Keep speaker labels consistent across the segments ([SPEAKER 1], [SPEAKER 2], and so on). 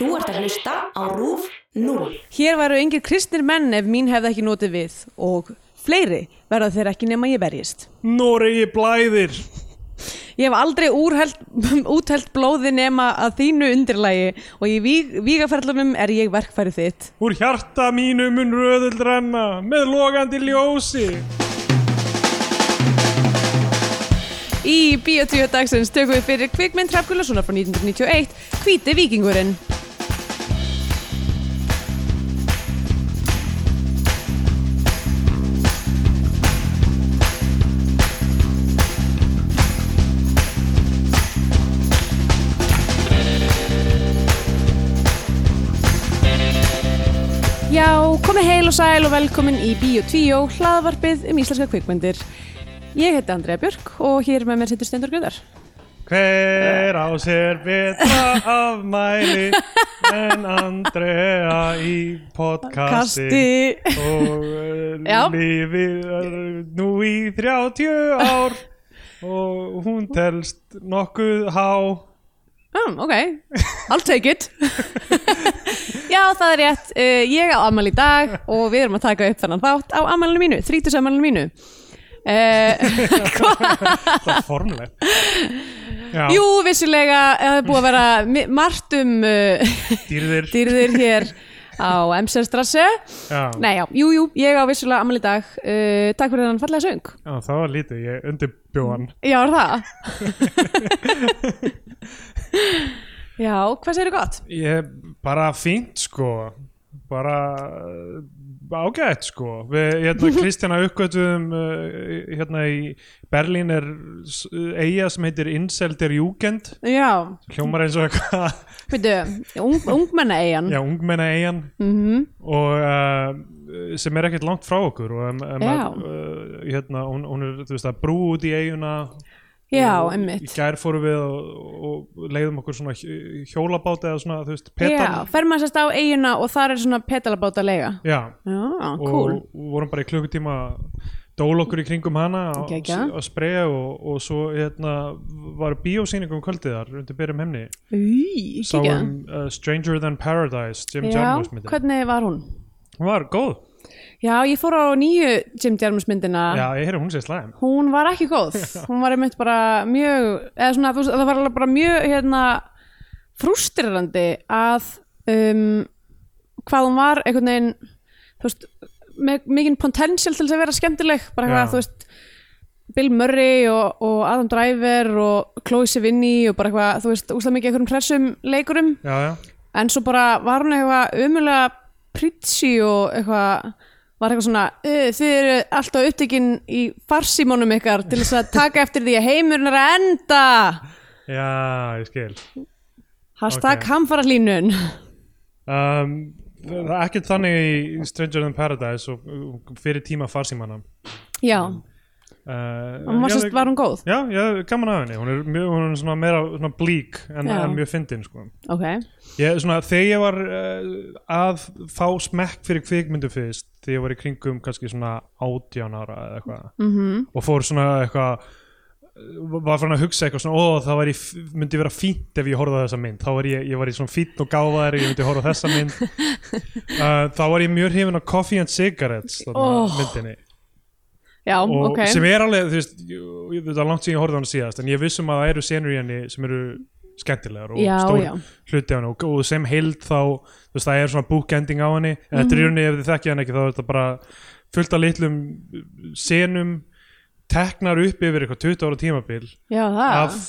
[SPEAKER 1] Þú ert að hlusta á RÚF 0.
[SPEAKER 2] Hér væru engir kristnir menn ef mín hefði ekki notið við og fleiri verða þeir ekki nema ég berjist.
[SPEAKER 3] Noregi blæðir
[SPEAKER 2] Ég hef aldrei úrheld, útheld blóði nema að þínu undirlægi og í víg, vígaferlunum er ég verkfæri þitt.
[SPEAKER 3] Úr hjarta mínu mun röðull renna Með logandi ljósi
[SPEAKER 2] Í Bíotvíu dagsins tökum við fyrir kvikmynd Hrafn Gullasonar frá 1991, Hvíti vikingurinn. Já, komið heil og sæl og velkomin í Bíotvíu, hlaðvarpið um íslenska kvikmyndir. Ég heiti Andrea Björk og hér með mér setur Stendur Guðar.
[SPEAKER 3] Hver á sér betra afmæli En Andrea í podcasti Og
[SPEAKER 2] Já.
[SPEAKER 3] uh, lífið er nú í 30 ár Og hún telst nokkuð há
[SPEAKER 2] Um, ok, I'll take it Já, það er rétt uh, Ég á afmæli í dag og við erum að taka upp þennan þátt á afmælinu mínu, þrítusamælinu mínu uh,
[SPEAKER 3] Það er formlegt Já,
[SPEAKER 2] Jú, vissilega það er búið að vera mi- margt um uh,
[SPEAKER 3] dýrðir
[SPEAKER 2] dýrðir hér á Emserstrasse
[SPEAKER 3] Já.
[SPEAKER 2] Nei, já, jú, jú, ég á vissulega afmæli í dag uh, Takk fyrir þennan fallega söng
[SPEAKER 3] Já, það var lítið, ég undirbjóðan
[SPEAKER 2] Já, er það? Já, hvað segirðu gott?
[SPEAKER 3] Ég bara fínt sko bara uh, ágætt sko við hérna Kristjana uppgötuðum uh, hérna í Berlín er s- eiga sem heitir Inselder Jugend
[SPEAKER 2] Já,
[SPEAKER 3] hljómar eins og eitthvað
[SPEAKER 2] Veitu, ung, Mhm. ungmenna eigin
[SPEAKER 3] já, ungmenna eigan og uh, sem er ekkert langt frá okkur og um, um,
[SPEAKER 2] Já.
[SPEAKER 3] uh, hérna hún, hún er þú veist að brú út í eiguna
[SPEAKER 2] Já,
[SPEAKER 3] og í
[SPEAKER 2] einmitt
[SPEAKER 3] gær fórum við og, og leiðum okkur svona hj- hjólabát eða svona þú veist
[SPEAKER 2] Já,
[SPEAKER 3] petal
[SPEAKER 2] fer maður sérst á eigina og þar er svona petalabáta leiga
[SPEAKER 3] já
[SPEAKER 2] Já,
[SPEAKER 3] og
[SPEAKER 2] cool
[SPEAKER 3] vorum bara í klukkutíma að dóla okkur í kringum hana og
[SPEAKER 2] Gegja.
[SPEAKER 3] að spreja og, og svo hérna, var bíósýning um kvöldið þar undir byrjum hemni
[SPEAKER 2] Í, kíkja
[SPEAKER 3] sáum uh, Stranger Than Paradise Jim
[SPEAKER 2] Já,
[SPEAKER 3] Jarmusch myndin
[SPEAKER 2] hvernig var hún?
[SPEAKER 3] hún var góð
[SPEAKER 2] Já, ég fór á nýju Jim Jarmus myndina
[SPEAKER 3] já ég heyri hún sé slæm
[SPEAKER 2] Hún var ekki góð Hún var einmitt bara mjög eða svona, þú veist, það var alveg bara mjög hérna, frústrerandi að um, hvað hún var einhvern veginn þú veist, með mikinn potential til þess að vera skemmtileg bara
[SPEAKER 3] Já.
[SPEAKER 2] eitthvað, þú veist Bill Murray og, og Adam Driver og Chloe Sevigny og bara eitthvað, þú veist, úslega mikið einhverjum hressum leikurum,
[SPEAKER 3] já já
[SPEAKER 2] en svo bara var hún eitthvað umulega pritsi og eitthvað var eitthvað svona, "Uh, þið eru alltaf upptekinn í farsímónum ykkar til þess að taka eftir því að heimurinn er að enda
[SPEAKER 3] já ég skil
[SPEAKER 2] hashtag
[SPEAKER 3] Ok.
[SPEAKER 2] okay. hamfarahlínun
[SPEAKER 3] um, það er ekkert þannig í Stranger Than Paradise og og fyrir tíma farsímanna
[SPEAKER 2] já,
[SPEAKER 3] uh,
[SPEAKER 2] og maður
[SPEAKER 3] já,
[SPEAKER 2] sérst var hún góð
[SPEAKER 3] já, já, gaman af henni hún er, mjög, hún er svona meira svona blík en,
[SPEAKER 2] Já.
[SPEAKER 3] en mjög fyndin sko
[SPEAKER 2] ok,
[SPEAKER 3] Ég, svona, þegar ég var uh, að fá smekk fyrir kvikmyndu fyrst þegar ég var í kringum kannski svona átján ára eða eitthvað -hmm. og fór svona eitthvað eh, var fann að hugsa eitthvað svona ó það væri, myndi vera fínt ef ég horfði á þessa mynd þá var ég, ég var í svona fínt og gáðar ég myndi horfa á þessa mynd uh, þá var ég mjög hrifin á Coffee and Cigarettes þarna
[SPEAKER 2] Oh.
[SPEAKER 3] myndinni
[SPEAKER 2] já,
[SPEAKER 3] og
[SPEAKER 2] ok
[SPEAKER 3] sem er alveg þú veist, ég- ég- það er langt sem ég horfði á hann síðast en ég vissum að það eru senur í henni sem eru skemmtilegar og
[SPEAKER 2] Já,
[SPEAKER 3] stór
[SPEAKER 2] já.
[SPEAKER 3] hluti á henni og, og sem heild þá þú veist, það er svona bookending á henni en
[SPEAKER 2] Mhm.
[SPEAKER 3] þetta er í henni ef þið þekkja hann ekki þá er þetta bara fullt af litlum senum teknar upp yfir eitthvað 20 ára tímabil
[SPEAKER 2] já, það
[SPEAKER 3] af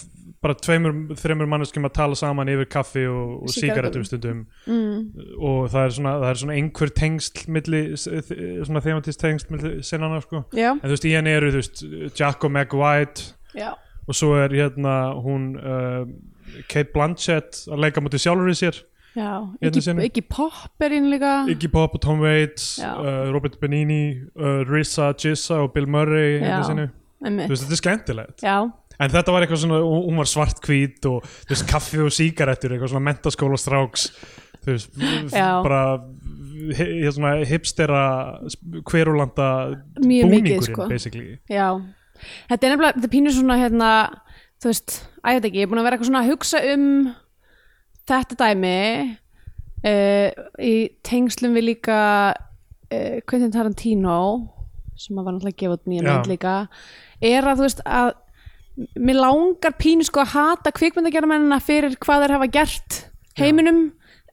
[SPEAKER 3] bara tveimur, þreimur manneskum að tala saman yfir kaffi og, og
[SPEAKER 2] Sígarettum.
[SPEAKER 3] sígarettum stundum mm. og það er svona, það er svona einhver tengsl milli, svona thematist tengsl milli senana sko
[SPEAKER 2] já,
[SPEAKER 3] en þú veist í henni eru þú veist Jacko McWhite
[SPEAKER 2] já
[SPEAKER 3] og svo er hérna hún uh, Kate Blanchett að leika mútið sjálfur í sér
[SPEAKER 2] Já,
[SPEAKER 3] Hérna
[SPEAKER 2] ekki,
[SPEAKER 3] sinni.
[SPEAKER 2] ekki popp er inn líka
[SPEAKER 3] Iggy Pop og Tom Waits
[SPEAKER 2] Já.
[SPEAKER 3] uh, Robert Benini, uh, Rissa Jissa og Bill Murray hérna
[SPEAKER 2] Já.
[SPEAKER 3] sinni. þú
[SPEAKER 2] einmitt
[SPEAKER 3] veist þetta er skemmtilegt
[SPEAKER 2] Já,
[SPEAKER 3] en þetta var eitthvað svona, hún hún var svartkvít og þú veist kaffi og sígarettur eitthvað svona mentaskóla stráks þú veist
[SPEAKER 2] Já.
[SPEAKER 3] bara hi- hérna svona hipstera sp- hverulanda
[SPEAKER 2] Mjög mikið,
[SPEAKER 3] búningurinn
[SPEAKER 2] sko.
[SPEAKER 3] basically
[SPEAKER 2] já Þetta er nefnilega, þetta pínur svona hérna þú veist, æ, þetta ekki, ég er búin að vera eitthvað svona að hugsa um þetta dæmi uh, í tengslum við líka uh, Quentin Tarantino sem að var náttúrulega að gefa út nýja
[SPEAKER 3] Já.
[SPEAKER 2] mynd líka er að þú veist að mér langar pínu sko að hata kvikmyndagerðamennina fyrir hvað þeir hafa gert heiminum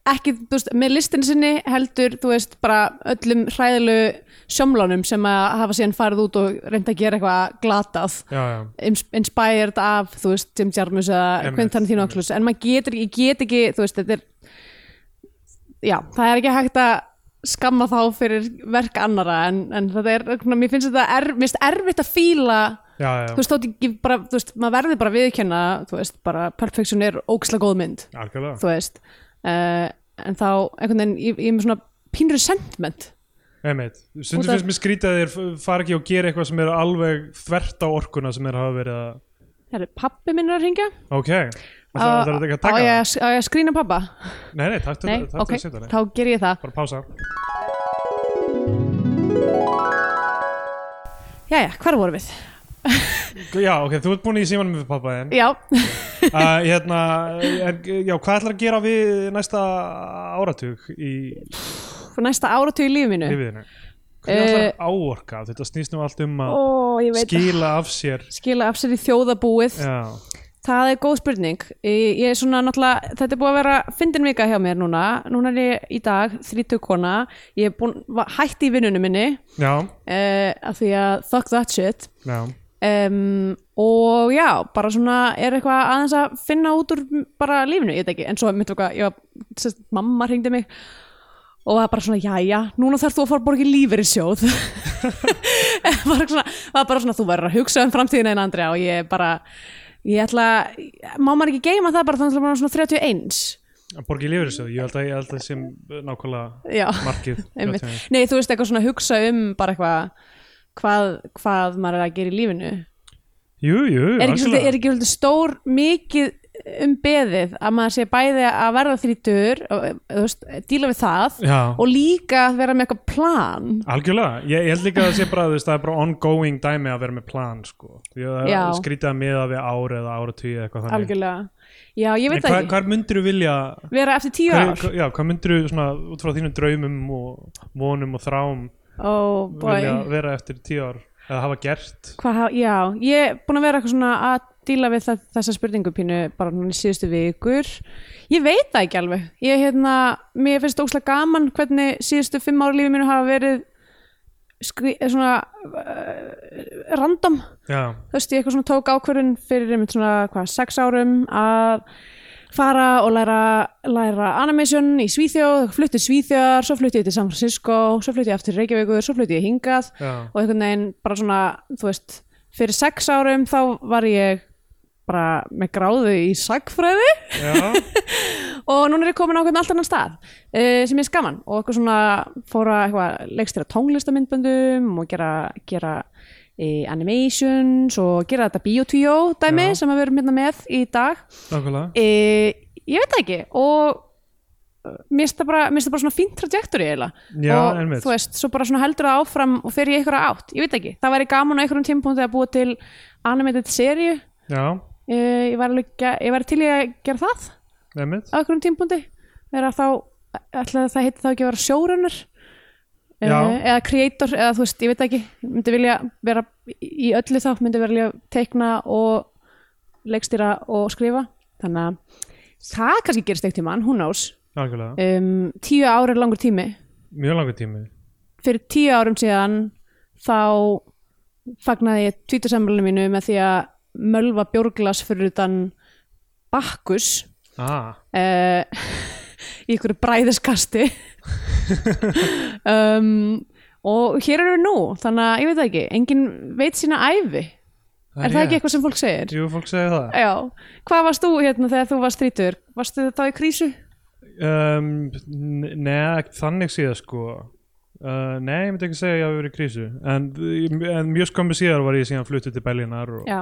[SPEAKER 2] ekki, þú veist, með listin sinni heldur, þú veist, bara öllum hræðilu sjómlánum sem að hafa síðan farið út og reynda að gera eitthvað glatað
[SPEAKER 3] já, já,
[SPEAKER 2] ins- inspired af, þú veist, Jim Jarmus eða
[SPEAKER 3] Einmitt,
[SPEAKER 2] Quentin Tarantino
[SPEAKER 3] einmitt.
[SPEAKER 2] Oculus en maður getur ekki, ég get ekki, þú veist, þetta er já, það er ekki hægt að skamma þá fyrir verk annara en, en þetta er, svona, mér finnst þetta er, mér finnst erfitt að fíla
[SPEAKER 3] já,
[SPEAKER 2] þú
[SPEAKER 3] já.
[SPEAKER 2] veist, þótt ekki bara, þú veist, maður verður bara að viðurkenna, þú veist, bara Perfection er óksla góð mynd,
[SPEAKER 3] algjörlega
[SPEAKER 2] þú veist uh, en þá, einhvern veginn, ég, ég er með svona pínur sentiment
[SPEAKER 3] Einmitt.
[SPEAKER 2] Út
[SPEAKER 3] Stundum
[SPEAKER 2] af-
[SPEAKER 3] finnst mér skrítið að þeir fara ekki og gera eitthvað sem er alveg þvert á orkuna sem þeir hafa verið að
[SPEAKER 2] Herri, pappi minn er að ringja
[SPEAKER 3] Ok, það er ekki að taka
[SPEAKER 2] Ah, á ég
[SPEAKER 3] það
[SPEAKER 2] að- á ég að skrýna pappa?
[SPEAKER 3] Nei, nei, takk til
[SPEAKER 2] Nei,
[SPEAKER 3] takk til
[SPEAKER 2] ok,
[SPEAKER 3] að setja það
[SPEAKER 2] þá ger ég það
[SPEAKER 3] Bara pása
[SPEAKER 2] Jæja, hvar vorum við?
[SPEAKER 3] Já, ok, þú ert búin í símanum við pappa þinn
[SPEAKER 2] Já,
[SPEAKER 3] uh, hérna, en, Já, hvað ætlar að gera við næsta áratug í
[SPEAKER 2] fyrir næsta áratug í lífi mínu
[SPEAKER 3] lífiðinu? Hvernig ætlar að áorka? Þetta snýst nú allt um að
[SPEAKER 2] Eh, Ó, ég veit Skil...
[SPEAKER 3] skila af sér
[SPEAKER 2] Skila af sér í þjóðabúið
[SPEAKER 3] Já,
[SPEAKER 2] Það er góð spurning Ég ég er svona náttúrulega, þetta er búið að vera fyndin vika hjá mér núna Núna er ég í dag, 30 kona Ég er búin, var, hætti í vinnunum minni
[SPEAKER 3] já,
[SPEAKER 2] uh, Af því að fuck that shit
[SPEAKER 3] já
[SPEAKER 2] um, og já, bara svona er eitthvað aðeins að finna út úr bara lífinu, ég veit ekki, en svo mitt okkar, ég var, sest, mamma hringdi mig og það var bara svona, jæja, núna þarf þú að fara að borga í lífur í sjóð var svona, það var bara svona þú verður að hugsa um framtíðina en Andrea og ég bara, ég ætla má maður ekki geima það bara þannig að maður er svona 31
[SPEAKER 3] Að borga í lífyrirsjóð, ég held að ég held að sem nákvæmlega
[SPEAKER 2] já,
[SPEAKER 3] markið
[SPEAKER 2] einmitt
[SPEAKER 3] Já,
[SPEAKER 2] nei, þú veist eitthvað svona hugsa um bara eitthvað hvað, hvað maður er að gera í lífinu
[SPEAKER 3] Jú, jú,
[SPEAKER 2] er ekki, svolítið,
[SPEAKER 3] Mm, algjörlega.
[SPEAKER 2] er ekki svolítið stór mikið um beðið að maður sé bæði að verða þrítur og eh, þú veist, díla við það
[SPEAKER 3] Já.
[SPEAKER 2] og líka að vera með eitthvað plan
[SPEAKER 3] Algjörlega, ég, ég held líka að það sé bara þú veist, það er bara ongoing dæmi að vera með plan sko. því að það
[SPEAKER 2] Já.
[SPEAKER 3] er skrítið að miða við ár eða áratugið eða eitthvað þannig
[SPEAKER 2] algjörlega, já ég
[SPEAKER 3] En
[SPEAKER 2] veit það
[SPEAKER 3] hvað,
[SPEAKER 2] ekki
[SPEAKER 3] hvað myndir þú vilja
[SPEAKER 2] vera eftir tíu
[SPEAKER 3] hver,
[SPEAKER 2] ár
[SPEAKER 3] hva- já, hvað myndir þú svona út frá þínum draumum og vonum og þrám
[SPEAKER 2] oh boy,
[SPEAKER 3] vilja vera eftir tíu ár eða hafa gert
[SPEAKER 2] hvað, ha- já ég er búin að vera eitthvað svona að díla við það, þessa spurningu pínu bara núna í síðustu vikur ég veit það ekki alveg ég hérna, mér finnst ókslega gaman hvernig síðustu fimm ári lífi mínu hafa verið skri, svona uh, random
[SPEAKER 3] já,
[SPEAKER 2] þú veist, ég eitthvað svona tók ákvörðun fyrir einmitt svona, hvað, sex árum að fara og læra, læra animation í Svíþjóð, flutti Svíþjóðar, svo flutti ég til San Francisco, svo flutti ég aftur til Reykjavíkur, svo flutti ég hingað
[SPEAKER 3] já,
[SPEAKER 2] og einhvern veginn bara svona, þú veist, fyrir sex árum þá var ég bara með gráðu í sagfræði
[SPEAKER 3] já
[SPEAKER 2] og núna er ég komin á einhvern allt annan stað uh, sem ég skaman og eitthvað svona fóra eitthvað leikstýra tónlistamindböndum og gera, gera e, animations og gera þetta biotvíó dæmi
[SPEAKER 3] Já.
[SPEAKER 2] sem að við erum hérna með í dag
[SPEAKER 3] nákvæmlega
[SPEAKER 2] e, ég veit það ekki og eh, mér finnst það bara, mér finnst það bara svona fínt trajectory eiginlega
[SPEAKER 3] Já,
[SPEAKER 2] og
[SPEAKER 3] einmitt.
[SPEAKER 2] þú veist, svo bara svona heldur það áfram og fer ég einhverja átt, ég veit ekki það væri gaman á einhverjum tímpúndi að búa til animated seríu,
[SPEAKER 3] já,
[SPEAKER 2] e, ég væri alveg ge- ég væri til í að gera það
[SPEAKER 3] nefnit
[SPEAKER 2] á einhverjum tímpundi vera þá, ætlaði það heiti þá ekki að vera sjórunnar
[SPEAKER 3] Já.
[SPEAKER 2] eða creator, eða þú veist, ég veit ekki myndi vilja vera í öllu þá myndi vilja teikna og leikstýra og skrifa þannig að það kannski gerist eitt tímann, hún ás
[SPEAKER 3] nákvæmlega,
[SPEAKER 2] um, tíu ár er langur tími
[SPEAKER 3] mjög langur tími
[SPEAKER 2] fyrir tíu árum síðan þá fagnaði ég tvítusamlunum mínu með því að mölva bjórglas fyrir utan bakkus
[SPEAKER 3] ah,
[SPEAKER 2] uh, í ykkur bræðiskasti um, og hér erum við nú þannig að ég veit það ekki, engin veit sína æfi er það
[SPEAKER 3] rétt.
[SPEAKER 2] ekki eitthvað sem fólk segir?
[SPEAKER 3] Jú, fólk segir það
[SPEAKER 2] Já, hvað varst þú hérna þegar þú varst þrítur? Varstu þá í krísu?
[SPEAKER 3] um, n- Nei, ekki þannig síðan sko uh, Nei, ég myndi ekki segja að ég hafi verið í krísu en, en mjög skömmu síðar var ég síðan fluttu til Berlínar og,
[SPEAKER 2] Já,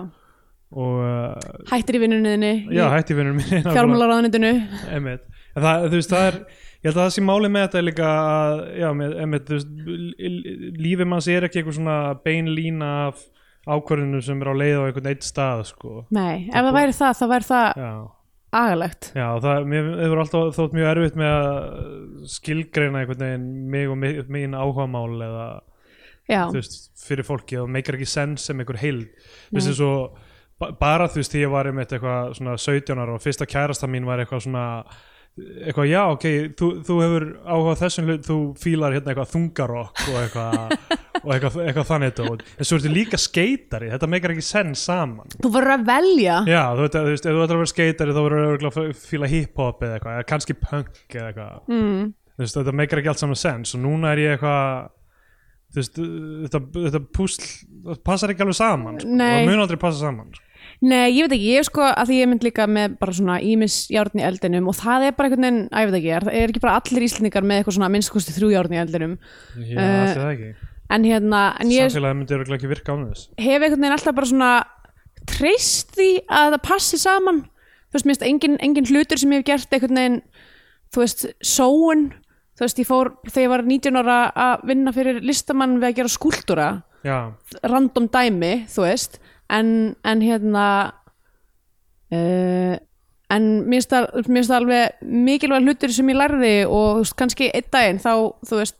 [SPEAKER 3] og uh,
[SPEAKER 2] hættir í vinnunniðinni
[SPEAKER 3] já, hætti vinnur minni
[SPEAKER 2] fjármálaráðunitinu
[SPEAKER 3] Einmitt. En það, þú veist, það er ég held að það sé máli með þetta er líka að já, með, einmitt, þú veist, l- l- lífið manns er ekki eitthvað svona bein lína af ákvörðinu sem er á leið á einhvern eitt stað sko.
[SPEAKER 2] Nei, ef það væri það, þá væri það
[SPEAKER 3] Já,
[SPEAKER 2] agalegt
[SPEAKER 3] Já, það mér hefur alltaf þótt mjög erfitt með að skilgreina einhvern veginn mig og mi- mín áhugamál eða
[SPEAKER 2] já,
[SPEAKER 3] þú veist, fyrir fólki og meikar ekki sens sem einhver heild þú veist, eins og ba- bara þú veist, því ég var einmitt eitthvað svona 17 ára og fyrsta kærasta mín var eitthvað svona eitthvað, já, ok, þú, þú hefur áhuga á þessum hlut, þú fílar hérna eitthvað þungarokk og eitthvað og eitthvað, eitthvað þannig dót, en svo ertu líka skeitari, þetta meikar ekki sens saman
[SPEAKER 2] þú verður að velja
[SPEAKER 3] já, þú veist, þú veist, ef þú ætlar að vera skeitari þá verður örugglega að fíla hip-hop eða eitthvað, eða kannski punk eða eitthvað
[SPEAKER 2] mm,
[SPEAKER 3] þú veist, þetta meikar ekki allt saman sens og núna er ég eitthvað þú veist, þetta, þetta púsl það passar ekki alveg saman sko,
[SPEAKER 2] Nei.
[SPEAKER 3] og mun aldrei passa saman sko.
[SPEAKER 2] nei, ég veit ekki, ég er sko að því ég mynd líka með bara svona ímisjárn í eldinum og það er bara einhvern veginn, að ég veit ekki, er, er ekki bara allir íslendingar með eitthvað svona minnst kosti þrjú járn í eldinum
[SPEAKER 3] já,
[SPEAKER 2] Eh,
[SPEAKER 3] uh, það ekki
[SPEAKER 2] en hérna, en ég
[SPEAKER 3] samfélagið myndi örugglega ekki virka án þess
[SPEAKER 2] hef einhvern veginn alltaf bara svona treyst því að það passi saman þú veist, mér finnst engin, engin hlutur sem ég hef gert einhvern veginn, þú veist, sóun þú veist, ég fór þegar ég var 19 ára að vinna fyrir listamann við að gera skúltúra,
[SPEAKER 3] já,
[SPEAKER 2] random dæmi þú veist, en, en hérna uh, en mér finnst það- mér finnst það alveg mikilvæg hlutur sem ég lærði og þú veist, kannski einn daginn þá, þú veist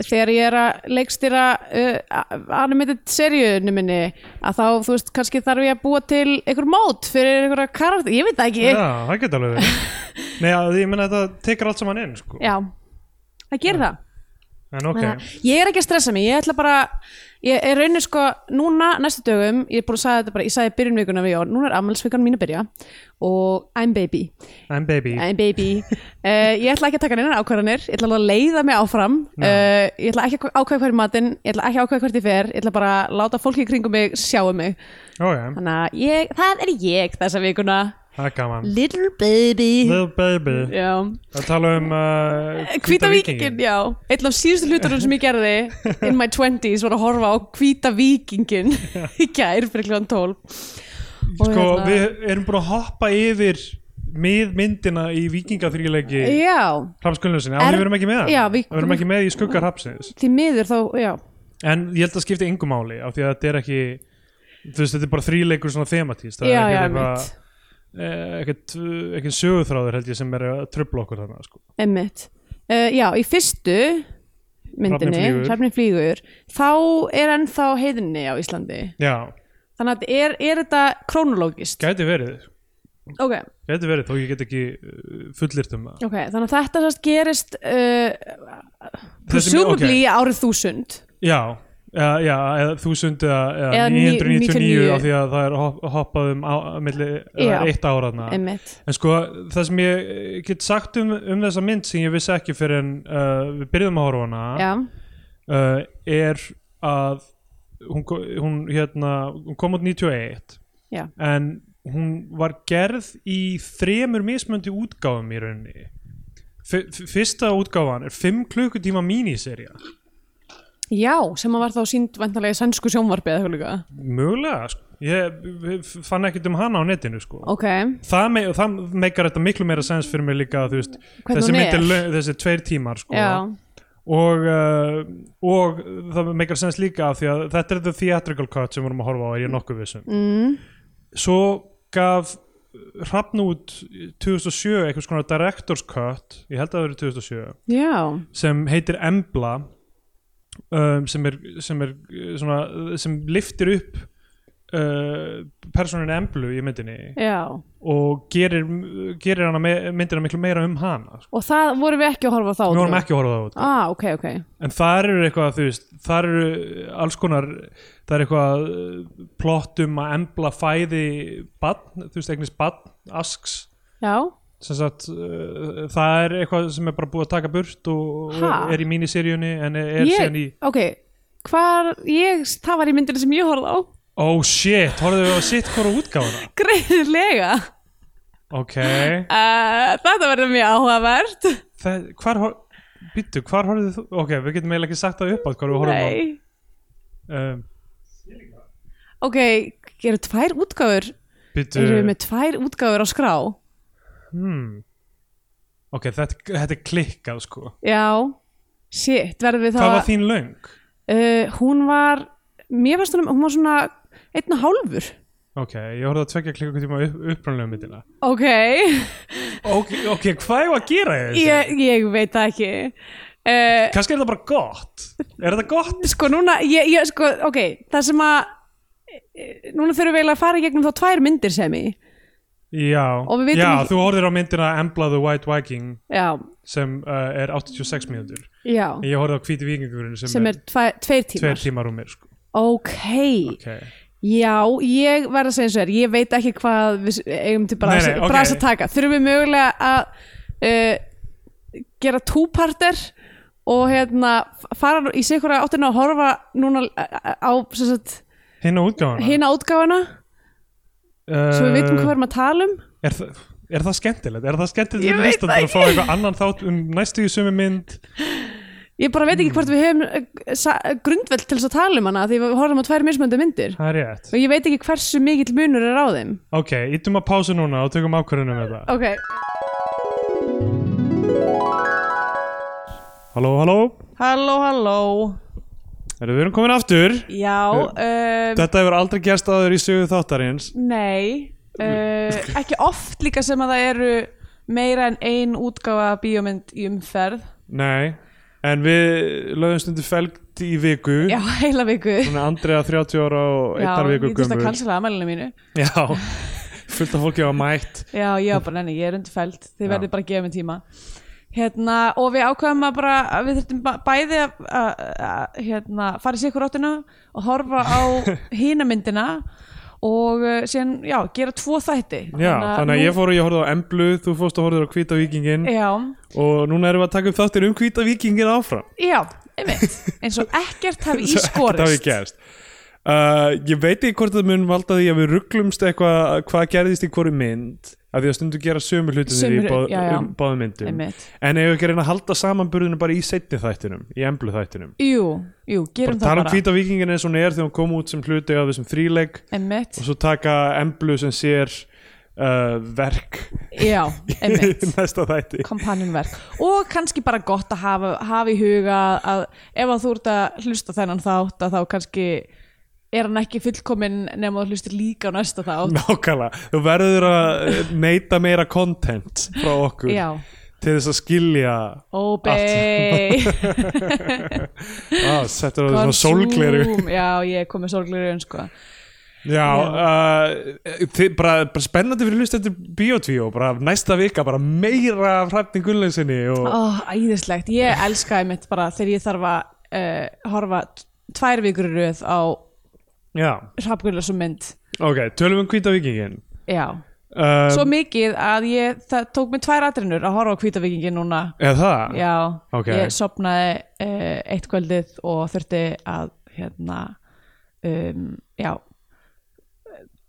[SPEAKER 2] þegar ég er að leikstýra uh, animated seríunni minni að þá, þú veist, kannski þarf ég að búa til einhver mót fyrir einhverja karakter ég veit það ekki,
[SPEAKER 3] já, það geta alveg verið. Nei, að, ég meina þetta tekur allt saman inn sko.
[SPEAKER 2] já það gerir það
[SPEAKER 3] en ok,
[SPEAKER 2] Þannig að ég er ekki að stressa mig, ég ætla bara ég er raunin sko, núna næstu dögum ég er búin að sagði þetta bara, ég sagði byrjun vikuna við Jón, núna er ammælsvikan mín að byrja og I'm baby,
[SPEAKER 3] I'm baby
[SPEAKER 2] I'm baby uh, ég ætla ekki að taka neina ákvarðanir ég ætla alveg að leiða mig áfram uh, ég ætla ekki að ákvæða hver matinn, ég ætla ekki að ákvæða hvert ég fer ég ætla bara að láta fólki í kringum mig sjáu mig,
[SPEAKER 3] ok,
[SPEAKER 2] þannig að ég, það er ég þessa vikuna,
[SPEAKER 3] það er gaman
[SPEAKER 2] little baby
[SPEAKER 3] little baby,
[SPEAKER 2] já,
[SPEAKER 3] að tala um uh,
[SPEAKER 2] Hvíta vikingin, já Einn af síðustu hlutunum sem ég gerði in my 20s var að horfa á Hvíta vikingin í gær fyrir kljóðan 12 Og
[SPEAKER 3] sko,
[SPEAKER 2] hérna-
[SPEAKER 3] við erum búin að hoppa yfir miðmyndina í vikingaþrýleiki
[SPEAKER 2] Já,
[SPEAKER 3] Hrafns Gunnlausinni, já,
[SPEAKER 2] Er-
[SPEAKER 3] við verum ekki með hann
[SPEAKER 2] Já,
[SPEAKER 3] við
[SPEAKER 2] við-
[SPEAKER 3] verum ekki með í skugga Hrafnsins
[SPEAKER 2] því miður þá, já
[SPEAKER 3] en ég held að skipti yngu máli af því að þetta er ekki þú veist, þetta er bara þríleikur svona thematíst það
[SPEAKER 2] Já,
[SPEAKER 3] er
[SPEAKER 2] já,
[SPEAKER 3] ekkert eitthvað- eh, ekkert ekkert söguþráður held ég sem er að tröfla okkur þarna sko.
[SPEAKER 2] Emmitt uh, Já, í fyrstu myndinni,
[SPEAKER 3] Hrafninn flýgur.
[SPEAKER 2] Hrafnin flýgur þá er ennþá heiðinni á Íslandi
[SPEAKER 3] já,
[SPEAKER 2] Þannig að er, er þetta krónológist
[SPEAKER 3] gæti verið
[SPEAKER 2] Ok,
[SPEAKER 3] gæti verið þó ég get ekki eh, fullyrt um það
[SPEAKER 2] ok, þannig að þetta sérst gerist uh,
[SPEAKER 3] Þessi- ok.
[SPEAKER 2] presumably árið þúsund
[SPEAKER 3] já, já, já eða þúsund eða, eða
[SPEAKER 2] Eða ní-
[SPEAKER 3] 999
[SPEAKER 2] 99.
[SPEAKER 3] af því að það er hop- hoppað um á, milli, það
[SPEAKER 2] Já.
[SPEAKER 3] er eitt ára þarna
[SPEAKER 2] Emmitt
[SPEAKER 3] En sko, það sem ég eh, get sagt um, um þessa mynd sem ég vissi ekki fyrir en uh, við byrjum að horfa á hana
[SPEAKER 2] Já,
[SPEAKER 3] uh, er að hún, ko- hún, hérna, hún kom út 91
[SPEAKER 2] Já.
[SPEAKER 3] en hún var gerð í þremur mismöndi útgáfum í rauninni F fyrsta útgáfan er 5 klukkutíma míniserja
[SPEAKER 2] já, sem að var þá sínd vantanlega í sænsku sjónvarpi eða eitthvað líka
[SPEAKER 3] mögulega sko. ég f- fann ekkert um hana á netinu sko.
[SPEAKER 2] Ok,
[SPEAKER 3] það, me það meikar þetta miklu meira sens fyrir mig líka þú veist,
[SPEAKER 2] Hvernig
[SPEAKER 3] þessi
[SPEAKER 2] hún
[SPEAKER 3] mynd
[SPEAKER 2] er.
[SPEAKER 3] er löng- þessi tveir tímar sko.
[SPEAKER 2] já,
[SPEAKER 3] og, uh, og það meikar sens líka af því að þetta er the theatrical cut sem við vorum að horfa á er ég nokkuð vissum mm. svo gaf hrafn út 2007 eitthvað svona director's cut ég held að það verið 2007
[SPEAKER 2] já,
[SPEAKER 3] sem heitir Embla um, sem er, sem, er uh, svona, uh, sem liftir upp uh, personin Emblu í myndinni
[SPEAKER 2] já
[SPEAKER 3] og gerir, gerir hana me, myndina miklu meira um hana sko.
[SPEAKER 2] Og það vorum við ekki að horfa á þá
[SPEAKER 3] við vorum
[SPEAKER 2] trú.
[SPEAKER 3] ekki að horfa á það út
[SPEAKER 2] Ah, ok, ok,
[SPEAKER 3] en það eru eitthvað þú veist, það eru alls konar það eru eitthvað uh, plott um að embla fæði badn, þú veist, eignist badn asks,
[SPEAKER 2] já,
[SPEAKER 3] sem sagt uh, það er eitthvað sem er bara búið að taka burt og,
[SPEAKER 2] Ha?
[SPEAKER 3] og er í míniseríunni en er, er
[SPEAKER 2] ég,
[SPEAKER 3] síðan í,
[SPEAKER 2] ok Hvar, ég, það var í myndinu sem ég horfði á
[SPEAKER 3] oh shit horfðu við á sitt hvora útgáfuna
[SPEAKER 2] Greinilega
[SPEAKER 3] ok,
[SPEAKER 2] uh, Þetta verður mjög áhugavert
[SPEAKER 3] það, hvar hor- býttu, hvar horfðu þú, ok, við getum eiginlega ekki sagt það upp hvað við horfum á
[SPEAKER 2] Nei,
[SPEAKER 3] um,
[SPEAKER 2] ok, eru tvær útgáfur
[SPEAKER 3] býttu,
[SPEAKER 2] Eru við með tvær útgáfur á skrá
[SPEAKER 3] hmm ok, þetta, þetta er klikkað sko
[SPEAKER 2] Já, shit, verðum við þá
[SPEAKER 3] hvað var þín löng?
[SPEAKER 4] Eh,
[SPEAKER 2] Uh, hún var, mér finnst hún, hún var svona einn og hálfur
[SPEAKER 3] Ó, ok, ég horfði að tvekja klukkutíma upp, upprannlega myndina
[SPEAKER 4] ok,
[SPEAKER 3] ok, ok, hvað er að gera í þessu?
[SPEAKER 4] ég, ég veit það ekki uh,
[SPEAKER 3] kannski er þetta bara gott er þetta gott?
[SPEAKER 4] sko núna ég, ég, sko, ok, það sem að eh, núna þurfum við eiginlega að fara í gegnum þá tvær myndir sem í
[SPEAKER 3] já,
[SPEAKER 4] Og við vitum
[SPEAKER 3] já
[SPEAKER 4] ekki-
[SPEAKER 3] þú horfðir á myndina Embla the White Viking
[SPEAKER 4] já,
[SPEAKER 3] sem uh, er 86 mínútur
[SPEAKER 4] já,
[SPEAKER 3] en ég horfði á hvíti vikingurinn sem,
[SPEAKER 4] sem er tva, tveir tímar
[SPEAKER 3] tveir tímar og mér sko.
[SPEAKER 4] ok,
[SPEAKER 3] ok,
[SPEAKER 4] Já, ég verð að segja eins og þér, ég veit ekki hvað við eigum til bara
[SPEAKER 3] Nei, nei, ok.
[SPEAKER 4] að taka. Þurfum við mögulega að uh, gera túparter og hérna f- fara í sigur að áttina að horfa núna eh, á sem sagt,
[SPEAKER 3] hinn á útgáfana
[SPEAKER 4] hina útgáfana svo við
[SPEAKER 3] Eh.
[SPEAKER 4] veitum hvað við erum að tala um.
[SPEAKER 3] er, þa er það skemmtilegt? Er það skemmtilegt
[SPEAKER 4] Ég
[SPEAKER 3] fyrir
[SPEAKER 4] veit
[SPEAKER 3] listandur
[SPEAKER 4] það
[SPEAKER 3] að fá eitthvað annan þátt um næstu í sömu mynd?
[SPEAKER 4] Ég bara veit ekki hvort við höfum eh, sa- grundvöld til þess að tala um hana því við horfum á tvær mismöndu myndir
[SPEAKER 3] Það er rétt.
[SPEAKER 4] og ég veit ekki hversu mikill munur er á þeim.
[SPEAKER 3] Ok, ítum að pása núna og tökum ákvörðunum með það.
[SPEAKER 4] Ok,
[SPEAKER 3] Halló, halló,
[SPEAKER 4] halló, halló.
[SPEAKER 3] erum við erum komin aftur?
[SPEAKER 4] Já, um,
[SPEAKER 3] Eh, Þetta hefur aldrei gerst aður í sögu þáttarins.
[SPEAKER 2] Nei, uh, ekki oft líka sem að það eru meira en ein útgáfa af bíómynd í umferð
[SPEAKER 3] Nei, en við lögum stundu felgt í viku.
[SPEAKER 2] Já, heila viku
[SPEAKER 3] Svona Andrea 30 ára og
[SPEAKER 2] Já,
[SPEAKER 3] einnar
[SPEAKER 2] ég
[SPEAKER 3] viku
[SPEAKER 2] þurfti að
[SPEAKER 3] gömur.
[SPEAKER 2] kansla aðmælinu mínu
[SPEAKER 3] Já, fullt af fólki á mætt.
[SPEAKER 2] Já, ég var bara, nenni, ég er undurfæld Þið
[SPEAKER 3] Já.
[SPEAKER 2] verðið bara að gefa mér tíma Hérna, og við ákveðum að bara að við þurftum ba- bæði að, að, að hérna, fara í sikur áttina og horfa á hina myndina og uh, síðan, já, gera tvo þætti
[SPEAKER 3] Já, þannig að ég fór og ég horfði á Emblu, þú fórst og horfðir á Hvíta vikingin
[SPEAKER 2] Já,
[SPEAKER 3] og núna erum við að taka upp þáttir um Hvíta vikingin áfram.
[SPEAKER 2] Já, einmitt, eins og ekkert hafi
[SPEAKER 3] Svo ekkert hafi
[SPEAKER 2] ískorist
[SPEAKER 3] gerst uh, ég veit ekki hvort það mun valda því að við rugglumst eitthvað hvað gerðist í hverju mynd af því að stundu gera sömu hlutinir í
[SPEAKER 2] Sömu hlu-
[SPEAKER 3] báð,
[SPEAKER 2] já, já.
[SPEAKER 3] um báðum myndum
[SPEAKER 2] Einmitt.
[SPEAKER 3] en ef við ekki reyna að halda samanburðinu bara í setni þættinum, í emblu þættinum
[SPEAKER 2] Jú, jú, gerum
[SPEAKER 3] bara tala
[SPEAKER 2] það
[SPEAKER 3] um
[SPEAKER 2] bara
[SPEAKER 3] hvíta vikingin eins og hún er þegar hún kom út sem hluti af þessum þríleik
[SPEAKER 2] Einmitt,
[SPEAKER 3] og svo taka emblu sem sér uh, verk
[SPEAKER 2] já, einmitt
[SPEAKER 3] í næsta þætti
[SPEAKER 2] kompanjunverk og kannski bara gott að hafa, hafa í huga að ef að þú ert að hlusta þennan þátt að þá kannski er hann ekki fullkominn nema þú hlustir líka á næsta þátt
[SPEAKER 3] Nákvæmlega, þú verður að eh, neyta meira content frá okkur
[SPEAKER 2] Já,
[SPEAKER 3] til þess að skilja
[SPEAKER 2] obey
[SPEAKER 3] ah, settur á þessum sólgleru
[SPEAKER 2] Consume. Já, ég kom með sólgleru sko.
[SPEAKER 3] Já, uh, þið, bara, bara spennandi fyrir hlust eftir Bíotvíó, bara næsta vika bara meira af hræfning Gunnleysinni og
[SPEAKER 2] Ó, æðislegt, ég elska einmitt bara þegar ég þarf að uh, horfa t- tvær vikur í röð á
[SPEAKER 3] já,
[SPEAKER 2] Hrafngullarsson mynd
[SPEAKER 3] ok, tölum um hvíta vikingin
[SPEAKER 2] Já,
[SPEAKER 3] uh,
[SPEAKER 2] svo mikið að ég, það tók mér tvær atrinnur að horfa á Hvítavingin núna
[SPEAKER 3] Eða það?
[SPEAKER 2] Já,
[SPEAKER 3] Ok.
[SPEAKER 2] ég sopnaði uh, eitt kvöldið og þurfti að hérna um, já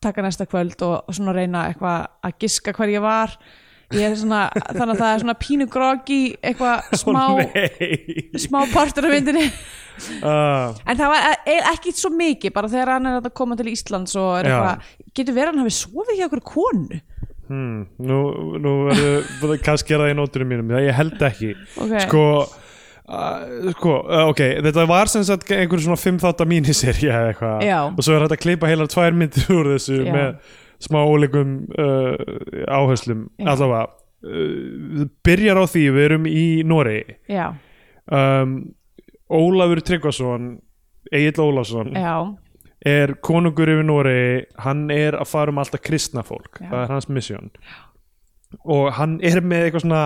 [SPEAKER 2] taka næsta kvöld og, og svona reyna eitthvað að giska hver ég var ég er svona, þannig að það er svona pínu groggi eitthvað
[SPEAKER 3] Ó,
[SPEAKER 2] smá
[SPEAKER 3] Nei
[SPEAKER 2] smá partur af myndinni
[SPEAKER 3] uh,
[SPEAKER 2] en það var e- ekki svo mikið bara þegar hann er að koma til Íslands og er
[SPEAKER 3] Já.
[SPEAKER 2] eitthvað, getur verið að hann hafi sofið hjá okkur konu
[SPEAKER 3] hmm, Nú, nú verður kannski er það í nótunum mínum, það ég held ekki
[SPEAKER 2] Ok.
[SPEAKER 3] Sko Uh, sko, uh, ok, þetta var sem sagt einhver svona fimm þátta míniseri eða eitthvað
[SPEAKER 2] Já.
[SPEAKER 3] og svo er hægt að klippa heilar tvær myndir úr þessu
[SPEAKER 2] Já.
[SPEAKER 3] með smá ólegum uh, áherslum allavega uh, byrjar á því, við erum í Noregi
[SPEAKER 2] já,
[SPEAKER 3] um, Ólafur Tryggvason Egil Ólafsson
[SPEAKER 2] já,
[SPEAKER 3] er konungur yfir Noregi hann er að fara um alltaf kristna fólk
[SPEAKER 2] Já.
[SPEAKER 3] það er hans misjón og hann er með eitthvað svona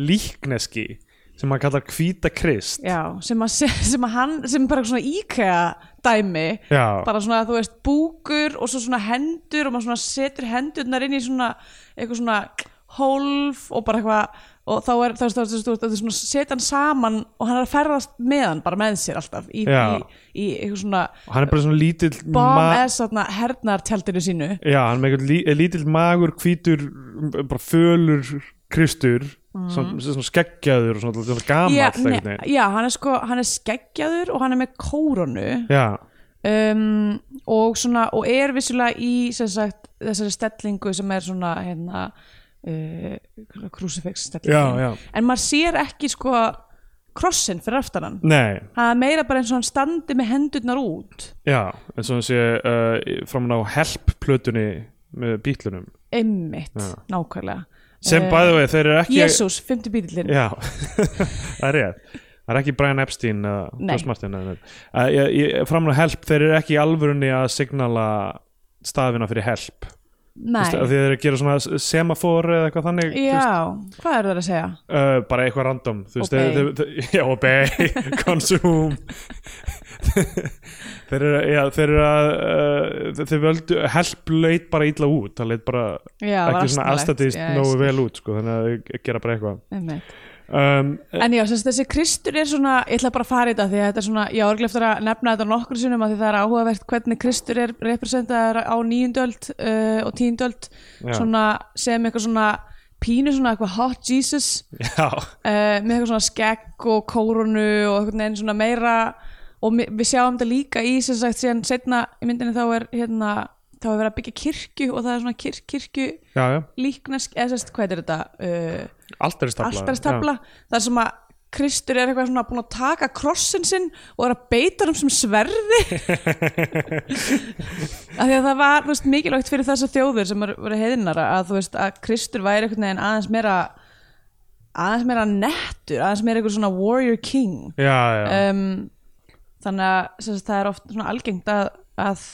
[SPEAKER 3] líkneski sem hann kallar hvíta krist
[SPEAKER 2] já sem að, sem að hann, sem bara svona íkæða dæmi
[SPEAKER 3] Já.
[SPEAKER 2] bara svona, þú veist, búkur og svo svona hendur og maður svona setur hendurnar inn í svona, eitthvað svona hólf og bara eitthvað og þá er, þá er, þá er, þú veist, þú veist, svona setja hann saman og hann er að ferðast með hann bara með sér alltaf í, í,
[SPEAKER 3] Já.
[SPEAKER 2] í, eitthvað svona
[SPEAKER 3] hann er bara svona lítill ma-
[SPEAKER 2] bomb-ass þarna hernartjaldinu sínu
[SPEAKER 3] Já, hann er með eitthvað lí, lítill magur, hvítur m- bara fölur kristur svona, svona skeggjaður og svona, svona gamall
[SPEAKER 2] Mm. já,
[SPEAKER 3] einhvern
[SPEAKER 2] ne-
[SPEAKER 3] veginn.
[SPEAKER 2] já, hann er sko, hann er skeggjaður og hann er með kóronu
[SPEAKER 3] Já,
[SPEAKER 2] um, og svona, og er vissulega í sem sagt, þessari stellingu sem er svona, hérna uh, krúsifix
[SPEAKER 3] já, já
[SPEAKER 2] en maður sér ekki sko krossin fyrir aftan hann
[SPEAKER 3] Nei,
[SPEAKER 2] það er meira bara eins og hann standi með hendurnar út
[SPEAKER 3] já, eins og hann sé uh, framan á help-plötunni með bítlunum
[SPEAKER 2] einmitt,
[SPEAKER 3] Já.
[SPEAKER 2] nákvæmlega
[SPEAKER 3] sem
[SPEAKER 2] Eh,
[SPEAKER 3] bæði vegi, þeir eru ekki
[SPEAKER 2] Jésús, fymti bílinn
[SPEAKER 3] Já, það er rétt Það er ekki Brian Epstein eða
[SPEAKER 2] Nei.
[SPEAKER 3] Chris Martin eða neitt. Að ég- ég- Framan á help, þeir eru ekki í alvörunni að signala staðina fyrir help
[SPEAKER 2] Nei,
[SPEAKER 3] Vist, Þeir eru að gera svona s- semafor eða eitthvað þannig þú veist,
[SPEAKER 2] já, hvað eru það að segja?
[SPEAKER 3] uh, bara eitthvað random þú veist,
[SPEAKER 2] Obey.
[SPEAKER 3] þeir, þeir, já, obey, consume þeir eru já, þeir eru að uh, þeir völdu, help leit bara illa út það leit bara
[SPEAKER 2] Já, var
[SPEAKER 3] ekki svona
[SPEAKER 2] asnalegt.
[SPEAKER 3] aðstættist
[SPEAKER 2] Já, ég
[SPEAKER 3] nógu
[SPEAKER 2] skil.
[SPEAKER 3] vel út sko, þannig að þeir gera bara eitthvað
[SPEAKER 2] Einmitt.
[SPEAKER 3] um,
[SPEAKER 2] En já, sem sagt, þessi Kristur er svona, ég ætla bara að fara í þetta því að þetta er svona, ég orglega eftir að nefna þetta nokkur sinnum að því það er áhugavert hvernig Kristur er representaður á níundöld uh, og tíundöld
[SPEAKER 3] Já.
[SPEAKER 2] svona, sem eitthvað svona pínu svona eitthvað hot Jesus
[SPEAKER 3] já,
[SPEAKER 2] uh, með eitthvað svona skegg og kórunu og eitthvað neginn svona meira og mi- við sjáum þetta líka í sem sagt síðan setna í myndinni þá er hérna, þá er verið að byggja kirkju og það er svona kir kirkju
[SPEAKER 3] já, já
[SPEAKER 2] líknesk, eða sérst, hvað er þetta? Uh,
[SPEAKER 3] altaristabla
[SPEAKER 2] altaristabla þar sem að Kristur er eitthvað svona búin að taka krossin sinn og er að beita hann sem sverði af því að það var þú veist, mikilvægt fyrir þessa þjóður sem eru- voru heiðinara að þú veist að Kristur væri einhvern veginn aðeins meira aðeins meira nettur, aðeins meira eitthvað svona warrior king
[SPEAKER 3] já, já, já.
[SPEAKER 2] um, þannig að sem sagt, það er oft svona algengt að, að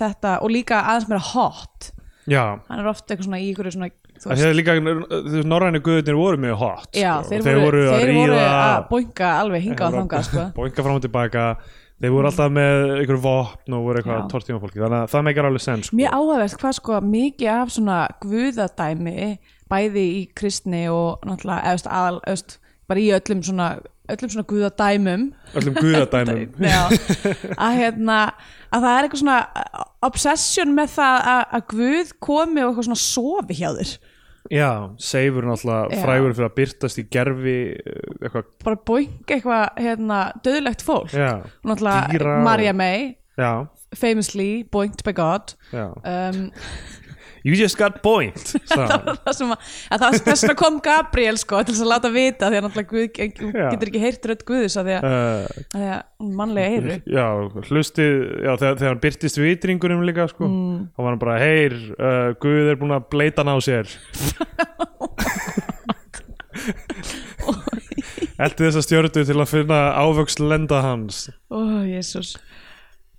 [SPEAKER 2] þetta og líka aðeins meira hot
[SPEAKER 3] já.
[SPEAKER 2] hann er oft eitthvað svona í einhverju svona þú
[SPEAKER 3] Það hefði líka, þú veist, norrænu guðurnir voru mjög hot
[SPEAKER 2] Já,
[SPEAKER 3] sko,
[SPEAKER 2] þeir,
[SPEAKER 3] og
[SPEAKER 2] voru,
[SPEAKER 3] að
[SPEAKER 2] þeir
[SPEAKER 3] ríða
[SPEAKER 2] voru að boinga alveg hingað og þangað sko.
[SPEAKER 3] bóinga fram og tilbaka þeir voru alltaf með einhver vopn og voru eitthvað
[SPEAKER 2] Mm. Já.
[SPEAKER 3] að tortíma fólki þannig að það meikar alveg sens sko.
[SPEAKER 2] Mér áhæfvert hvað sko mikið af svona guðadæmi bæði í kristni og náttúrulega eðust aðal, eðust bara í öllum svona, öllum svona guðadæmum
[SPEAKER 3] öllum guðadæmum
[SPEAKER 2] Já, að hérna að það er eitthvað svona eh, obsession með það að, að guð komi og eitthvað svona sofi hjá þér
[SPEAKER 3] já, Seifur er náttúrulega
[SPEAKER 2] Já.
[SPEAKER 3] frægur fyrir að byrtast í gerfi eh, eitthvað,
[SPEAKER 2] bara boinga eitthvað hérna döðlegt fólk
[SPEAKER 3] já,
[SPEAKER 2] og náttúrulega
[SPEAKER 3] Dýra og-
[SPEAKER 2] Marja May
[SPEAKER 3] já,
[SPEAKER 2] famously boinked by God
[SPEAKER 3] já
[SPEAKER 2] um,
[SPEAKER 3] you just got point
[SPEAKER 2] það
[SPEAKER 3] sagði
[SPEAKER 2] var það sem að, að það þess vegna kom Gabriel sko til þess að láta vita því að náttúrulega Guð hún
[SPEAKER 3] Já.
[SPEAKER 2] getur ekki heyrt rödd Guðis að því að,
[SPEAKER 3] hann.
[SPEAKER 2] að því að hún mannlega heyru
[SPEAKER 3] Eh, já, hlustið já, þegar, þegar hann byrtist við ytringunum líka sko, þá var hann bara, heyr uh, Guð er búin að bleita hann á sér Elti þessa stjördu til að finna ávöxt lenda hans
[SPEAKER 2] ó, jésús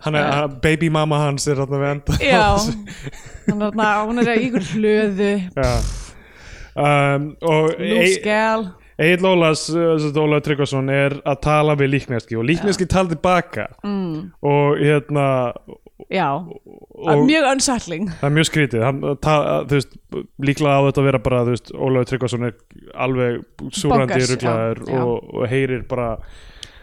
[SPEAKER 3] hann er, uh, baby mama hans er þarna við enda
[SPEAKER 2] já, hann er, na, hún er í ykkur hlöðu
[SPEAKER 3] já. Um, og
[SPEAKER 2] lúskjál
[SPEAKER 3] Egil Ólas Ólaður uh, Tryggvason er að tala við líkneski og líkneski tala tilbaka mm. og hérna
[SPEAKER 2] já,
[SPEAKER 3] og,
[SPEAKER 2] mjög unsettling
[SPEAKER 3] það er mjög skrítið hann, ta, þú veist, líklega á þetta að vera bara þú veist, Ólaður Tryggvason er alveg súrandi
[SPEAKER 2] Bonkers,
[SPEAKER 3] rugglaður
[SPEAKER 2] já, já.
[SPEAKER 3] og, og heyrir bara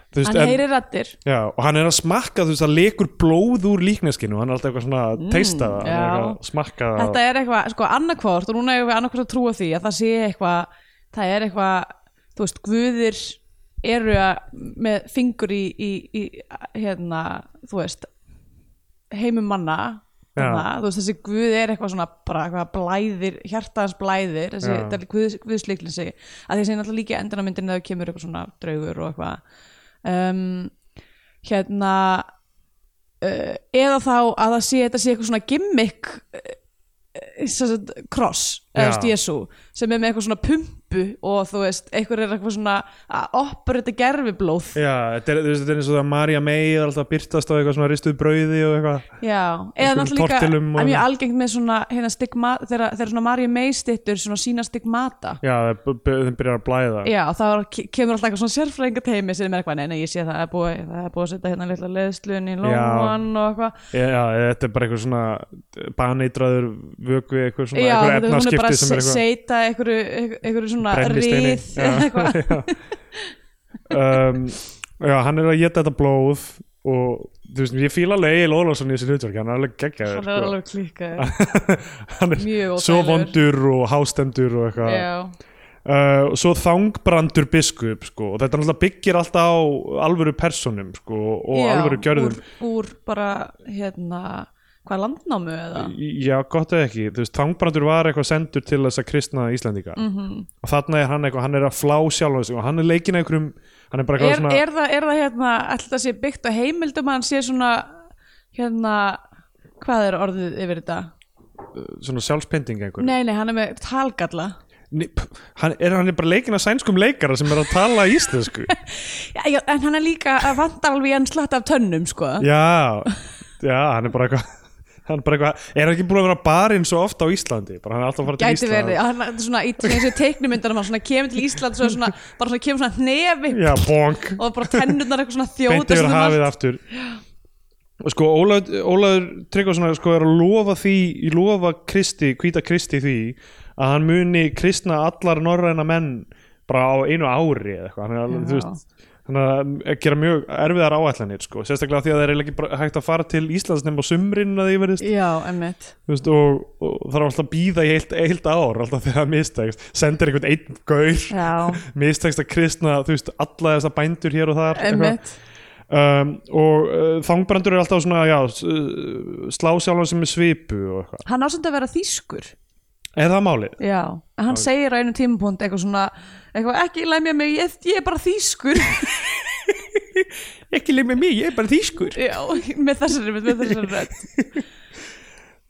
[SPEAKER 3] þú veist,
[SPEAKER 2] hann heyri rættir
[SPEAKER 3] Já, og hann er að smakka þú veist að lekur blóð úr líkneskinu hann er alltaf eitthvað svona að teista það hann
[SPEAKER 2] Mm,
[SPEAKER 3] er
[SPEAKER 2] já.
[SPEAKER 3] eitthvað að smakka það
[SPEAKER 2] þetta er eitthvað, sko annarkvort og núna erum við annarkvort að trúa því að það sé eitthvað það er eitthvað, þú veist, guðir eru að með fingur í, í, í hérna, þú veist heimum manna
[SPEAKER 3] Já.
[SPEAKER 2] þarna, þú veist, þessi guð er eitthvað svona bara eitthvað blæðir, hjartans blæðir þessi,
[SPEAKER 3] Já.
[SPEAKER 2] þetta er guð, guðsleiklinn sig að þessi er náttúrulega líka endinamyndin þegar kemur eitthvað svona draugur og eitthvað um, hérna uh, eða þá að það sé, þetta sé eitthvað svona gimmick eh, uh, cross, eða
[SPEAKER 3] Já.
[SPEAKER 2] þú veist, Jésu sem er með eitthvað svona pumpu og þú veist, eitthvað er eitthvað svona að oppur þetta gerfiblóð
[SPEAKER 3] Já, þetta er, þú veist, þetta er eins og það að Marja May er alltaf að byrtast á eitthvað svona ristuð brauði og eitthvað
[SPEAKER 2] Já, eða
[SPEAKER 3] Einhverjum
[SPEAKER 2] náttúrulega líka
[SPEAKER 3] tortilum og-
[SPEAKER 2] að mjög algengt með svona hérna stigma, þegar, þegar svona Marja May stittur svona sína stigmata
[SPEAKER 3] Já, það b- b- þeim byrjar að blæða
[SPEAKER 2] Já, þá er- ke- kemur alltaf eitthvað svona sérfræðingateimi sem er eitthvað, nei, nei, ég sé að það er búið það er búið að setja hérna litla leðslun í lóan og eitthvað
[SPEAKER 3] Já, þetta er bara eitthvað svona baneitraður vökvi eitthvað svona,
[SPEAKER 2] Já,
[SPEAKER 3] eitthvað
[SPEAKER 2] þetta er hún er bara
[SPEAKER 3] efnaskipti sem
[SPEAKER 2] að
[SPEAKER 3] er eitthvað
[SPEAKER 2] seita einhverju einhverju svona
[SPEAKER 3] brennisteini
[SPEAKER 2] rið eða eitthvað
[SPEAKER 3] Já. um, já, hann er að geta þetta blóð og þú veist, ég fíla alveg Egil Ólafsson í þessi hlutverk, hann er alveg geggjaður
[SPEAKER 2] Hann er
[SPEAKER 3] sko.
[SPEAKER 2] alveg klíkað
[SPEAKER 3] hann er
[SPEAKER 2] Mjög
[SPEAKER 3] svo
[SPEAKER 2] óþægilegur.
[SPEAKER 3] vondur og hástendur og eitthvað
[SPEAKER 2] Já,
[SPEAKER 3] uh, og svo þangbrandur biskup sko, og þetta náttúrulega byggir alltaf á alvöru personum sko, og
[SPEAKER 2] Já,
[SPEAKER 3] alvöru gjörðum
[SPEAKER 2] úr, úr bara hérna hvað landnámu eða
[SPEAKER 3] já, gott eða ekki, þú veist, þangbrandur var eitthvað sendur til þess að kristna Íslendinga
[SPEAKER 2] Mhm.
[SPEAKER 3] og þarna er hann eitthvað, hann er að flá sjálf sig og hann er leikinn að einhverjum hann er bara eitthvað
[SPEAKER 2] er,
[SPEAKER 3] svona,
[SPEAKER 2] er, það, er það hérna alltaf sé byggt á heimildum að hann sé svona hérna hvað er orðið yfir þetta?
[SPEAKER 3] svona sjálfspending einhverjum
[SPEAKER 2] Nei, nei, hann er með talgalla
[SPEAKER 3] Nei, pff, hann er, hann er bara leikinn að sænskum leikara sem er að tala íslensku
[SPEAKER 2] já, já, en hann er líka að vanda alveg í hann slatt af tönnum sko
[SPEAKER 3] já, já, hann er bara eitthvað hann er bara eitthvað, er hann ekki búin að vera á barinn svo ofta á Íslandi, bara hann er alltaf að fara til
[SPEAKER 2] Gæti
[SPEAKER 3] Ísland
[SPEAKER 2] verið, hann er svona í þessu teiknumyndanum hann svona kemur til Ísland svo er svona, bara svona kemur svona nefi
[SPEAKER 3] já, bonk
[SPEAKER 2] og bara tennurnar eitthvað svona um
[SPEAKER 3] beint
[SPEAKER 2] þjóta
[SPEAKER 3] yfir
[SPEAKER 2] svona
[SPEAKER 3] hafið aftur og sko Ólaður, Ólaður Tryggvason sko er að lofa því í lofa Kristi, hvíta Kristi því að hann muni kristna allar norræna menn bara á einu ári eða eitthvað, hann er alveg, þú veist þannig að eh, gera mjög erfiðar áætlanir sko. sérstaklega því að það er eiginlega ekki bara hægt að fara til Íslands nefn á sumrin að því verðist
[SPEAKER 2] Já, emmitt
[SPEAKER 3] þú veist, og, og það er alltaf að býða í heilt, heilt ár alltaf þegar það mistekst sendir einhvern einn gaur
[SPEAKER 2] Já,
[SPEAKER 3] mistekst að kristna þú veist, alla þessa bændur hér og þar eitthvað
[SPEAKER 2] emmitt
[SPEAKER 3] um, og uh, þangbrandur er alltaf svona já, s- uh, slá sjálfan sem er svipu og eitthvað,
[SPEAKER 2] Hann ásönd að vera þýskur
[SPEAKER 3] er það málið?
[SPEAKER 2] Já, en hann segir á einu tímapunkt eitthvað svona, eitthvað ekki lemja mig, ég, ég er bara þýskur
[SPEAKER 3] ekki leið með mig, ég er bara þýskur
[SPEAKER 2] Já, með þessari, með, með þessari rödd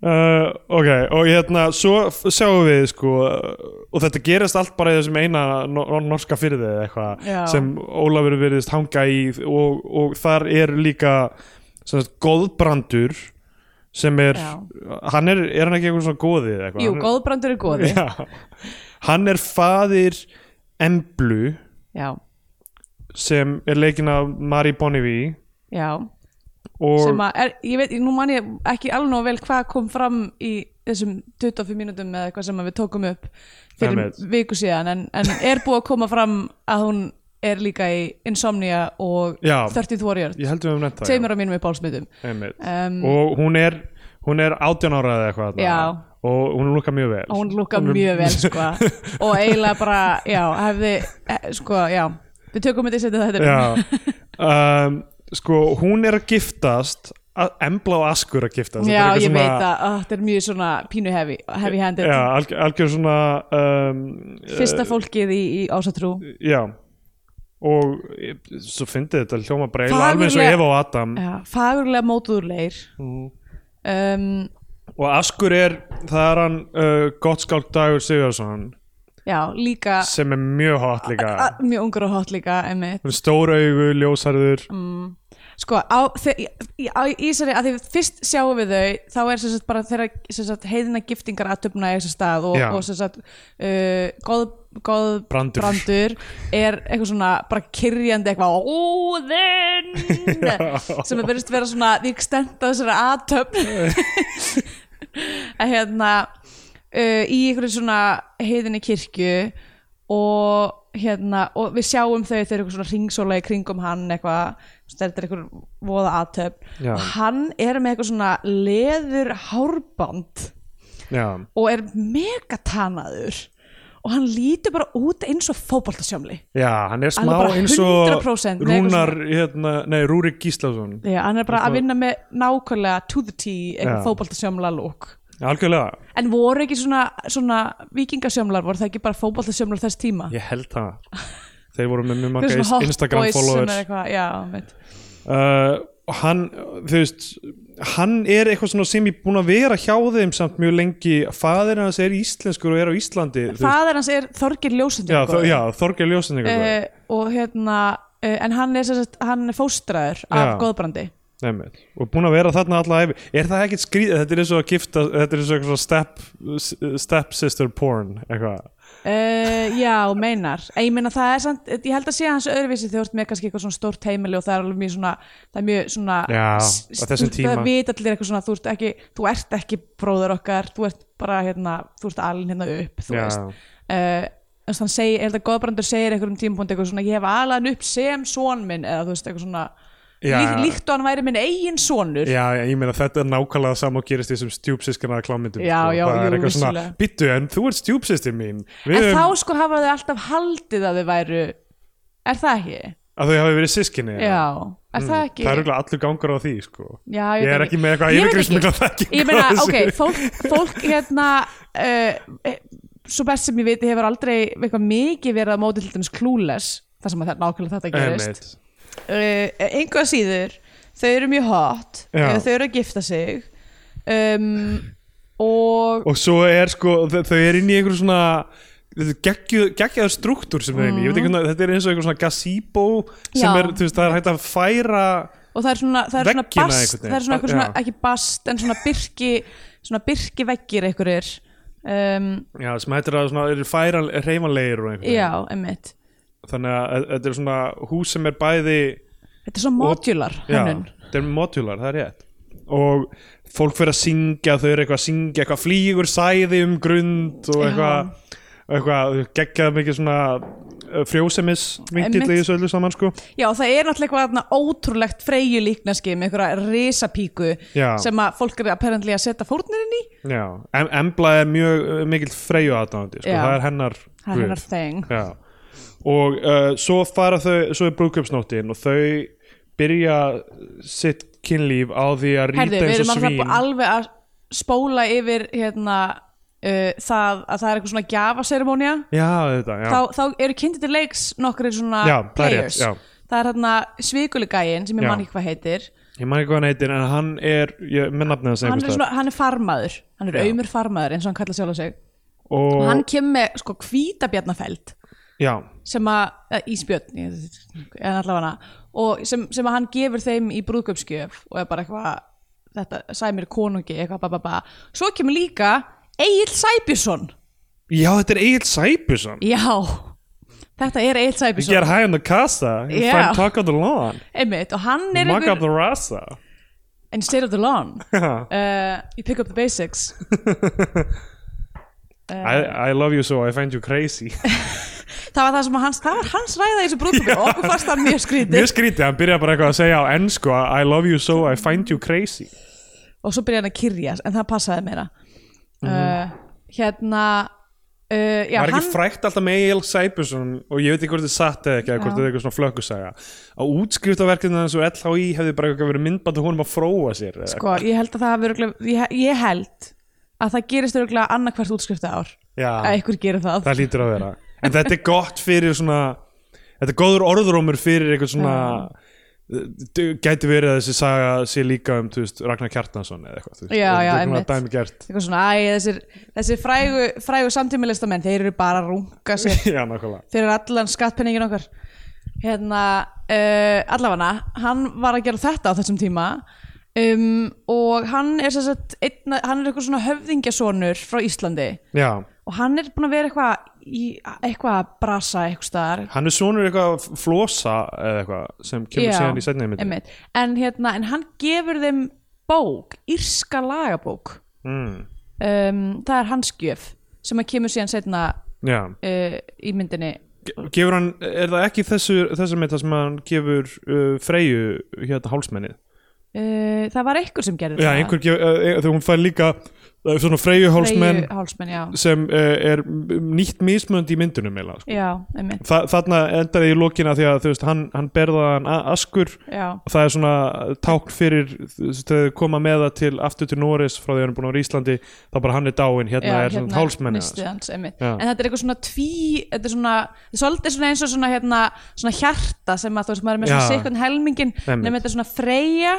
[SPEAKER 3] uh, ok, og hérna svo f- sjáum við sko uh, og þetta gerist allt bara í þessum eina nor norska fyrði eða eitthvað
[SPEAKER 2] Já.
[SPEAKER 3] sem Ólafur veriðist hanga í og, og þar er líka sem sagt, góðbrandur sem er,
[SPEAKER 2] Já.
[SPEAKER 3] hann er, er hann ekki eitthvað svona góði eða eitthvað?
[SPEAKER 2] Jú,
[SPEAKER 3] Hann er-
[SPEAKER 2] góðbrandur er góði Já,
[SPEAKER 3] Já. hann er faðir Emblu
[SPEAKER 2] já,
[SPEAKER 3] sem er leikinn af Marie Bonnevie
[SPEAKER 2] sem
[SPEAKER 3] og
[SPEAKER 2] að, er, ég veit, nú man ég ekki alveg nóg vel hvað kom fram í þessum 25 mínútum eða eitthvað sem að við tókum upp fyrir
[SPEAKER 3] Einmitt.
[SPEAKER 2] viku síðan en, en er búið að koma fram að hún er líka í Insomnia og
[SPEAKER 3] Já.
[SPEAKER 2] 30 Warrior,
[SPEAKER 3] ég heldur við um netta
[SPEAKER 2] tveimur af mínum í bálsmyndum
[SPEAKER 3] um,
[SPEAKER 2] Um,
[SPEAKER 3] og hún er hún er 18 ára eða eitthvað þarna.
[SPEAKER 2] Já.
[SPEAKER 3] og hún lukkar mjög vel
[SPEAKER 2] og hún lúka mjög vel sko. og eiginlega bara, já, hefði eh, sko, já, við tökum þetta í setja þetta
[SPEAKER 3] Já. um, sko hún er að giftast að Embla og Askur að giftast Þetta
[SPEAKER 2] já,
[SPEAKER 3] er eitthvað
[SPEAKER 2] ég
[SPEAKER 3] svona-
[SPEAKER 2] veit að ah, þetta er mjög svona pínu heavy, heavy handed
[SPEAKER 3] Já, alg, algjör svona um,
[SPEAKER 2] fyrsta fólkið í, í ásatrú
[SPEAKER 3] Já og eh, svo fyndið þetta hljóma bara eiginlega alveg eins og
[SPEAKER 2] Fagurlega-
[SPEAKER 3] Eva og Adam
[SPEAKER 2] já, fagurlega mótuðurleir
[SPEAKER 3] Mm.
[SPEAKER 2] um,
[SPEAKER 3] og Askur er, það er hann uh, Gottskáld Dagur Sigurðsson
[SPEAKER 2] já, líka
[SPEAKER 3] sem er mjög hot líka
[SPEAKER 2] a, mjög ungur og hot líka, emmitt
[SPEAKER 3] Hún er stór augu, ljósarður
[SPEAKER 2] sko, á, þe- í, í, á Ísari að því fyrst sjáum við þau þá er sem sagt bara þeirra sem sagt, heiðina giftingar að töfna í þessu stað og,
[SPEAKER 3] Já.
[SPEAKER 2] og sem sagt uh, góð, góð
[SPEAKER 3] Brandur.
[SPEAKER 2] er eitthvað svona bara kyrjandi eitthvað óðinn sem er verið vera svona því stenda þessari aðtöfn að hérna uh, í einhverju svona heiðinni kirkju og hérna og við sjáum þau þau eru eitthvað svona ringsóla í kringum hann eitthvað, þú veist, þetta er eitthvað voða aðtöp
[SPEAKER 3] Já.
[SPEAKER 2] og hann er með eitthvað svona leður hárband
[SPEAKER 3] Já,
[SPEAKER 2] og er megatanaður og hann lítur bara út eins og fótboltasjómli
[SPEAKER 3] já, hann er smá
[SPEAKER 2] Alveg bara
[SPEAKER 3] eins og
[SPEAKER 2] 100% með eitthvað
[SPEAKER 3] Rúnar, hérna, nei, Rúrik Gíslason
[SPEAKER 2] Já, hann er bara
[SPEAKER 3] Eitthvað-
[SPEAKER 2] að vinna með nákvæmlega to the tea,
[SPEAKER 3] Já.
[SPEAKER 2] eitthvað fótboltasjómla lúk
[SPEAKER 3] Algjörlega,
[SPEAKER 2] En voru ekki svona, svona vikingasjómlar, voru það ekki bara fótboltasjómlar þess tíma?
[SPEAKER 3] ég held það Þeir voru með mjög
[SPEAKER 2] Einhver
[SPEAKER 3] marga
[SPEAKER 2] svona hot
[SPEAKER 3] ins- Instagram
[SPEAKER 2] boys sem er
[SPEAKER 3] followers
[SPEAKER 2] eitthvað, já, veit.
[SPEAKER 3] uh, og Hann, þú veist Hann er eitthvað svona sem ég búin að vera hjá þeim samt mjög lengi Faðir hans er íslenskur og er á Íslandi þú veist.
[SPEAKER 2] Faðir Eh, hans er Þorgir
[SPEAKER 3] Já,
[SPEAKER 2] Ljósundingur
[SPEAKER 3] þó- já Þorgeir Ljósendingur uh,
[SPEAKER 2] og hérna uh, en hann er, sem sagt, hann er fóstraður af
[SPEAKER 3] Já.
[SPEAKER 2] góðbrandi
[SPEAKER 3] Nefnir. og búin að vera þarna alla æfi er það ekkert skrýð, þetta er eins og að gifta þetta er eins og eitthvað step, step sister porn eitthvað
[SPEAKER 2] uh, Já, meinar en ég meina það er samt, eh, ég held að sé hans öðruvísi þegar þú ert með kannski eitthvað svona stórt heimili og það er alveg mjög svona, það er mjög svona
[SPEAKER 3] Já,
[SPEAKER 2] s-
[SPEAKER 3] á þessum
[SPEAKER 2] þú- það
[SPEAKER 3] tíma.
[SPEAKER 2] vita allir eitthvað svona, þú ert ekki þú ert ekki bróður okkar, þú ert bara hérna, þú ert alin hérna upp þú
[SPEAKER 3] Já.
[SPEAKER 2] veist uh, þannig hann segir, ég held að Góðbrandur segir einhverjum tímpúnd eitthvað svona, ég hef alað hann upp sem són minn eða þú veist eitthvað svona
[SPEAKER 3] Já.
[SPEAKER 2] lí, líkt og hann væri minn eigin sonur
[SPEAKER 3] já, já, ég meina þetta er nákvæmlega sama og gerist í þessum stjúpsískana klámyndum sko.
[SPEAKER 2] Já, já,
[SPEAKER 3] það er
[SPEAKER 2] jú,
[SPEAKER 3] eitthvað svona,
[SPEAKER 2] vissulega.
[SPEAKER 3] bittu en þú ert stjúpsýstir mín
[SPEAKER 2] en
[SPEAKER 3] Við
[SPEAKER 2] þá
[SPEAKER 3] höfum-
[SPEAKER 2] sko hafa þau alltaf haldið að þau væru er það ekki?
[SPEAKER 3] að þau hafi verið sískinni
[SPEAKER 2] já, er það ekki
[SPEAKER 3] Mm. það er auðvitað allur gangur á því sko.
[SPEAKER 2] já,
[SPEAKER 3] ég er
[SPEAKER 2] veit
[SPEAKER 3] ekki með eitthvað
[SPEAKER 2] Ég veit
[SPEAKER 3] yfirgrist mikla þekking
[SPEAKER 2] ég
[SPEAKER 3] á
[SPEAKER 2] meina,
[SPEAKER 3] þessu.
[SPEAKER 2] ok, fólk, fólk hérna uh, eh, svo best sem ég veit hefur aldrei eitthvað mikið verið að móti til dæmis klúles þar sem að það nákvæmlega þetta gerist
[SPEAKER 3] Einmitt.
[SPEAKER 2] uh, einhvað síður þau eru mjög hot
[SPEAKER 3] Já.
[SPEAKER 2] uh, þau eru að gifta sig um, og
[SPEAKER 3] og svo er sko þau þau eru inn í einhver svona geggjaður struktúr sem þau er inn í Ég veit ekki hvernig- þetta er eins og einhver svona gazebo sem
[SPEAKER 2] Mm. Já.
[SPEAKER 3] er, þú veist, það er hægt að færa
[SPEAKER 2] og það er svona, það er svona
[SPEAKER 3] Veggina
[SPEAKER 2] bast
[SPEAKER 3] einhvern veginn.
[SPEAKER 2] það er svona, einhver svona
[SPEAKER 3] Já.
[SPEAKER 2] ekki bast en svona byrki svona byrki veggir einhverjir um,
[SPEAKER 3] já, sem hættir að svona, eru færa reymanlegir og einhvern
[SPEAKER 2] já,
[SPEAKER 3] veginn.
[SPEAKER 2] emmitt
[SPEAKER 3] þannig að að- þetta er svona hús sem er bæði
[SPEAKER 2] þetta er svona modular
[SPEAKER 3] já,
[SPEAKER 2] hönnun
[SPEAKER 3] þetta er modular, það er rétt og fólk fyrir að syngja þau eru eitthvað að syngja, eitthvað flýgur sæði um grund og
[SPEAKER 2] Já.
[SPEAKER 3] eitthvað eitthvað, geggjað mikið svona uh, frjósemis vingill í
[SPEAKER 2] Einmitt.
[SPEAKER 3] þessu öllu saman sko
[SPEAKER 2] já, og það er náttúrulega eitthvað þarna ótrúlegt freyju líknaski með einhverja risapíku
[SPEAKER 3] Já.
[SPEAKER 2] sem að fólk er apparently að setja fórnir inn í
[SPEAKER 3] Já, em Embla er mjög uh, mikill freyju aðdáðandi, sko,
[SPEAKER 2] Já.
[SPEAKER 3] það er hennar
[SPEAKER 2] það
[SPEAKER 3] guð.
[SPEAKER 2] er hennar þeng
[SPEAKER 3] Já, og uh, svo fara þau, svo er brúðkaupsnóttin og þau byrja sitt kynlíf á því að
[SPEAKER 2] Herðu,
[SPEAKER 3] rýta
[SPEAKER 2] við
[SPEAKER 3] eins
[SPEAKER 2] erum
[SPEAKER 3] og
[SPEAKER 2] alltaf
[SPEAKER 3] svín
[SPEAKER 2] bú- alveg að spóla yfir hérna, uh, það að það er eitthvað svona gjafaseremónia
[SPEAKER 3] Já, þetta, já
[SPEAKER 2] þá, þá eru kynntir til leiks nokkri svona
[SPEAKER 3] Já, það er rétt,
[SPEAKER 2] players
[SPEAKER 3] já.
[SPEAKER 2] það er hérna svikuligæin sem ég
[SPEAKER 3] Já.
[SPEAKER 2] man ekki hvað heitir
[SPEAKER 3] Ég man ekki hvað hann heitir, en hann er ég, með nafnið hans
[SPEAKER 2] hann er,
[SPEAKER 3] einhvers
[SPEAKER 2] svona,
[SPEAKER 3] staðar.
[SPEAKER 2] hann er farmaður, hann er auðmur farmaður eins og hann kallar sjálf á sig
[SPEAKER 3] og,
[SPEAKER 2] og hann kemur með sko hvítabjarnafeld
[SPEAKER 3] Já,
[SPEAKER 2] sem að, eða ísbjörn ég- en allavega og sem, sem að hann gefur þeim í brúðgöpskjöf og er bara eitthvað þetta sæmir konungi eitthvað ba, ba, ba. svo kemur líka Egil Sæbjörnsson
[SPEAKER 3] já, þetta er Egil Sæbjusson
[SPEAKER 2] já, þetta er Egil
[SPEAKER 3] You get
[SPEAKER 2] Sæbjörnsson
[SPEAKER 3] high on the casa, you
[SPEAKER 2] Já.
[SPEAKER 3] find talk on the lawn
[SPEAKER 2] einmitt og hann er
[SPEAKER 3] Mug up
[SPEAKER 2] einhver
[SPEAKER 3] the rasa
[SPEAKER 2] instead of the lawn
[SPEAKER 3] Já.
[SPEAKER 2] uh, you pick up the basics
[SPEAKER 3] I, I love you so, I find you crazy
[SPEAKER 2] það var það sem að hans, það var hans ræða í þessu brúðgöpskjöf og okkur fannst það mjög skrítið
[SPEAKER 3] Mjög skrítið, hann byrja bara eitthvað að segja á ennsku I love you so, I find you crazy
[SPEAKER 2] og svo byrja hann að kyrja en það passaði meira uh, hérna uh, já,
[SPEAKER 3] Það er
[SPEAKER 2] hann-
[SPEAKER 3] Mhm. ekki frækt alltaf með Egil Sæbjörnsson og ég veit ekki hvort þið satt eða ekki eða hvort þið er eitthvað svona flökkusaga að útskriftaverkinu hans og LHI hefði bara eitthvað verið myndband og honum að fróa sér eða-
[SPEAKER 2] Sko, ég held að það hafi örugglega- ég, ég held að það gerist örgulega annarkvært útskrifta ár að
[SPEAKER 3] Já,
[SPEAKER 2] einhver gerir það
[SPEAKER 3] það lítur að vera En þetta er gott fyrir svona þetta er góður orðrómur fyrir eitthvað svona eh, gæti verið að þessi saga sé líka um þú veist, Ragnar Kjartansson eða eitthvað þú veist.
[SPEAKER 2] Já, já,
[SPEAKER 3] Þetta er svona
[SPEAKER 2] einmitt.
[SPEAKER 3] dæmigert.
[SPEAKER 2] eitthvað svona, æ, þessir, þessir frægu, frægu samtímalistamenn, þeir eru bara að runga sér
[SPEAKER 3] Já, nákvæmlega.
[SPEAKER 2] fyrir allan skattpenningin okkar hérna, uh, allafana hann var að gera þetta á þessum tíma um, og hann er sem sagt, einna, hann er eitthvað svona höfðingjasonur frá Íslandi
[SPEAKER 3] Já.
[SPEAKER 2] og hann er búin að vera eitthvað í eitthvað að brasa eitthvað staðar
[SPEAKER 3] Hann er sonur eitthvað flosa eða eitthvað sem kemur
[SPEAKER 2] Já,
[SPEAKER 3] síðan í setni myndi.
[SPEAKER 2] einmitt. en, hérna, en hann gefur þeim bók, írska lagabók
[SPEAKER 3] Mm.
[SPEAKER 2] um, það er hans gjöf sem að kemur síðan setna
[SPEAKER 3] Já.
[SPEAKER 2] uh, í myndinni
[SPEAKER 3] Ge- Gefur hann, er það ekki þessu, þessu með það sem hann gefur uh, Freyju hérna hálsmennið?
[SPEAKER 2] uh, það var einhver sem gerði
[SPEAKER 3] Já,
[SPEAKER 2] það
[SPEAKER 3] einhver gefur, uh, e- þegar hún fær líka uh, svona Freyju hálsmenn
[SPEAKER 2] Freyju hálsmenn, já,
[SPEAKER 3] sem uh, er m- nýtt mismönd í myndunum eða sko.
[SPEAKER 2] já, einmitt
[SPEAKER 3] Þa, þarna endaði í lokina því að þú veist, hann, hann berða hann a- askur
[SPEAKER 2] já,
[SPEAKER 3] og það er svona tákn fyrir þú veist, þau koma með það til aftur til Norris frá því að hann er búin á Íslandi þá bara hann er dáinn, hérna
[SPEAKER 2] já
[SPEAKER 3] er svona hálsmenni
[SPEAKER 2] nistið hans, einmitt
[SPEAKER 3] Já.
[SPEAKER 2] en þetta er eitthvað svona tví þetta er svona, svolítið svona eins og svona, hérna, svona hjarta sem að þú veist maður er með svona
[SPEAKER 3] Já.
[SPEAKER 2] sikkurn helmingin
[SPEAKER 3] Einmitt.
[SPEAKER 2] nema þetta er svona freyja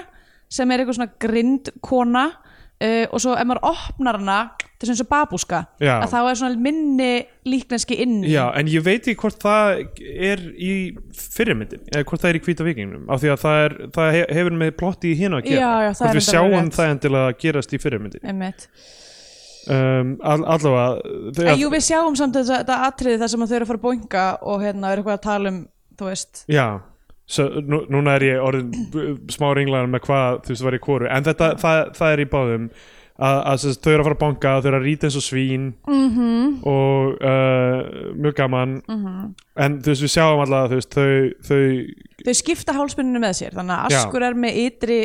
[SPEAKER 2] sem er eitthvað svona grindkona uh, og svo ef maður opnar hana þetta er svona eins og babúska
[SPEAKER 3] Já.
[SPEAKER 2] að þá er svona minni líkneski inn í.
[SPEAKER 3] Já, en ég veit ekki hvort það er í fyrirmyndin eða hvort það er í hvíta vikingnum af því að það, er, það he- hefur með plotti í hérna að gera
[SPEAKER 2] Já, já, það er enda
[SPEAKER 3] hvort við
[SPEAKER 2] alveg
[SPEAKER 3] sjáum
[SPEAKER 2] rétt.
[SPEAKER 3] það endilega að gerast í fyrirmyndin
[SPEAKER 2] einmitt
[SPEAKER 3] um, all, allavega
[SPEAKER 2] en
[SPEAKER 3] þegar,
[SPEAKER 2] jú við sjáum samt þetta, þetta atriði þar sem að þau eru að fara að boinga og hérna er eitthvað að tala um þú veist
[SPEAKER 3] Já, svo, nú, núna er ég orðin b- smá ringlaðan með hvað þú veist var í kóru en þetta, það, það er í báðum að, að sem sagt, þau eru að fara að banka, þau eru að rýta eins og svín -hmm.
[SPEAKER 2] Mhm.
[SPEAKER 3] og uh, mjög gaman -hmm. en þú veist við sjáum allavega þú veist, þau, þau
[SPEAKER 2] þau skipta hálspinninu með sér þannig að
[SPEAKER 3] Já.
[SPEAKER 2] Askur er með ytri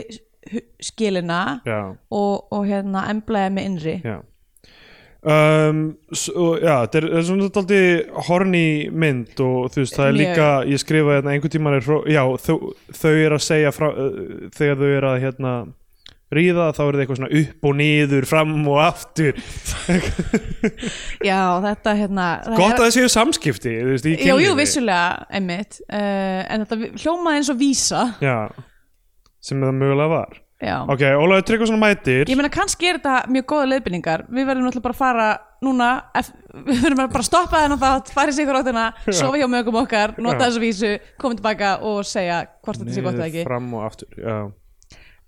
[SPEAKER 2] hu- skilina
[SPEAKER 3] já
[SPEAKER 2] og, og hérna Embla er með innri
[SPEAKER 3] Já. um, svo, já, þetta er, þetta er svona daldi horny mynd og þú veist, það er
[SPEAKER 2] Mjög.
[SPEAKER 3] líka ég skrifaði hérna einhvern tímann er, hró- já, þau, þau er að segja frá, uh, þegar þau er að hérna ríða þá er það eitthvað svona upp og niður fram og aftur,
[SPEAKER 2] já, þetta hérna það
[SPEAKER 3] gott
[SPEAKER 2] er-
[SPEAKER 3] að það séu samskipti þú veist, í
[SPEAKER 2] Jú, jú,
[SPEAKER 3] kynlífi.
[SPEAKER 2] vissulega, einmitt uh, en þetta hljómaði eins og vísa
[SPEAKER 3] já, sem það mögulega var
[SPEAKER 2] já.
[SPEAKER 3] ok, Ólaður Tryggvason mætir
[SPEAKER 2] ég meina kannski er þetta mjög góða leiðbynningar við verðum náttúrulega bara að fara núna ef, við verðum bara að stoppa þennan þátt fara í sigur áttina, sofa hjá mögum okkar nota
[SPEAKER 3] Já.
[SPEAKER 2] þessa vísu, koma tilbaka og segja hvort þetta sé gott eða ekki
[SPEAKER 3] fram og aftur já.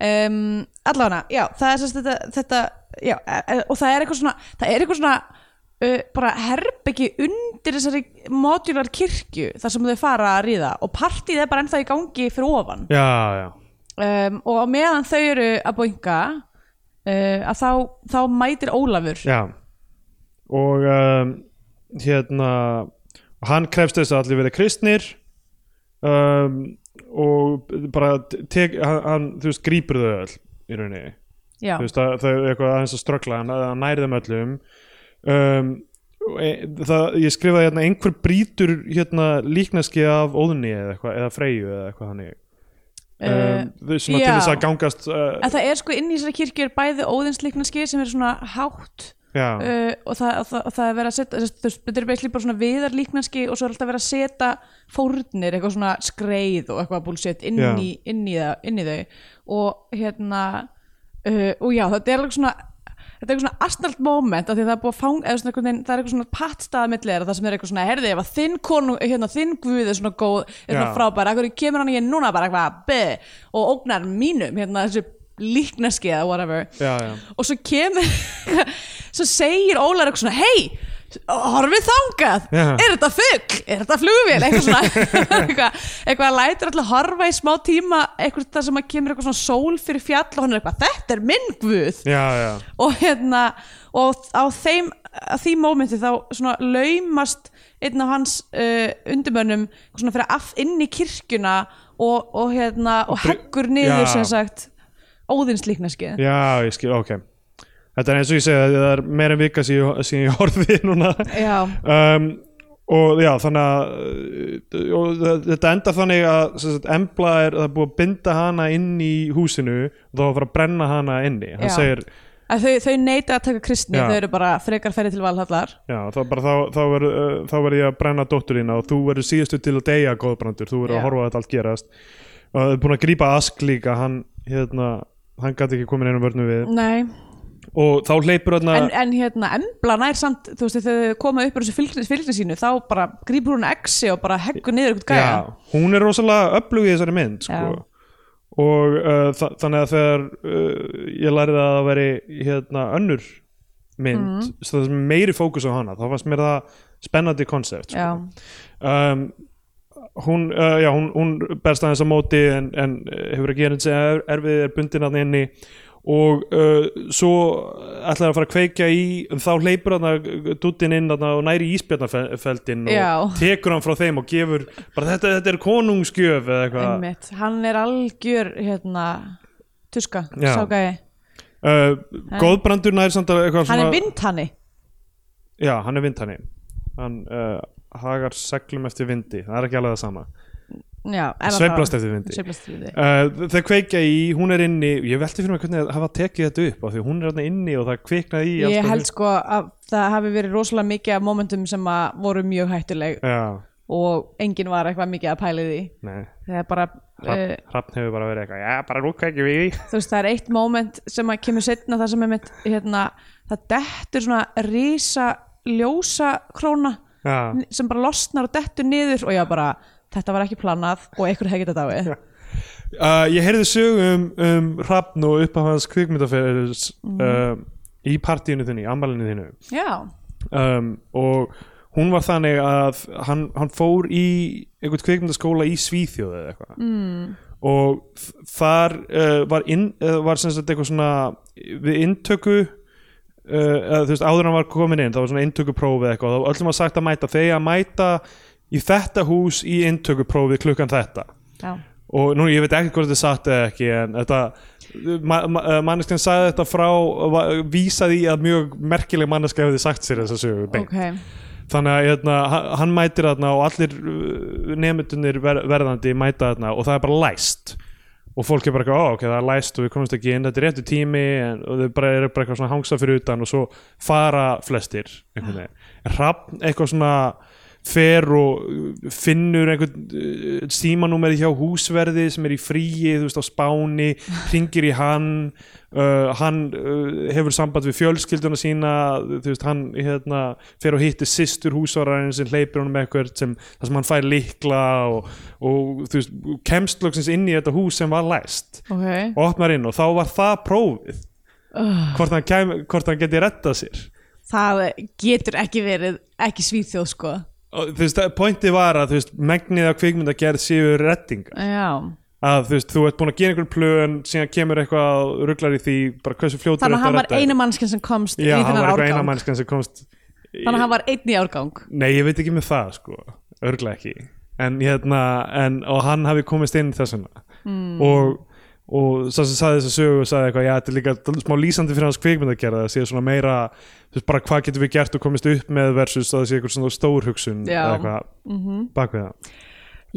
[SPEAKER 2] um, allána, já, það er sérst þetta, þetta já, e- e- og það er eitthvað svona það er eitthvað svona uh, bara herbyggi undir þessari modular kirkju þar sem þau fara að ríða og partíð er bara ennþá í gangi fyrir ofan
[SPEAKER 3] já, já,
[SPEAKER 2] um, og á meðan þau eru að boinga uh, að þá, þá mætir Ólafur
[SPEAKER 3] já og um, hérna og hann krefst þess að allir verið kristnir um, og bara tek, hann, hann, þú veist, grípur þau öll í rauninni
[SPEAKER 2] Já.
[SPEAKER 3] þú veist að þau eru eitthvað aðeins að ströggla hann að næri þeim öllum um, og e, það, ég skrifaði hérna einhver brýtur hérna líknaski af óðunni eða eitthvað, eða freyju eða eitthvað þannig um, þau svona til
[SPEAKER 2] Eh, já.
[SPEAKER 3] þess að gangast uh,
[SPEAKER 2] En það er sko inn í þessari kirkju er bæði óðinsliknarski sem er svona hátt
[SPEAKER 3] já,
[SPEAKER 2] uh, og, það, og, það, og það er verið að setja þess- þú veist, þetta er beislega bara svona viðarlíknarski og svo er alltaf verið að setja fórnir eitthvað svona skreið og eitthvað búlsett inn,
[SPEAKER 3] Já.
[SPEAKER 2] í- inn, í það- inn í þau og hérna uh, og já þetta er alveg svona þetta er eitthvað svona astnalt moment af því að það er búið að fang eða svona einhvern veginn, það er eitthvað svona pattstaða millir það sem er eitthvað svona, herði, ef að þinn konu hérna, þinn guð er svona góð, er svona
[SPEAKER 3] Já.
[SPEAKER 2] frábær akkur kemur hann ekki núna bara eitthvað beh, og ógnar mínum, hérna þessu líknaski eða whatever
[SPEAKER 3] já, já
[SPEAKER 2] og svo kemur svo segir Ólar eitthvað svona hei, horfið þangað
[SPEAKER 3] Já.
[SPEAKER 2] er þetta fugg, er þetta flugvél eitthvað svona, eitthvað, eitthvað að lætur alltaf horfa í smá tíma eitthvað það sem að kemur eitthvað svona sól fyrir fjall og hann er eitthvað, þetta er minn guð
[SPEAKER 3] já, já,
[SPEAKER 2] og hérna og á þeim, að því mómenti þá svona laumast einn af hans uh, undumönnum svona fyrir aft inn í kirkjuna og, og hérna, og heggur niður
[SPEAKER 3] Já.
[SPEAKER 2] sem sagt óðinslíknaskið
[SPEAKER 3] já, ég skil, ok þetta er eins og ég segi það er meira en vika síðan síðan ég horfði núna
[SPEAKER 2] Já,
[SPEAKER 3] um, og já, þannig að uh, og þa- þetta endar þannig að sem sagt, Embla er, það er búið að binda hana inn í húsinu og þá var að fara að brenna hana inni hann
[SPEAKER 2] Já.
[SPEAKER 3] segir,
[SPEAKER 2] að þau, þau neita að taka kristni,
[SPEAKER 3] Já.
[SPEAKER 2] þau eru bara frekar ferði til valhallar
[SPEAKER 3] já, þá bara þá, þá verð uh, þá verð ég að brenna dóttur þína og þú verður síðustu til að deyja góðbrandur þú verður
[SPEAKER 2] Já.
[SPEAKER 3] að horfa að þetta allt gerast og það er búin að grípa Ask líka hann, hérna, hann gæti ekki komin einum vörnum við
[SPEAKER 2] Nei,
[SPEAKER 3] og þá hleypur hérna
[SPEAKER 2] Mm. en, en hérna embla nær samt, þú veist, þegar þau koma upp úr þessu fylgni, fylgni sínu, þá bara grípur hún exi og bara heggur niður eitthvað gæja
[SPEAKER 3] Já, hún er rosalega öflug í þessari mynd sko.
[SPEAKER 2] Já.
[SPEAKER 3] og uh, þa- þannig að þegar uh, ég lærði að það veri hérna önnur mynd
[SPEAKER 2] Mhm.
[SPEAKER 3] mm. það sem er meiri fókus á hana þá fannst mér það spennandi konsept sko.
[SPEAKER 2] Já.
[SPEAKER 3] um, hún, uh, já, hún, hún berst aðeins á móti en, en uh, hefur ekki hérna sem er, erfið er bundin að inni og uh, svo ætlaði að fara að kveikja í en þá hleypur hann duttin inn þarna og næri íspjarnafeldin
[SPEAKER 2] Já.
[SPEAKER 3] og tekur hann frá þeim og gefur bara þetta, þetta er konungsgjöf eða eitthvað Uh,
[SPEAKER 2] Einmitt, hann er algjör hérna, tuska,
[SPEAKER 3] Já.
[SPEAKER 2] sá gæja
[SPEAKER 3] uh, góðbrandur nær samt að eitthvað
[SPEAKER 2] Hann
[SPEAKER 3] svona
[SPEAKER 2] er vindhanni
[SPEAKER 3] já, hann er vindhanni hann uh, hagar seglum eftir vindi það er ekki alveg það sama
[SPEAKER 2] Já, en að
[SPEAKER 3] sveiflast
[SPEAKER 2] þá-
[SPEAKER 3] eftir vindi.
[SPEAKER 2] Sveiflast eftir vindi
[SPEAKER 3] uh, þau kveikja í, hún er inni ég velti fyrir mig hvernig að hafa tekið þetta upp af því hún er hann inni og það kviknaði í alls
[SPEAKER 2] Ég
[SPEAKER 3] konar-
[SPEAKER 2] held sko að það hafi verið rosalega mikið af momentum sem að voru mjög hættuleg
[SPEAKER 3] já,
[SPEAKER 2] og enginn var eitthvað mikið að pæli því
[SPEAKER 3] nei,
[SPEAKER 2] Það er bara
[SPEAKER 3] Hrafn,
[SPEAKER 2] uh,
[SPEAKER 3] Hrafn hefur bara verið eitthvað já, bara nú kveikjum við í
[SPEAKER 2] þú veist, það er eitt moment sem að kemur setna það sem er mitt, hérna, það dettur svona rísa ljósa króna
[SPEAKER 3] Já.
[SPEAKER 2] sem bara losnar og dettur niður og já bara, þetta var ekki planað og einhver hefði getað dáið.
[SPEAKER 3] Uh, ég heyrði sög um, um Hrafn og uppaf hans kvikmyndaferðis
[SPEAKER 2] Mm.
[SPEAKER 3] uh, í partíinu þinni, í ammælinu þinnu
[SPEAKER 2] Já,
[SPEAKER 3] um, og hún var þannig að hann, hann fór í einhvern kvikmyndaskóla í Svíþjóð eða eitthvað mm. og þ- þar uh, var, inn, uh, var sem sagt eitthvað svona við inntöku Uh, eða, þú veist, áður en hann var komin inn það var svona inntökuprófi eða eitthvað og öllum var sagt að mæta þegar að mæta í þetta hús í inntökuprófi klukkan þetta
[SPEAKER 2] já,
[SPEAKER 3] og nú ég veit ekki hvort þetta er satt eða ekki en þetta ma ma manneskinn sagði þetta frá va- vísaði í að mjög merkileg manneska hefði sagt sér þessa sögu beint.
[SPEAKER 2] ok,
[SPEAKER 3] þannig að hérna, ha- hann mætir þarna og allir uh, nemyndunir ver verðandi mæta þarna og það er bara læst og fólk er bara eitthvað, "Ó, ok, það er læst og við komumst ekki inn, þetta er réttu tími en, og þau bara eru bara eitthvað svona að hangsa fyrir utan og svo fara flestir einhvern veginn. En Hrafn eitthvað svona fer og uh, finnur einhvern uh, símanúmeri hjá húsverði sem er í fríi, þú veist, á Spáni ringir í hann uh, hann uh, hefur samband við fjölskylduna sína, þú veist, hann hérna, fer og hittir systur húsvararinn sem hleypir honum eitthvað sem, þar sem hann fær likla og, og þú veist, kemst loksins inn í þetta hús sem var læst
[SPEAKER 2] ok
[SPEAKER 3] og opnar inn og þá var það prófið hvort, hann kem, hvort hann geti rettað sér
[SPEAKER 2] það getur ekki verið ekki svíþjóð sko
[SPEAKER 3] og þú veist, pointið var að þú veist, megnið af kvikmynda gerð séu rettinga
[SPEAKER 2] já,
[SPEAKER 3] að þú veist, þú ert búin að gera einhver plön síðan kemur eitthvað og ruglar í því bara hversu fljótur
[SPEAKER 2] þannig að
[SPEAKER 3] ertu
[SPEAKER 2] hann var
[SPEAKER 3] redda þér.
[SPEAKER 2] eina mannskinn sem komst
[SPEAKER 3] Já,
[SPEAKER 2] í
[SPEAKER 3] hann
[SPEAKER 2] þennan
[SPEAKER 3] var eitthvað eina
[SPEAKER 2] árgang
[SPEAKER 3] mannskan sem komst í-
[SPEAKER 2] þannig að hann var einn í árgang
[SPEAKER 3] Nei, ég veit ekki með það sko Örglega ekki En hérna, en, og hann hafi komist inn þessuna
[SPEAKER 2] Hmm.
[SPEAKER 3] mm. Og, og sá sem saði þess að sögu og saði eitthvað Já, þetta er líka smá lýsandi fyrir hans kvikmynd að gera það sé svona meira, þú veist bara hvað getum við gert og komist upp með versus að það sé eitthvað svona stór hugsun
[SPEAKER 2] Já. Mhm.
[SPEAKER 3] eða eitthvað bak við það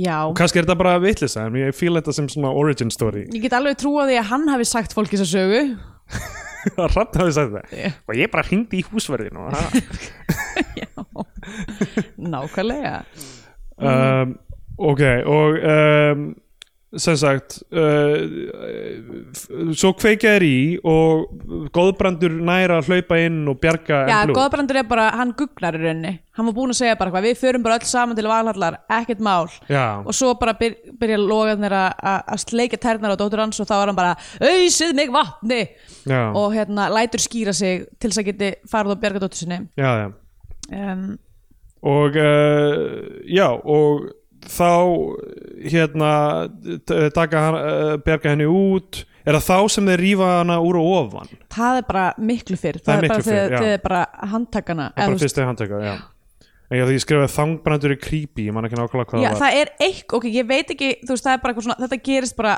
[SPEAKER 2] já,
[SPEAKER 3] Og kannski er þetta bara vitlisa, en ég fíla þetta sem svona origin story
[SPEAKER 2] ég get alveg trú á því að hann hafi sagt fólki þessa sögu
[SPEAKER 3] að Hrafn hafi sagt það
[SPEAKER 2] Já.
[SPEAKER 3] og ég bara hringdi í húsverðinu og það
[SPEAKER 2] nákvæmlega
[SPEAKER 3] um, ok og um, sem sagt uh, f- svo kveikja er í og góðbrandur næra að hlaupa inn og bjarga
[SPEAKER 2] já,
[SPEAKER 3] Emblu.
[SPEAKER 2] Góðbrandur er bara, hann gugnar í rauninni hann var búin að segja bara hvað, við förum bara öll saman til valhallar, ekkert mál
[SPEAKER 3] Já.
[SPEAKER 2] og svo bara byr, byrja logarnir að- að að sleikja tærnar á dóttur hans og þá er hann bara auðsið mig vatni
[SPEAKER 3] Já.
[SPEAKER 2] og hérna lætur skýra sig til þess að geti farið og bjarga dóttur sinni
[SPEAKER 3] já, já.
[SPEAKER 2] um,
[SPEAKER 3] og uh, já og þá hérna t- taka hann, uh, bjarga henni út er það þá sem þeir rífa hana úr og ofan
[SPEAKER 2] það er bara miklu fyrr það,
[SPEAKER 3] er
[SPEAKER 2] er bara
[SPEAKER 3] miklu fyrr,
[SPEAKER 2] þegar-
[SPEAKER 3] já.
[SPEAKER 2] þegar bara handtakana
[SPEAKER 3] það er
[SPEAKER 2] eða,
[SPEAKER 3] bara
[SPEAKER 2] þú veist,
[SPEAKER 3] fyrst þegar hann teka já. En já, því ég skrifaði þangbrandur er creepy ég man ekki nákvæmlega hvað
[SPEAKER 2] já,
[SPEAKER 3] það var
[SPEAKER 2] það er eitthvað, ok, ég veit ekki þú veist, það er bara eitthvað svona, þetta gerist bara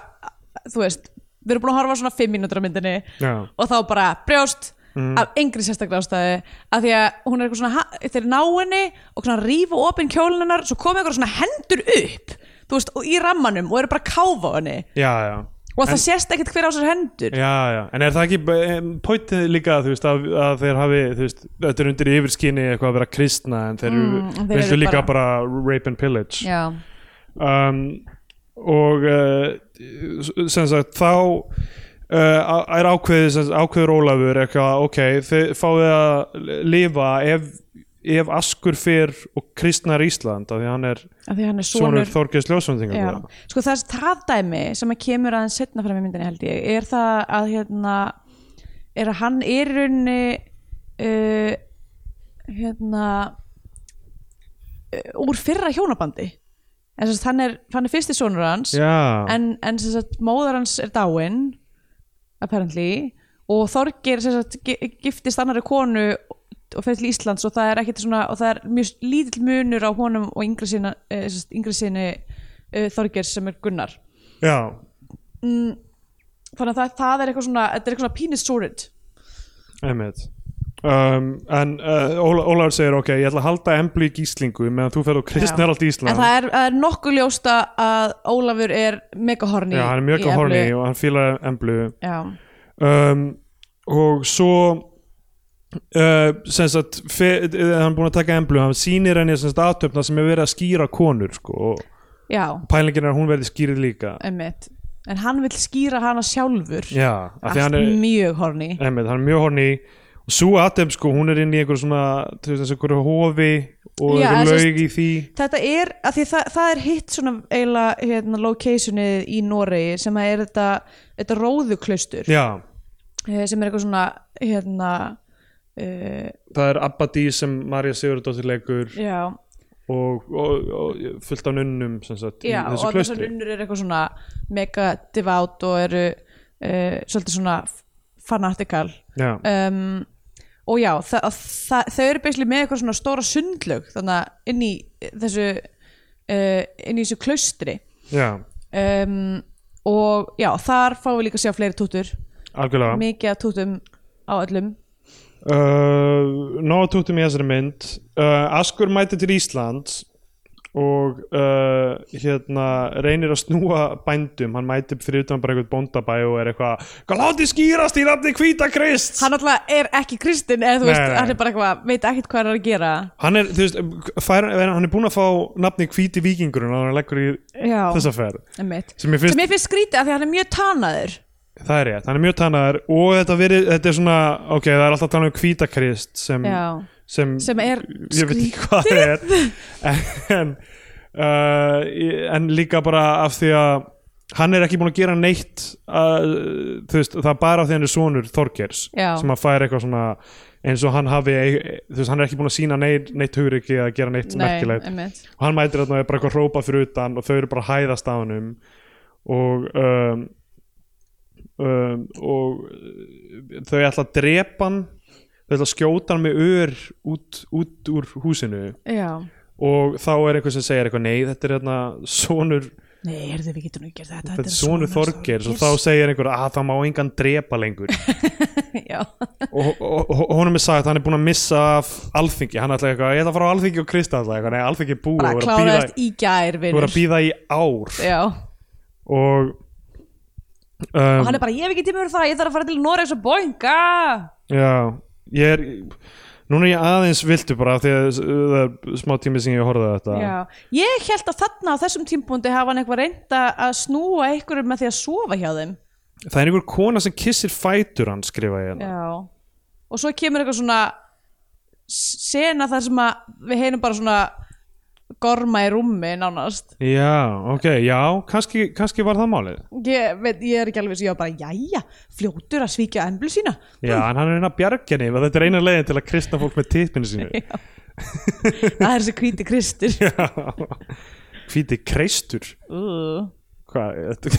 [SPEAKER 2] þú veist, við erum búin að horfa á svona 5 mínútur á myndinni
[SPEAKER 3] Já. Mhm.
[SPEAKER 2] og þá bara brjóst af engri sérstaklega ástæði af því að hún er eitthvað svona ha- þeir ná henni og svona rífa opinn kjólunar svo komið eitthvað svona hendur upp þú veist, og í rammanum og eru bara að káfa á henni
[SPEAKER 3] já, já.
[SPEAKER 2] og það sést ekkert hver á sér hendur
[SPEAKER 3] Já, já, en er það ekki pointið líka þú veist, að, að þeir hafi þú veist, þetta er undir yfirskinni eitthvað að vera kristna en þeir eru,
[SPEAKER 2] Mm,
[SPEAKER 3] mm,
[SPEAKER 2] þeir eru
[SPEAKER 3] líka bara, rape and pillage
[SPEAKER 2] já,
[SPEAKER 3] um, og uh, sem sagt þá uh, er ákveðið sem sagt, ákveður Ólafur eitthvað, ok, þið fáið að lifa ef, ef askur fyrr og kristnar Ísland af því hann er
[SPEAKER 2] af því að hann er
[SPEAKER 3] sonur
[SPEAKER 2] sonur
[SPEAKER 3] Þorgeis Ljósvöndingar
[SPEAKER 2] Já, sko það, það dæmi sem að kemur aðeins setna fram í myndinni held ég er það að hérna er að hann er í rauninni uh, hérna uh, úr fyrra hjónabandi en þess að hann er, hann er fyrsti sonur hans
[SPEAKER 3] Já,
[SPEAKER 2] en, en þess að móðar hans er dáin apparently og Þorgir sem sagt gi- giftist annari konu og fer til Íslands og það er ekkert svona og það er mjög lítill munur á honum og yngri sinni, eh, sem sagt, yngri sinni eh, Þorgeir sem er Gunnar
[SPEAKER 3] já,
[SPEAKER 2] þannig að það, það er eitthvað svona þetta er eitthvað svona penis sorted
[SPEAKER 3] einmitt um, en uh, Óla, Ólafur segir ok, ég ætla að halda emblu í gíslingu meðan þú ferð og kristnar allt
[SPEAKER 2] en
[SPEAKER 3] Ísland
[SPEAKER 2] það er, það er nokkuð ljósta að Ólafur er mega horny
[SPEAKER 3] já, hann er mjög
[SPEAKER 2] í
[SPEAKER 3] á horni
[SPEAKER 2] Eflu.
[SPEAKER 3] og hann fílar emblu
[SPEAKER 2] já,
[SPEAKER 3] um, og svo uh, sem sagt fe, eh, hann er búin að taka emblu, hann sýnir henni sem sagt aðtöfna sem er verið að skýra konur sko, og
[SPEAKER 2] já,
[SPEAKER 3] pælingin er að hún verði skýrið líka
[SPEAKER 2] emmitt en hann vil skýra hana sjálfur
[SPEAKER 3] já, af því
[SPEAKER 2] allt
[SPEAKER 3] hann er
[SPEAKER 2] mjög horny
[SPEAKER 3] einmitt, hann er mjög horni og svo aðtöfn sko, hún er inn í einhver svona, þú veist, eins og einhverju hofi og
[SPEAKER 2] Já,
[SPEAKER 3] einhver
[SPEAKER 2] en sem
[SPEAKER 3] laug í því
[SPEAKER 2] Þetta er, að því það, það er hitt svona eiginlega hérna, locationið í Noregi sem að er þetta, þetta róðuklaustur
[SPEAKER 3] já,
[SPEAKER 2] eh, sem er eitthvað svona hérna uh,
[SPEAKER 3] það er Abbadí sem Marja Sigurðardóttir leikur
[SPEAKER 2] já,
[SPEAKER 3] og, og, og fullt af nunnum sem sagt
[SPEAKER 2] já
[SPEAKER 3] í
[SPEAKER 2] og
[SPEAKER 3] þessu
[SPEAKER 2] allar þessar
[SPEAKER 3] klaustri
[SPEAKER 2] unnur er eitthvað svona mega devout og eru uh, svolítið svona fanatikal
[SPEAKER 3] já,
[SPEAKER 2] um, og já, þa þa þau eru beislega með eitthvað svona stóra eh, sundlög þannig að inn í þessu uh, inn í þessu klaustri
[SPEAKER 3] já,
[SPEAKER 2] um, og já, þar fáum við líka að sjá fleiri tútur
[SPEAKER 3] algjörlega
[SPEAKER 2] mikið að tútum á öllum
[SPEAKER 3] uh, Nóa tóttum í þessari mynd uh, Askur mæti til Íslands og uh, hérna reynir að snúa bændum hann mæti fyrir utan bara eitthvað bóndabæ og er eitthvað, hvað láti skýrast í nafni hvíta krist
[SPEAKER 2] hann alltaf er ekki kristinn eða þú
[SPEAKER 3] Nei,
[SPEAKER 2] veist,
[SPEAKER 3] nei.
[SPEAKER 2] hann er bara eitthvað, veit ekkert hvað hann er að gera
[SPEAKER 3] hann er, þú veist, fær, hann er búin að fá nafni hvíti vikingurinn og hann leggur í
[SPEAKER 2] já,
[SPEAKER 3] þessa ferð
[SPEAKER 2] einmitt
[SPEAKER 3] sem ég
[SPEAKER 2] sem
[SPEAKER 3] finnst,
[SPEAKER 2] ég finnst skrítið af því að hann er mjög tanaður
[SPEAKER 3] það er rétt, hann er mjög tannar og þetta, verið, þetta er svona, ok, það er alltaf að tala um hvíta krist sem,
[SPEAKER 2] já,
[SPEAKER 3] sem,
[SPEAKER 2] sem er
[SPEAKER 3] ég veit ekki hvað það er en, uh, í- en líka bara af því að hann er ekki búin að gera neitt að, þú veist, það er bara af því að hann er sonur Þorgers
[SPEAKER 2] Já.
[SPEAKER 3] sem að fær eitthvað svona eins og hann hafi þú veist, hann er ekki búin að sína neitt, neitt hugriki að gera neitt merkilegt
[SPEAKER 2] einmitt
[SPEAKER 3] og hann mætir þarna og er bara eitthvað að hrópa fyrir utan og þau eru bara að hæðast á hannum og um, um, og uh, þau ætla að drepa hann þau ætla að skjóta hann með ör út, út úr húsinu
[SPEAKER 2] já,
[SPEAKER 3] og þá er einhver sem segir eitthvað nei þetta er hérna sonur
[SPEAKER 2] nei, heyrðu, við getum nú ekki gert þetta
[SPEAKER 3] þetta er sonur Þorgeirs og þá segir einhver að það má engan drepa lengur
[SPEAKER 2] Þorgeirs." já,
[SPEAKER 3] og, og, og honum er sagt að hann er búin að missa af alþingi, hann ætla eitthvað ég ætla að fara á alþingi og Krista ætla eitthvað, nei alþingi er búið
[SPEAKER 2] bara
[SPEAKER 3] og er að bíða-
[SPEAKER 2] kláraðist í gær,
[SPEAKER 3] þú er að
[SPEAKER 2] vinur
[SPEAKER 3] býða í ár
[SPEAKER 2] já,
[SPEAKER 3] og
[SPEAKER 2] og
[SPEAKER 3] um,
[SPEAKER 2] hann er bara, ég hef ekki tíma fyrir það ég þarf að fara til Noregs og boinga
[SPEAKER 3] já, ég er núna er ég aðeins viltu bara af því að það er smá tími sem ég horfði á þetta
[SPEAKER 2] já, ég held að þarna á þessum tímpúndi hafa hann eitthvað reynda að snúa einhverjum með því að sofa hjá þeim
[SPEAKER 3] það er einhver kona sem kissir fætur hann skrifa ég hérna
[SPEAKER 2] Já, og svo kemur eitthvað svona sena þar sem að við heinum bara svona gorma í rúmi nánast
[SPEAKER 3] já, ok, já, kannski, kannski var það málið
[SPEAKER 2] ég, veit, ég er ekki alveg svo, ég var bara, jæja fljótur að svíkja emblu sína
[SPEAKER 3] já, en hann er eina bjarginni, þetta er eina leiðin til að kristna fólk með tippinu sínu
[SPEAKER 2] það er þessi hvíti kristur
[SPEAKER 3] hvíti kreistur
[SPEAKER 2] uh.
[SPEAKER 3] hvað, þetta-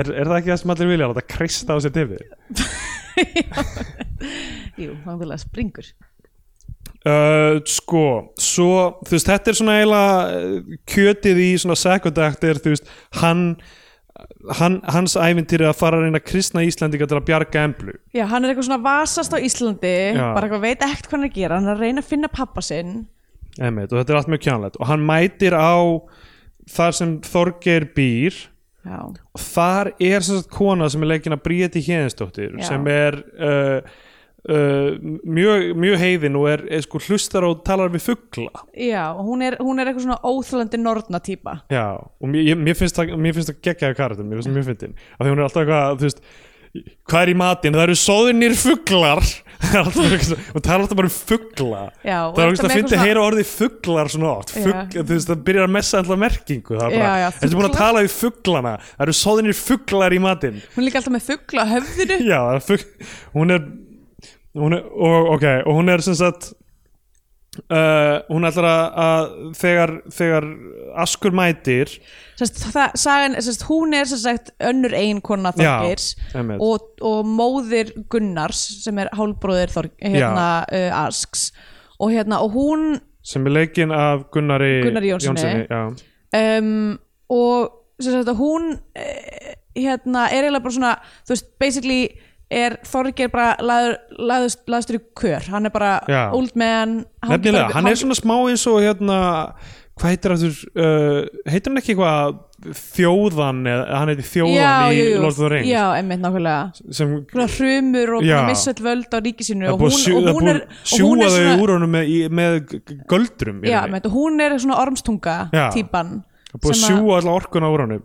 [SPEAKER 3] er, er það ekki það sem allir vilja að láta kreista á sér tippi
[SPEAKER 2] jú, hann vil að springur
[SPEAKER 3] Uh, sko, svo þú veist, þetta er svona eiginlega uh, kjötið í svona sekundaktir, þú veist hann, hann hans æfintýri að fara að reyna að kristna Íslandinga til að bjarga emblu
[SPEAKER 2] já, hann er eitthvað svona vasast á Íslandi
[SPEAKER 3] Já.
[SPEAKER 2] bara eitthvað veit ekkert hvað hann er að gera hann er að reyna að finna pappa sinn
[SPEAKER 3] Einmitt, og þetta er allt mjög kjánlegt og hann mætir á þar sem Þorgeir býr
[SPEAKER 2] já,
[SPEAKER 3] og þar er sem sagt kona sem er leikin að Bríeti Héðinsdóttir
[SPEAKER 2] Já.
[SPEAKER 3] sem er uh, uh, mjög, mjög heiðin og er, er sko hlustar og talar við fugla
[SPEAKER 2] já og hún, er, hún er eitthvað svona óþölandi nortna típa
[SPEAKER 3] Já, og mér, ég- mér finnst það, mér finnst það geggjaði karakter, mér finnst það mjög fyndin af því hún er alltaf eitthvað, þú veist hvað er í matinn, það eru sóðinir fuglar Það er alltaf eitthvað svo- hún talar alltaf bara um fugla
[SPEAKER 2] Já, og
[SPEAKER 3] það er
[SPEAKER 2] alltaf
[SPEAKER 3] alltaf
[SPEAKER 2] með
[SPEAKER 3] að fyndi
[SPEAKER 2] eitthvað
[SPEAKER 3] að heyra orðið fuglar svona oft
[SPEAKER 2] Já.
[SPEAKER 3] Fugl, þú veist, það byrjar að messa alltaf merkingu það er
[SPEAKER 2] Já, já,
[SPEAKER 3] bara, ertu búin að
[SPEAKER 2] fuglar.
[SPEAKER 3] tala við fuglana það eru sóðinir fuglar í matinn
[SPEAKER 2] hún er líka alltaf með fuggla höfðinu
[SPEAKER 3] Já, það er fugg, hún er hún er, og, ok, og hún er sem sagt uh, hún ætlar að, að þegar, þegar askur mætir
[SPEAKER 2] sest, það, sagan, sest, hún er sem sagt önnur eiginkona Þorgeirs
[SPEAKER 3] Já, einmitt.
[SPEAKER 2] og, og móðir Gunnars sem er hálbróðir Þorg, hérna, uh, Asks og, hérna, og hún
[SPEAKER 3] sem er leikinn af Gunnari,
[SPEAKER 2] Gunnari Jónssoni.
[SPEAKER 3] já.
[SPEAKER 2] um, og sem sagt að hún eh, hérna er eiginlega bara svona þú veist, basically er Þorgeir bara laður, laðust, laðustur í kör hann er bara
[SPEAKER 3] Já.
[SPEAKER 2] old man hann
[SPEAKER 3] nefnilega,
[SPEAKER 2] bara-
[SPEAKER 3] hann er svona smá eins og hérna, hvað heitir aftur uh, heitir hann ekki eitthvað þjóðan, eða hann heitir þjóðan
[SPEAKER 2] já,
[SPEAKER 3] í
[SPEAKER 2] jú, jú.
[SPEAKER 3] Lord of the Rings
[SPEAKER 2] já, emmitt nákvæmlega
[SPEAKER 3] sem
[SPEAKER 2] svona hrumur og
[SPEAKER 3] Já.
[SPEAKER 2] búin að missa all völd á ríki sínu
[SPEAKER 3] það er
[SPEAKER 2] og
[SPEAKER 3] búið
[SPEAKER 2] hún,
[SPEAKER 3] að sjú-
[SPEAKER 2] og
[SPEAKER 3] það
[SPEAKER 2] hún er,
[SPEAKER 3] er búið að
[SPEAKER 2] og hún
[SPEAKER 3] sjúga
[SPEAKER 2] er
[SPEAKER 3] þau
[SPEAKER 2] svona
[SPEAKER 3] úr honum með, í, með g- g- göldrum í
[SPEAKER 2] já,
[SPEAKER 3] rauninni.
[SPEAKER 2] með, þetta, hún er svona ormstunga
[SPEAKER 3] Já.
[SPEAKER 2] típan
[SPEAKER 3] Það er búið að
[SPEAKER 2] sem að-
[SPEAKER 3] sjúga alltaf orkuna úr honum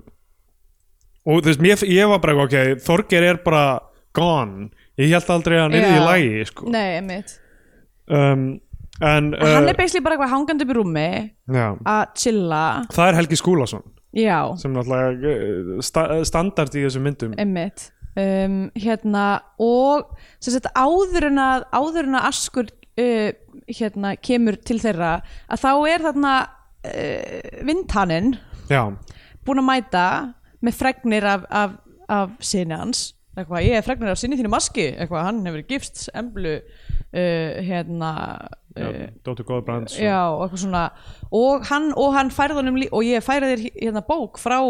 [SPEAKER 3] og þú veist, mér, ég var bara ok, Þorgeir er bara gone, ég held aldrei að hann er í
[SPEAKER 2] Já.
[SPEAKER 3] lagi sko.
[SPEAKER 2] nei, emmitt
[SPEAKER 3] um, en uh,
[SPEAKER 2] hann er beislega bara eitthvað hangandi upp í rúmi
[SPEAKER 3] já,
[SPEAKER 2] að chilla
[SPEAKER 3] það er Helgi Skúlason
[SPEAKER 2] já,
[SPEAKER 3] sem náttúrulega eh, sta standard í þessum
[SPEAKER 2] Eh,
[SPEAKER 3] myndum
[SPEAKER 2] emmitt um, hérna og sem sagt áður en að áður en að askur uh, hérna kemur til þeirra að þá er þarna uh, vindhannin
[SPEAKER 3] já,
[SPEAKER 2] búin að mæta með fregnir af, af, af sinni hans eitthvað, ég er fregnir af sinni þínu maski eitthvað, hann hefur gifst emblu uh, hérna
[SPEAKER 3] já
[SPEAKER 2] uh,
[SPEAKER 3] Dóttur Góður Brands
[SPEAKER 2] já, og eitthvað svona og hann, og hann færðunum og ég færa þér hérna bók frá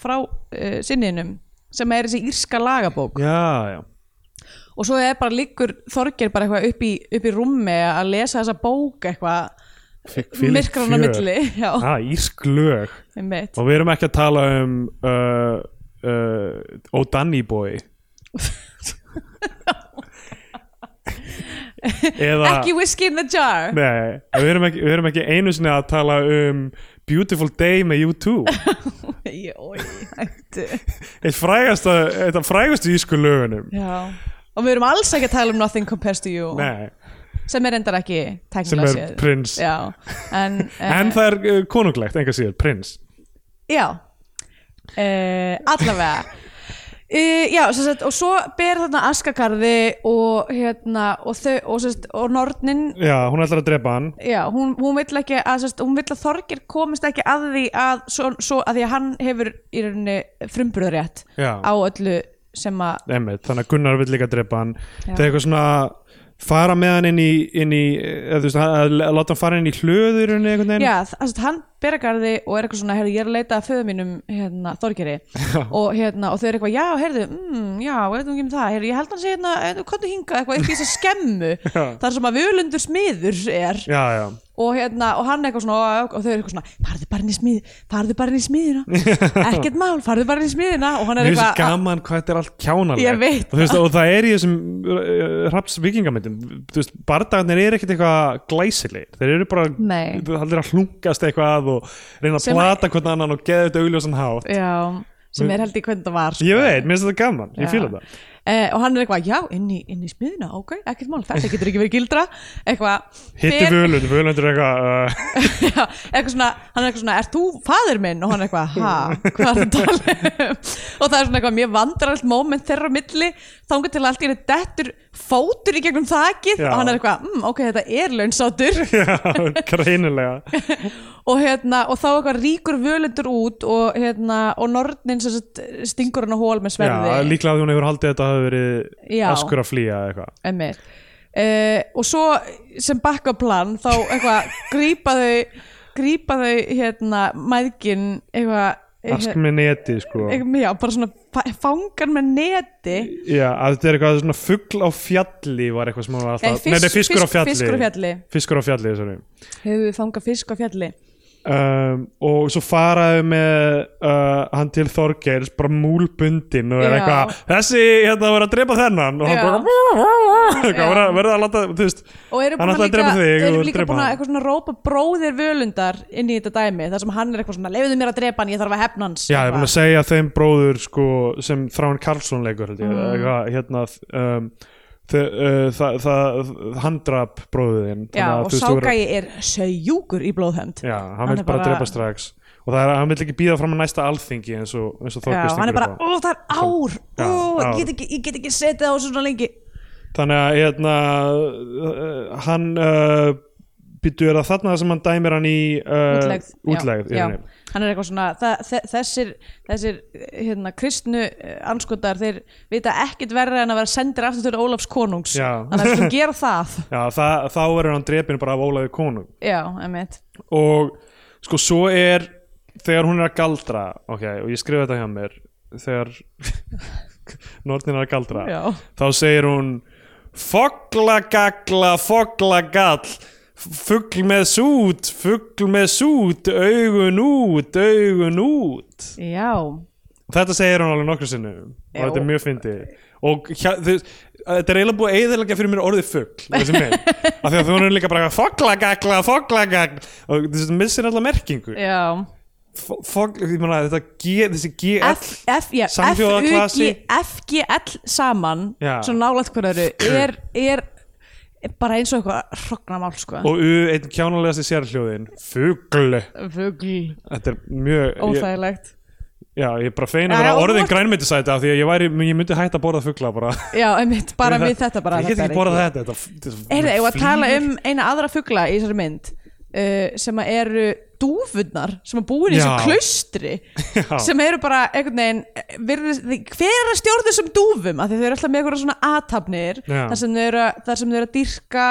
[SPEAKER 2] frá uh, sinninum sem er þessi írska lagabók
[SPEAKER 3] já, já,
[SPEAKER 2] og svo er bara líkur Þorger bara eitthvað upp í, upp í rúmi að lesa þessa bók eitthvað
[SPEAKER 3] hvílíkt
[SPEAKER 2] myrkran á
[SPEAKER 3] fjör.
[SPEAKER 2] milli já,
[SPEAKER 3] ah, Írsk lög
[SPEAKER 2] einmitt.
[SPEAKER 3] og við erum ekki að tala um uh, uh, Ó Danny Boy eða
[SPEAKER 2] ekki whisky in the jar
[SPEAKER 3] Nei, við erum, ekki, við erum ekki einu sinni að tala um Beautiful Day með U2
[SPEAKER 2] Nei, oj, hættu.
[SPEAKER 3] Eitt frægasta, eitt af frægastu ísku lögunum
[SPEAKER 2] já og við erum alls ekki að tala um Nothing Compares to You
[SPEAKER 3] Nei,
[SPEAKER 2] sem er endar ekki
[SPEAKER 3] sem
[SPEAKER 2] teknilega
[SPEAKER 3] er
[SPEAKER 2] séð
[SPEAKER 3] prins
[SPEAKER 2] já, en, eh,
[SPEAKER 3] En það er uh, konunglegt, enga síður, prins
[SPEAKER 2] Já uh, Allavega Uh, já, sem sagt, og svo ber þarna askakarði og hérna og, þau, og, sem sagt, og nornin
[SPEAKER 3] Já, hún ætlar að drepa hann
[SPEAKER 2] já, hún, hún vill ekki að, sem sagt, hún vill að Þorgir komist ekki að því að, svo, svo, að því að hann hefur í rauninni frumburðarétt
[SPEAKER 3] Já.
[SPEAKER 2] á öllu sem að
[SPEAKER 3] Einmitt, þannig að Gunnar vill líka drepa hann það er eitthvað svona fara með hann inn í, inn í eh, eða, þú veist, að að láta hann fara inn í hlöður einhvern veginn
[SPEAKER 2] Já, þ- þess að hann bergarði og er eitthvað svona, heyrðu, ég er að leita að föðu mínum hérna, Þorgeri og, hérna, og þau eru eitthvað, já, heyrðu, mm, já, veitum ekki um það heyrðu, ég held hann sé hérna, eh, komdu hingað eitthvað upp í þess að skemmu, þar sem að völundur smiður er
[SPEAKER 3] já, já.
[SPEAKER 2] og, hérna, og hann eitthvað svona, og, og þau eru eitthvað svona farðu bara inn í smið, farðu bara inn í smiðina ekkert mál, farðu bara inn í smiðina og hann
[SPEAKER 3] Mér
[SPEAKER 2] er
[SPEAKER 3] finnst
[SPEAKER 2] eitthvað,
[SPEAKER 3] gaman hvað þetta er allt kjánalegt
[SPEAKER 2] Ég veit
[SPEAKER 3] og, þú veist, og það er í þessum hraps vikingamindum þú veist, bardagarnir eru ekkert eitthvað glæsilegir þeir eru bara,
[SPEAKER 2] Nei.
[SPEAKER 3] þeir eru að hlunkast eitthvað að og reyna að
[SPEAKER 2] Sem-
[SPEAKER 3] plata hvern annan og geða þetta augljósan hátt
[SPEAKER 2] "Ah, já, sem er held í hvernig það var sko.
[SPEAKER 3] ég veit, mér finnst þetta gaman, ég fíla
[SPEAKER 2] Já.
[SPEAKER 3] þetta
[SPEAKER 2] Eh, og hann er eitthvað, já, inn í, inn í smiðina, ok, ekkert mál, þetta getur ekki verið gildra eitthvað,
[SPEAKER 3] hitti
[SPEAKER 2] fer-
[SPEAKER 3] völund, völund er eitthvað uh,
[SPEAKER 2] Já, eitthvað svona, hann er eitthvað svona, ert þú fadir minn? Og hann er eitthvað, ha, hvað er það að tala um? Og það er svona eitthvað mjög vandrarallt moment þeirra á milli, þangar til allt í þetta dettur fótur í gegnum þakið
[SPEAKER 3] Já.
[SPEAKER 2] og hann er eitthvað, mm, ok, þetta er launsátur
[SPEAKER 3] já, eh, greinilega
[SPEAKER 2] og, hérna, og þá eitthvað ríkur völundur út og, hérna, og nornin sem sagt, stingur hann á hól með
[SPEAKER 3] Já,
[SPEAKER 2] sverði.
[SPEAKER 3] líklega að hún hefur haldið að þetta hafi verið
[SPEAKER 2] Já.
[SPEAKER 3] askur að flýja eða eitthvað
[SPEAKER 2] Einmitt. Uh, og svo sem bakkaplan þá eitthvað grípa þau grípa þau hérna mæðgin eitthvað eh,
[SPEAKER 3] Ask með neti sko
[SPEAKER 2] Eitthvað- já, bara svona fa- fangar með neti
[SPEAKER 3] Já, að þetta er eitthvað svona fugl á fjalli var eitthvað sem hún var alltaf
[SPEAKER 2] Nei, fisk-
[SPEAKER 3] Nei, nei, fiskur á
[SPEAKER 2] fisk-
[SPEAKER 3] fjalli
[SPEAKER 2] fiskur á fjalli.
[SPEAKER 3] Fiskur á fjalli, sorry
[SPEAKER 2] hefur við fangað fisk á fjalli
[SPEAKER 3] um, Og svo faraðu með uh, hann til Þorgeirs bara múlbundin og er
[SPEAKER 2] Já.
[SPEAKER 3] eitthvað Þessi, hérna, var að drepa þennan og hann
[SPEAKER 2] Já.
[SPEAKER 3] bara eitthvað, var að, verða að láta, þú veist
[SPEAKER 2] og erum
[SPEAKER 3] Hann
[SPEAKER 2] búin að
[SPEAKER 3] ætlaði að
[SPEAKER 2] líka,
[SPEAKER 3] drepa þig
[SPEAKER 2] erum
[SPEAKER 3] og
[SPEAKER 2] líka
[SPEAKER 3] drepa
[SPEAKER 2] búin að
[SPEAKER 3] hann.
[SPEAKER 2] eitthvað svona rópa bróðir völundar inn í þetta dæmi þar sem hann er eitthvað svona, leiðu mér að drepa hann, ég þarf að hefna hans
[SPEAKER 3] Já, ég er búin að segja þeim bróður sko, sem Þráin Karlsson leikur held ég,
[SPEAKER 2] Mm.
[SPEAKER 3] eitthvað, hérna um, þe- uh, það, það, hann drap bróðuðinn
[SPEAKER 2] já, og ságæi er sögjúkur í blóðhönd
[SPEAKER 3] Já, hann
[SPEAKER 2] Hann
[SPEAKER 3] vil
[SPEAKER 2] er
[SPEAKER 3] bara
[SPEAKER 2] bara-
[SPEAKER 3] drepa strax og það er að hann vil ekki býða fram að næsta alþingi eins og, eins og
[SPEAKER 2] Já,
[SPEAKER 3] Þorkist
[SPEAKER 2] hann er bara, ó það er ár ó,
[SPEAKER 3] Já,
[SPEAKER 2] ég
[SPEAKER 3] ár.
[SPEAKER 2] get ekki, ég get ekki setið á þessu svona lengi
[SPEAKER 3] Þannig að hérna, uh, hann uh, býttu er það þarna sem hann dæmir hann í uh,
[SPEAKER 2] útlegð, já,
[SPEAKER 3] útlegð í
[SPEAKER 2] já.
[SPEAKER 3] rauninni.
[SPEAKER 2] hann er eitthvað svona það, þe- þessir, þessir hérna, kristnu eh, anskotar þeir vita ekkit verra en að vera sendir aftur til Ólafs konungs
[SPEAKER 3] Já.
[SPEAKER 2] þannig að við skulum gera það
[SPEAKER 3] Já, það, þá verður hann drepin bara af Ólaði konung
[SPEAKER 2] já, emitt
[SPEAKER 3] og sko svo er þegar hún er að galdra ok, og ég skrifa þetta hjá mér þegar nornin er að galdra
[SPEAKER 2] Já.
[SPEAKER 3] þá segir hún foglagagla, foglagall fugl með sút fugl með sút, augun út augun út
[SPEAKER 2] já,
[SPEAKER 3] þetta segir hún alveg nokkru sinnum og þetta er mjög fyndið og hjá, þið, þetta er eiginlega búið að eðalega fyrir mér orðið fugl þessi mynd, af því að þú erum líka bara foglagagla, foglagagla og þessi missir alla merkingu
[SPEAKER 2] já
[SPEAKER 3] Fo- fogl, ég meina þetta G, þessi GL
[SPEAKER 2] F, F, já, F, U, G,
[SPEAKER 3] Samhljóðaklasi.
[SPEAKER 2] F, G, L saman
[SPEAKER 3] Já.
[SPEAKER 2] svo nálægt hver öðru er, er bara eins og eitthvað hrognamál sko
[SPEAKER 3] og U, einn kjánulegasti sérhljóðin fugl,
[SPEAKER 2] fugl,
[SPEAKER 3] þetta er mjög ég,
[SPEAKER 2] óþægilegt
[SPEAKER 3] já, ég er bara
[SPEAKER 2] Já,
[SPEAKER 3] fein að
[SPEAKER 2] já,
[SPEAKER 3] vera
[SPEAKER 2] og þú
[SPEAKER 3] orðin
[SPEAKER 2] ert-
[SPEAKER 3] grænmyndisæti af því að ég, væri, ég myndi hætta að borða fugla bara
[SPEAKER 2] já, emitt, bara við þetta bara
[SPEAKER 3] ég get
[SPEAKER 2] þetta er
[SPEAKER 3] ekki borðað þetta, þetta, þetta,
[SPEAKER 2] Heyrðu, ég var að tala
[SPEAKER 3] flýgur.
[SPEAKER 2] um eina aðra fugla í þessari mynd uh, sem að eru dúfurnar sem að búin í þessu
[SPEAKER 3] Já.
[SPEAKER 2] klaustri
[SPEAKER 3] Já.
[SPEAKER 2] sem eru bara einhvern veginn eh, virðist, þi- hver er að stjórna þessum dúfum af því þau eru alltaf með eitthvað svona athafnir
[SPEAKER 3] Já.
[SPEAKER 2] þar sem þau eru, að- þar sem þau eru að dýrka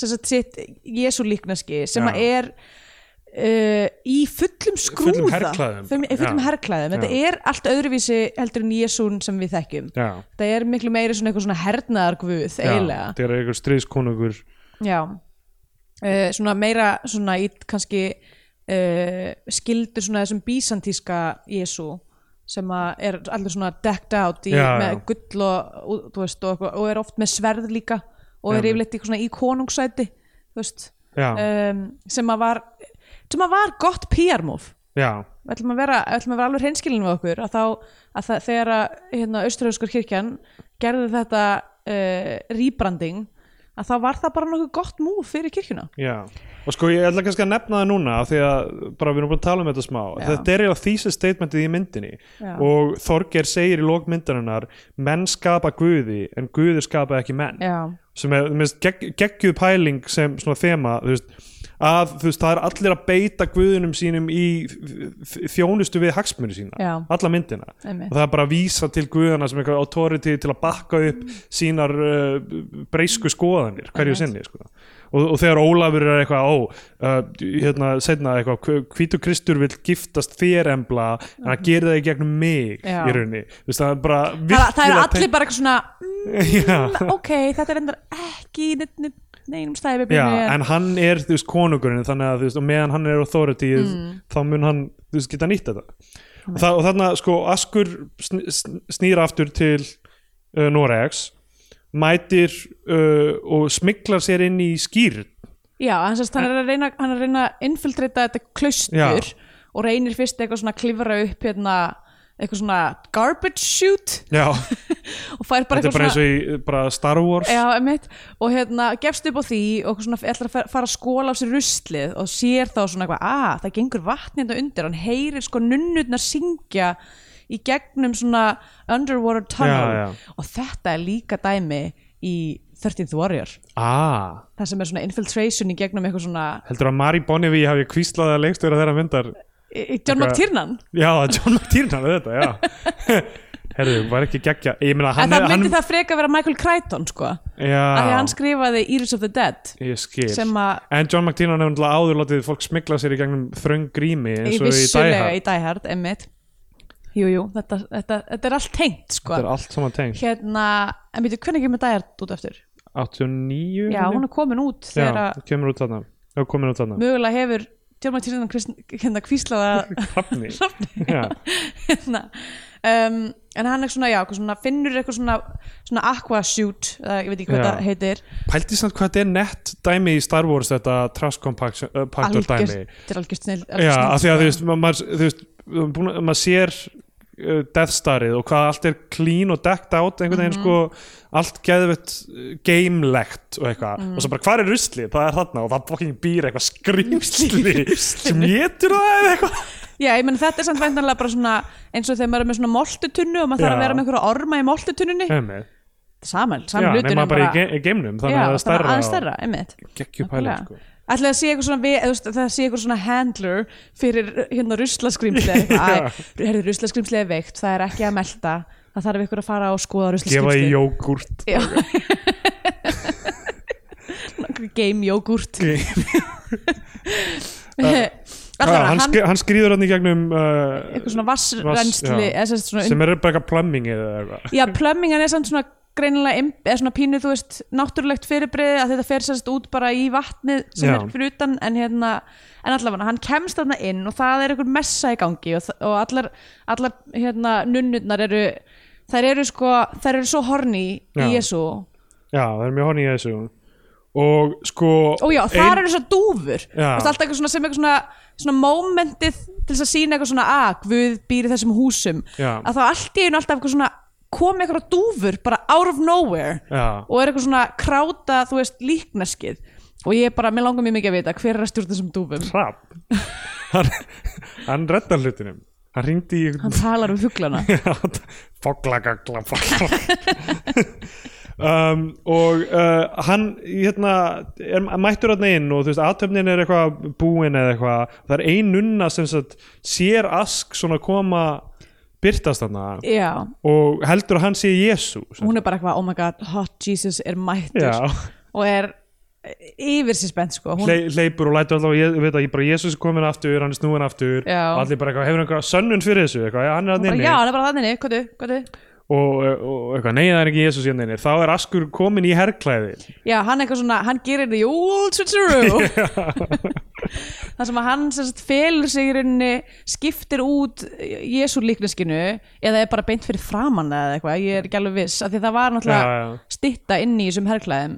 [SPEAKER 2] sem sagt, sitt Jésu líknaski sem
[SPEAKER 3] Já.
[SPEAKER 2] að er uh, í fullum skrúða
[SPEAKER 3] Fullum herklæðum.
[SPEAKER 2] Fullum- í fullum
[SPEAKER 3] Já.
[SPEAKER 2] herklæðum. þetta
[SPEAKER 3] Já.
[SPEAKER 2] er allt öðruvísi heldur en Jésún sem við þekkjum
[SPEAKER 3] já,
[SPEAKER 2] það er miklu meiri svona eitthvað svona hernaðargvuð
[SPEAKER 3] já
[SPEAKER 2] eiginlega
[SPEAKER 3] það er einhver stríðskonungur
[SPEAKER 2] Já uh, Svona meira svona í kannski uh, skildur svona þessum bísantíska Jésu sem að er allir svona decked out í,
[SPEAKER 3] Já,
[SPEAKER 2] með
[SPEAKER 3] já.
[SPEAKER 2] gull og, og, þú veist, og, eitthvað, og er oft með sverð líka og er
[SPEAKER 3] Já.
[SPEAKER 2] yfirleitt eitthvað svona í konungsæti þú veist
[SPEAKER 3] já,
[SPEAKER 2] um, sem að var sem að var gott PR-move
[SPEAKER 3] já,
[SPEAKER 2] við ætlum að vera, við ætlum að vera alveg hreinskilin við okkur að þá að það, þegar að hérna, australskur kirkjan gerði þetta uh, rýbranding að þá var það bara nokkuð gott múf fyrir kirkjuna
[SPEAKER 3] já og sko ég ætla kannski að nefna það núna af því að bara við erum búin að tala um þetta smá
[SPEAKER 2] Já.
[SPEAKER 3] þetta er eiginlega thesis statementið í myndinni
[SPEAKER 2] Já.
[SPEAKER 3] og Þorger segir í lók myndarinnar menn skapa guði en guði skapa ekki menn
[SPEAKER 2] já,
[SPEAKER 3] sem er minnst, gegg, geggjuð pæling sem svona þema þú veist, að þú veist, það er allir að beita guðunum sínum í f- f- þjónustu við hagsmunni sína
[SPEAKER 2] Já.
[SPEAKER 3] alla myndina
[SPEAKER 2] Einmitt.
[SPEAKER 3] og það er bara að vísa til guðana sem eitthvað authority til að bakka upp
[SPEAKER 2] Mm.
[SPEAKER 3] sínar uh, breysku skoðanir hverju sinni sko. og, og þegar Ólafur er eitthvað ó, uh, hérna, setna eitthvað hvítu Kristur vill giftast þér embla en hann gerir það í gegnum mig
[SPEAKER 2] Mm. Já.
[SPEAKER 3] í rauninni Þú veist, það er bara
[SPEAKER 2] það, það eru
[SPEAKER 3] virkilega
[SPEAKER 2] allir bara eitthvað svona
[SPEAKER 3] Já.
[SPEAKER 2] mm, ok, þetta er endar ekki í neinni- neinum stæði við
[SPEAKER 3] Já,
[SPEAKER 2] byrjum
[SPEAKER 3] en hann er, þú veist, konungurinn þannig að, þú veist, og meðan hann er authority
[SPEAKER 2] Mm.
[SPEAKER 3] þá mun hann, þú veist, geta nýtt þetta og, það, og þarna, sko, Askur sn sn snýr aftur til uh, Noregs mætir uh, og smiklar sér inn í skýr
[SPEAKER 2] já, hann, sérst, hann er að reyna hann er að reyna að infiltrita þetta klaustur
[SPEAKER 3] Já.
[SPEAKER 2] og reynir fyrst eitthvað svona að klifra upp hérna eitthvað svona garbage chute
[SPEAKER 3] Já,
[SPEAKER 2] og fær bara
[SPEAKER 3] þetta er
[SPEAKER 2] eitthvað
[SPEAKER 3] bara eins og í bara Star Wars
[SPEAKER 2] Já, einmitt, og hérna gefst upp á því og eitthvað svona ætlar að fer- fara að skóla á sér ruslið og sér þá svona eitthvað að það gengur vatn hérna undir, hann heyrir sko nunnurnar syngja í gegnum svona underwater tunnel
[SPEAKER 3] Já, já.
[SPEAKER 2] og þetta er líka dæmi í 13th Warrior
[SPEAKER 3] Ah,
[SPEAKER 2] það sem er svona infiltration í gegnum eitthvað svona
[SPEAKER 3] heldur að Mari Bonnevie hafi kvíslaða leikstjóra þeirra myndar
[SPEAKER 2] Í- í John
[SPEAKER 3] Eitthvað-
[SPEAKER 2] McTiernan
[SPEAKER 3] Já, John McTiernan er þetta, já Herðu, var ekki geggja Ég meina,
[SPEAKER 2] en
[SPEAKER 3] hann
[SPEAKER 2] það
[SPEAKER 3] er-
[SPEAKER 2] myndi það freka vera Michael Crichton sko, að því
[SPEAKER 3] Já,
[SPEAKER 2] hann skrifaði Iris of the Dead
[SPEAKER 3] Ég skil.
[SPEAKER 2] Sem að-
[SPEAKER 3] En John McTiernan hefur náttúrulega áður látið fólk smikla sér í gegnum þröng grími eins
[SPEAKER 2] í
[SPEAKER 3] og í
[SPEAKER 2] vissulega í
[SPEAKER 3] dæhætt.
[SPEAKER 2] Die Hard, emmitt Jú, jú, þetta, þetta, þetta er allt tengt sko.
[SPEAKER 3] Þetta er allt saman tengt.
[SPEAKER 2] hérna, en veitu, hvernig kemur Die Hard út eftir?
[SPEAKER 3] 89?
[SPEAKER 2] Já, hún er komin út þegar
[SPEAKER 3] Já,
[SPEAKER 2] að
[SPEAKER 3] það kemur út þarna. Já, komin út þarna.
[SPEAKER 2] mögulega hefur Tjörnmætt Tjörnum hérna kvíslaða
[SPEAKER 3] Hrafni.
[SPEAKER 2] hrafni
[SPEAKER 3] Já,
[SPEAKER 2] hérna. um, en hann er svona, já, eitthvað svona, finnur eitthvað svona, svona aqua shoot eða, ég veit ekki hvað
[SPEAKER 3] Já.
[SPEAKER 2] það heitir
[SPEAKER 3] pælti samt hvað þetta er nett dæmi í Star Wars þetta Trash Compactor uh, Pactor dæmi.
[SPEAKER 2] Algjört- þetta er algjörst snill
[SPEAKER 3] Já, af því að þú veist, ma- maður, þú veist, búin, maður sér uh, Death Starið og hvað allt er clean og decked out einhvern
[SPEAKER 2] Mhm.
[SPEAKER 3] veginn sko allt geðvett gamelegt og eitthvað og
[SPEAKER 2] Mhm.
[SPEAKER 3] svo bara hvað er ruslið, það er þarna og það fucking býr eitthvað skrýmsli sem getur það eða eitthvað
[SPEAKER 2] Já, ég menn þetta er samt væntanlega bara svona eins og þegar maður er með svona moltutunnu og maður þarf
[SPEAKER 3] Já.
[SPEAKER 2] að vera með einhverja orma í moltutunnunni
[SPEAKER 3] Einmitt.
[SPEAKER 2] saman,
[SPEAKER 3] Já,
[SPEAKER 2] saman hlutin
[SPEAKER 3] nema
[SPEAKER 2] en
[SPEAKER 3] bara í ge- í geimnum þannig
[SPEAKER 2] Já,
[SPEAKER 3] að það er
[SPEAKER 2] þannig
[SPEAKER 3] stærra
[SPEAKER 2] aðeins stærra, einmitt
[SPEAKER 3] geggjupæling sko
[SPEAKER 2] Ætli það sé eitthvað svona, við, eða þú veist, það sé eitthvað svona handler fyrir hérna ruslaskrimsli Herðu, ruslaskrimsli er veikt, það er ekki að melta Það þarf ykkur að fara og skoða
[SPEAKER 3] gefa í
[SPEAKER 2] ruslaskrimsli
[SPEAKER 3] jógurt
[SPEAKER 2] Já Nokkri Game jógurt Allavega,
[SPEAKER 3] hann,
[SPEAKER 2] hann
[SPEAKER 3] skri- hann skrýður hann í gegnum
[SPEAKER 2] Eitthvað
[SPEAKER 3] uh,
[SPEAKER 2] svona vassrennsli
[SPEAKER 3] já.
[SPEAKER 2] eða sem sagt svona
[SPEAKER 3] sem er bara eitthvað plumbing eða eitthvað
[SPEAKER 2] Já, plömmingan er samt svona greinilega im- eða svona pínu, þú veist, náttúrulegt fyrirbrið að þetta fer sérst út bara í vatnið sem
[SPEAKER 3] Já.
[SPEAKER 2] er fyrir utan en hérna en allavega, hann kemst þarna inn og það er einhver messa í gangi og, þ- og allar, allar hérna, nunnurnar eru þær eru sko, þær eru svo horni í
[SPEAKER 3] Já.
[SPEAKER 2] Jésu
[SPEAKER 3] Já, það er mjög honni í þessu Og sko
[SPEAKER 2] og já, þar eru svo dúfur
[SPEAKER 3] Já.
[SPEAKER 2] og það er alltaf eitthvað svona sem eitthvað svona, svona momentið til þess að sína eitthvað svona að Guð býr í þessum húsum
[SPEAKER 3] Já.
[SPEAKER 2] að þá allt í einu alltaf eitthvað svona kom eitthvað dúfur bara out of nowhere
[SPEAKER 3] Já.
[SPEAKER 2] og er eitthvað svona kráta, þú veist, líkneskið og ég er bara, mér langar mjög mikið að vita hver er að stjórna þessum dúfum
[SPEAKER 3] Trapp Hann, hann reddar hlutinum Hann ringdi í
[SPEAKER 2] hann talar um fuglana
[SPEAKER 3] Foglagagla Foglagagla um, Og uh, hann hérna, er, mættur hann inn og þú veist aðtöfnin er eitthvað búin eða eitthvað Það er ein nunna sem sagt, sér ask svona koma byrtast þarna
[SPEAKER 2] já,
[SPEAKER 3] og heldur að hann sé Jésu
[SPEAKER 2] hún er bara eitthvað, oh my god hot Jesus er mættur
[SPEAKER 3] Já.
[SPEAKER 2] og er yfir sér spennt sko hún,
[SPEAKER 3] Hle- hleypur og lætur allavega, ég veit að ég bara Jésús er komin aftur, hann er snúin aftur
[SPEAKER 2] Já.
[SPEAKER 3] og allir bara eitthvað, hefur einhverja sönnun fyrir þessu eitthvað, já, hann er að
[SPEAKER 2] bara,
[SPEAKER 3] nynni
[SPEAKER 2] já, hann er bara þannig, hvað du, hvað du
[SPEAKER 3] og, og eitthvað, nei það er ekki Jésús í nynni þá er Askur komin í herrklæði
[SPEAKER 2] Já, hann eitthvað svona, hann gerir the old switcheroo Það sem að hann sem sagt felur sig í rauninni skiptir út Jésu líkneskinu eða er bara beint fyrir framan það eða eitthvað, ég er ekki alveg viss af því að það var náttúrulega
[SPEAKER 3] Já, já.
[SPEAKER 2] stitta inn í þessum herrklæðum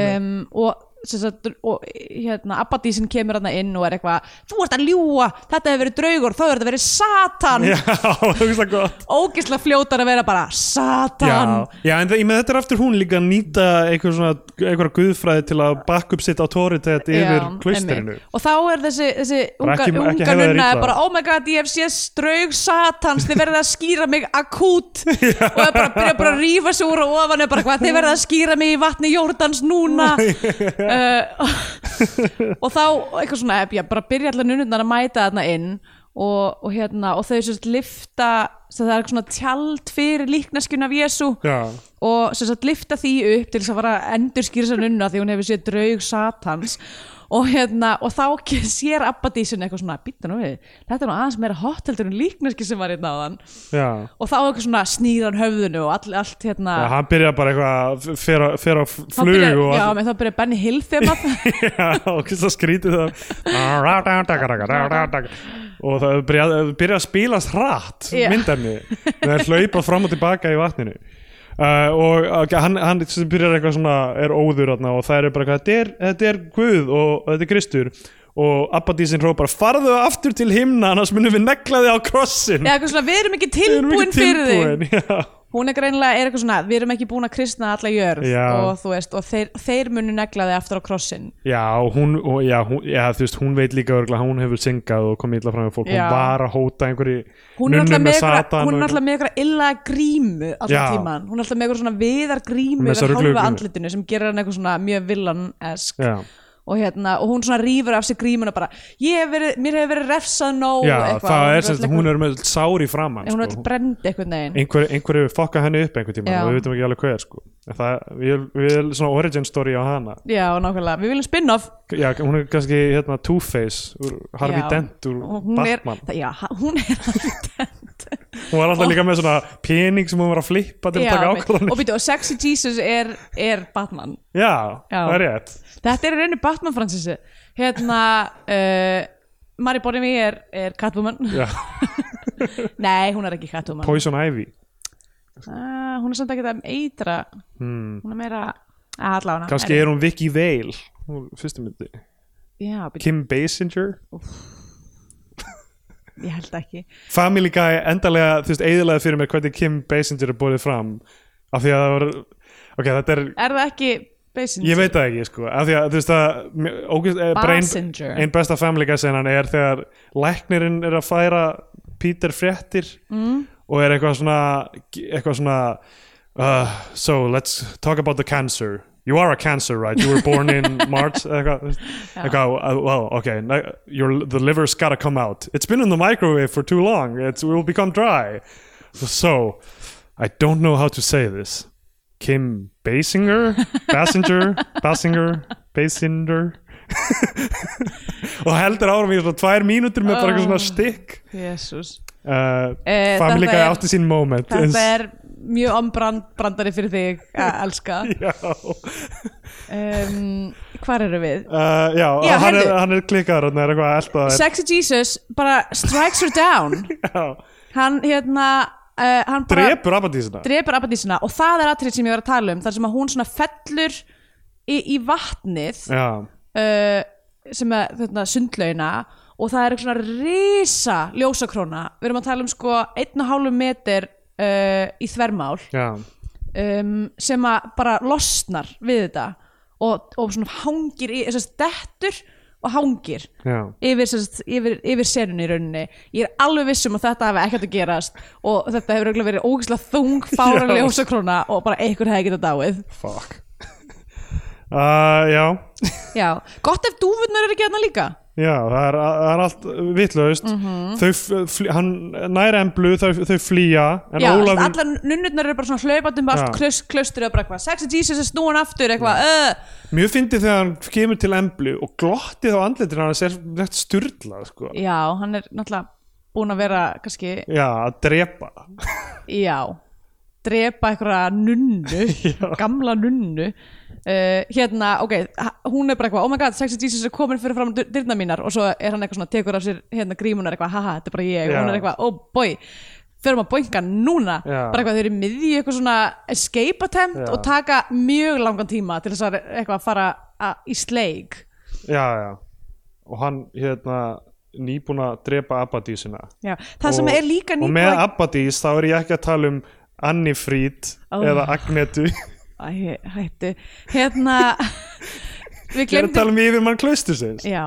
[SPEAKER 2] um, og sem sagt, og hérna, Abbadísin kemur hann inn og er eitthvað þú ert að ljúa, þetta hefur verið draugur þá hefur þetta verið satan
[SPEAKER 3] já, þú veist það gott
[SPEAKER 2] ógislega fljótar að vera bara satan
[SPEAKER 3] Já, já en það, ég með þetta er aftur hún líka að nýta einhver svona, einhverja guðfræði til að bakka upp sitt autoritet yfir
[SPEAKER 2] Já,
[SPEAKER 3] klausterinu
[SPEAKER 2] einmitt. og þá er þessi, þessi
[SPEAKER 3] Bara
[SPEAKER 2] unga,
[SPEAKER 3] ekki- ekki
[SPEAKER 2] unga
[SPEAKER 3] hegða þér
[SPEAKER 2] nunna
[SPEAKER 3] illa.
[SPEAKER 2] er bara oh my god ég hef séð straug satans þið verða að skýra mig akút og er bara að byrja bara að rífa sig úr og ofan er bara hvað þið verða að skýra mig í vatni Jordans núna uh, og þá eitthvað svona ef ég bara byrja allar nunnurnar að mæta þarna inn og, og hérna og þau sérst lifta sem það er eitthvað svona tjald fyrir líkneskjun af Jésu
[SPEAKER 3] Já,
[SPEAKER 2] og sem sagt lifta því upp til þess að fara að endurskýra sér nunna því hún hefur séð draug satans og hérna og þá ke- sér Abbadísin eitthvað svona býta nú við, þetta er nú aðeins meira hot heldur en líkneski sem var hérna á hann
[SPEAKER 3] já
[SPEAKER 2] og þá eitthvað svona snýran höfðinu og all, allt hérna
[SPEAKER 3] Já, hann byrja bara eitthvað að fer á- fer á
[SPEAKER 2] Þá
[SPEAKER 3] flug
[SPEAKER 2] byrjar-
[SPEAKER 3] og
[SPEAKER 2] já, menn þá byrjar Benny Hill þeim að
[SPEAKER 3] Já, og það skrítið það og það byrja, byrja að spilast hratt
[SPEAKER 2] Já.
[SPEAKER 3] myndefni það er hlaupað fram og tilbaka í vatninu uh, og okay, hann, hann sem byrjar eitthvað svona er óður þarna, og það er bara eitthvað, þetta er, þetta er Guð og þetta er Kristur og Abbadísin hrópar farðu aftur til himna annars munum við negla þig á krossin
[SPEAKER 2] eða eitthvað svona, við erum ekki
[SPEAKER 3] Við erum
[SPEAKER 2] tilbúin
[SPEAKER 3] ekki
[SPEAKER 2] fyrir þig
[SPEAKER 3] tilbúin, já.
[SPEAKER 2] hún er greinilega, er eitthvað svona, við erum ekki búin að kristna alla jörð
[SPEAKER 3] Já.
[SPEAKER 2] og þú veist, og þeir, þeir munu negla þig aftur á krossin
[SPEAKER 3] Já, og hún, og, já, hún, já, þú veist, hún veit líka örgulega, hún hefur syngað og komið illa fram með fólk,
[SPEAKER 2] Já.
[SPEAKER 3] hún var að hóta einhverju
[SPEAKER 2] hún er alltaf
[SPEAKER 3] nunnu
[SPEAKER 2] með
[SPEAKER 3] Satan
[SPEAKER 2] eitthvað hún
[SPEAKER 3] og
[SPEAKER 2] er alltaf með eitthvað illa grímu
[SPEAKER 3] Já.
[SPEAKER 2] alltaf tíman, hún er alltaf með eitthvað svona viðar grímu
[SPEAKER 3] Með þessa
[SPEAKER 2] yfir
[SPEAKER 3] ruglugrímu.
[SPEAKER 2] hálfa andlitinu sem gerir hann eitthvað svona mjög villanesk
[SPEAKER 3] Já,
[SPEAKER 2] og hérna, og hún svona rýfur af sér grímuna bara, ég hef verið, mér hefur verið refsað nóg
[SPEAKER 3] já
[SPEAKER 2] eitthvað,
[SPEAKER 3] það
[SPEAKER 2] hún
[SPEAKER 3] er sérst,
[SPEAKER 2] öll
[SPEAKER 3] hún
[SPEAKER 2] eitthvað-
[SPEAKER 3] er með sári framann,
[SPEAKER 2] hún
[SPEAKER 3] sko,
[SPEAKER 2] er alltaf brend eitthvað negin
[SPEAKER 3] einhver, einhver hefur fokkað henni upp einhver tíma
[SPEAKER 2] Já.
[SPEAKER 3] og við veitum ekki alveg hver, sko, en það, við, við erum svona origin story á hana,
[SPEAKER 2] já, nákvæmlega, við viljum spin-off
[SPEAKER 3] já, hún er kannski, hérna, Two-Face, úr Harvey
[SPEAKER 2] Já.
[SPEAKER 3] Dent, úr
[SPEAKER 2] Og hún er,
[SPEAKER 3] Batman,
[SPEAKER 2] það- já, hún er
[SPEAKER 3] hún var alltaf líka með svona pening sem hún var að flippa til
[SPEAKER 2] já,
[SPEAKER 3] að taka
[SPEAKER 2] einmitt.
[SPEAKER 3] ákvörðanir,
[SPEAKER 2] og býtu, og Sexy Jesus er, er Batman
[SPEAKER 3] já,
[SPEAKER 2] Já.
[SPEAKER 3] það er rétt,
[SPEAKER 2] Þetta er í rauninu Batman fransisi Hérna uh, Mari Bornemi er, er Catwoman
[SPEAKER 3] Já.
[SPEAKER 2] Nei, hún er ekki Catwoman
[SPEAKER 3] Poison Ivy,
[SPEAKER 2] ah, Hún er samt ekki það eitra
[SPEAKER 3] hmm.
[SPEAKER 2] Hún er meira að alla hana
[SPEAKER 3] kannski er hún Vicky Vale, hún fyrstu myndi,
[SPEAKER 2] Já, byrju,
[SPEAKER 3] Kim Basinger
[SPEAKER 2] ég held ekki
[SPEAKER 3] Family Guy endalega, þú veist, eiginlega fyrir mér hvernig Kim Basinger er borðið fram af því að það var, ok, þetta er
[SPEAKER 2] Er það ekki Basinger?
[SPEAKER 3] ég veit það ekki, sko, af því að þú veist að, mér- ógeðs- eh, bara ein,
[SPEAKER 2] Basinger
[SPEAKER 3] ein besta Family Guy senan er þegar læknirinn er að færa Peter fréttir mm. og er eitthvað svona eitthvað svona uh, so let's talk about the cancer You are a cancer, right? You were born in March eitthvað, þú veist. eitthvað uh, well, okay now your, the liver's gotta come out It's been in the microwave for too long It will become dry So, I don't know how to say this Kim Basinger Basinger Basinger Basinger og heldur árum í svona tvær mínútur með bara eitthvað svona stikk
[SPEAKER 2] Jésús
[SPEAKER 3] uh,
[SPEAKER 2] Ah. Eh,
[SPEAKER 3] Family
[SPEAKER 2] þetta
[SPEAKER 3] Guy
[SPEAKER 2] er-
[SPEAKER 3] átti sín moment
[SPEAKER 2] Þetta er mjög ombrand brandari fyrir þig að elska
[SPEAKER 3] Já,
[SPEAKER 2] um, Hvar eru við?
[SPEAKER 3] uh, já,
[SPEAKER 2] Já,
[SPEAKER 3] hann, er,
[SPEAKER 2] heyrðu.
[SPEAKER 3] hann er klikkar hann er eitthvað að elta þær.
[SPEAKER 2] Sexy Jesus bara strikes her down
[SPEAKER 3] Já,
[SPEAKER 2] Hann hérna uh, hann bara,
[SPEAKER 3] drepur abadísina
[SPEAKER 2] drepur Abadísina og það er atrið sem ég var að tala um þar sem að hún svona fellur í, í vatnið
[SPEAKER 3] Já,
[SPEAKER 2] uh, sem er þetta sundlauna og það er eitthvað svona risa ljósakróna, við erum að tala um sko 1,5 meter uh, í þvermál
[SPEAKER 3] já,
[SPEAKER 2] um, sem að bara losnar við þetta og, og svona hangir í, þess að dettur og hangir
[SPEAKER 3] já
[SPEAKER 2] yfir, sérst, yfir, yfir senunni í rauninni ég er alveg viss um að þetta hefði ekkert að gerast og þetta hefur örugglega verið ógeðslega þung fáran
[SPEAKER 3] Já.
[SPEAKER 2] ljósakrona og bara einhver hefði getað dáið
[SPEAKER 3] Fuck Eh, uh, Já,
[SPEAKER 2] já, gott ef dúfurnar eru ekki hérna líka
[SPEAKER 3] Já, það er, það er allt vitlaust mm
[SPEAKER 2] Mhm.
[SPEAKER 3] -hmm. hann næra emblu, þau, þau flýja en
[SPEAKER 2] Já,
[SPEAKER 3] Ólafur
[SPEAKER 2] allar nunnurnar eru bara svona hlaupandi um
[SPEAKER 3] Já.
[SPEAKER 2] allt klaus, klaustrið og bara eitthvað Sex and Jesus er snúin aftur eitthvað uh,
[SPEAKER 3] mjög fyndi þegar hann kemur til emblu og glottið á andlitur hann er rétt styrla sko.
[SPEAKER 2] Já, hann er náttúrulega búin að vera kannski,
[SPEAKER 3] Já, að drepa
[SPEAKER 2] já drepa einhverja nunnu gamla nunnu uh, hérna, ok, h- hún er bara eitthvað oh my god, Sex and Jesus er komin fyrir fram dyrna mínar og svo er hann eitthvað svona, tekur af sér hérna grímunar eitthvað, haha, þetta er bara ég, og
[SPEAKER 3] Já.
[SPEAKER 2] hún er eitthvað oh boy, þurfum að boinka núna
[SPEAKER 3] Já.
[SPEAKER 2] bara eitthvað, þau eru í miðju eitthvað svona escape attempt
[SPEAKER 3] Já.
[SPEAKER 2] og taka mjög langan tíma til þess að eitthvað fara a, í sleik
[SPEAKER 3] Já, já og hann hérna nýbúin að drepa Abadísina
[SPEAKER 2] já. það sem er líka
[SPEAKER 3] og
[SPEAKER 2] nýbúið
[SPEAKER 3] með Abadís þá er ég ekki að tala um Annifrít
[SPEAKER 2] Ó.
[SPEAKER 3] eða Agnetu
[SPEAKER 2] Æ, hættu, hérna við
[SPEAKER 3] ég er að
[SPEAKER 2] glemdum
[SPEAKER 3] tala um yfirmann klaustusins
[SPEAKER 2] Já,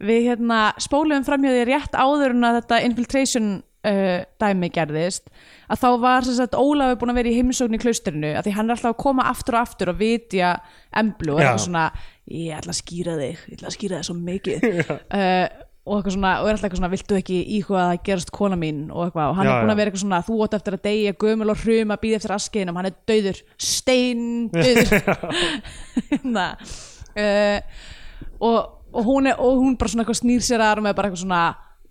[SPEAKER 2] við hérna spóluðum framhjóði rétt áður en að þetta infiltration uh, dæmi gerðist að þá var sem sagt Ólafur búin að vera í heimsókn í klaustrinu að því hann er alltaf að koma aftur og aftur og vitja emblu og
[SPEAKER 3] Já.
[SPEAKER 2] eitthvað svona ég ætla að skýra þig, ég ætla að skýra þig svo mikið uh, og eitthvað svona og er alltaf eitthvað svona, viltu ekki íhuga að gerast kona mín og eitthvað og hann
[SPEAKER 3] Já,
[SPEAKER 2] er búin
[SPEAKER 3] já.
[SPEAKER 2] að vera eitthvað svona, þú átt eftir að deyja gömul og hruma, býð eftir askiðinum, hann er döður stein hérna uh, og, og, hún er, og hún bara svona eitthvað snýr sér aðra með bara eitthvað svona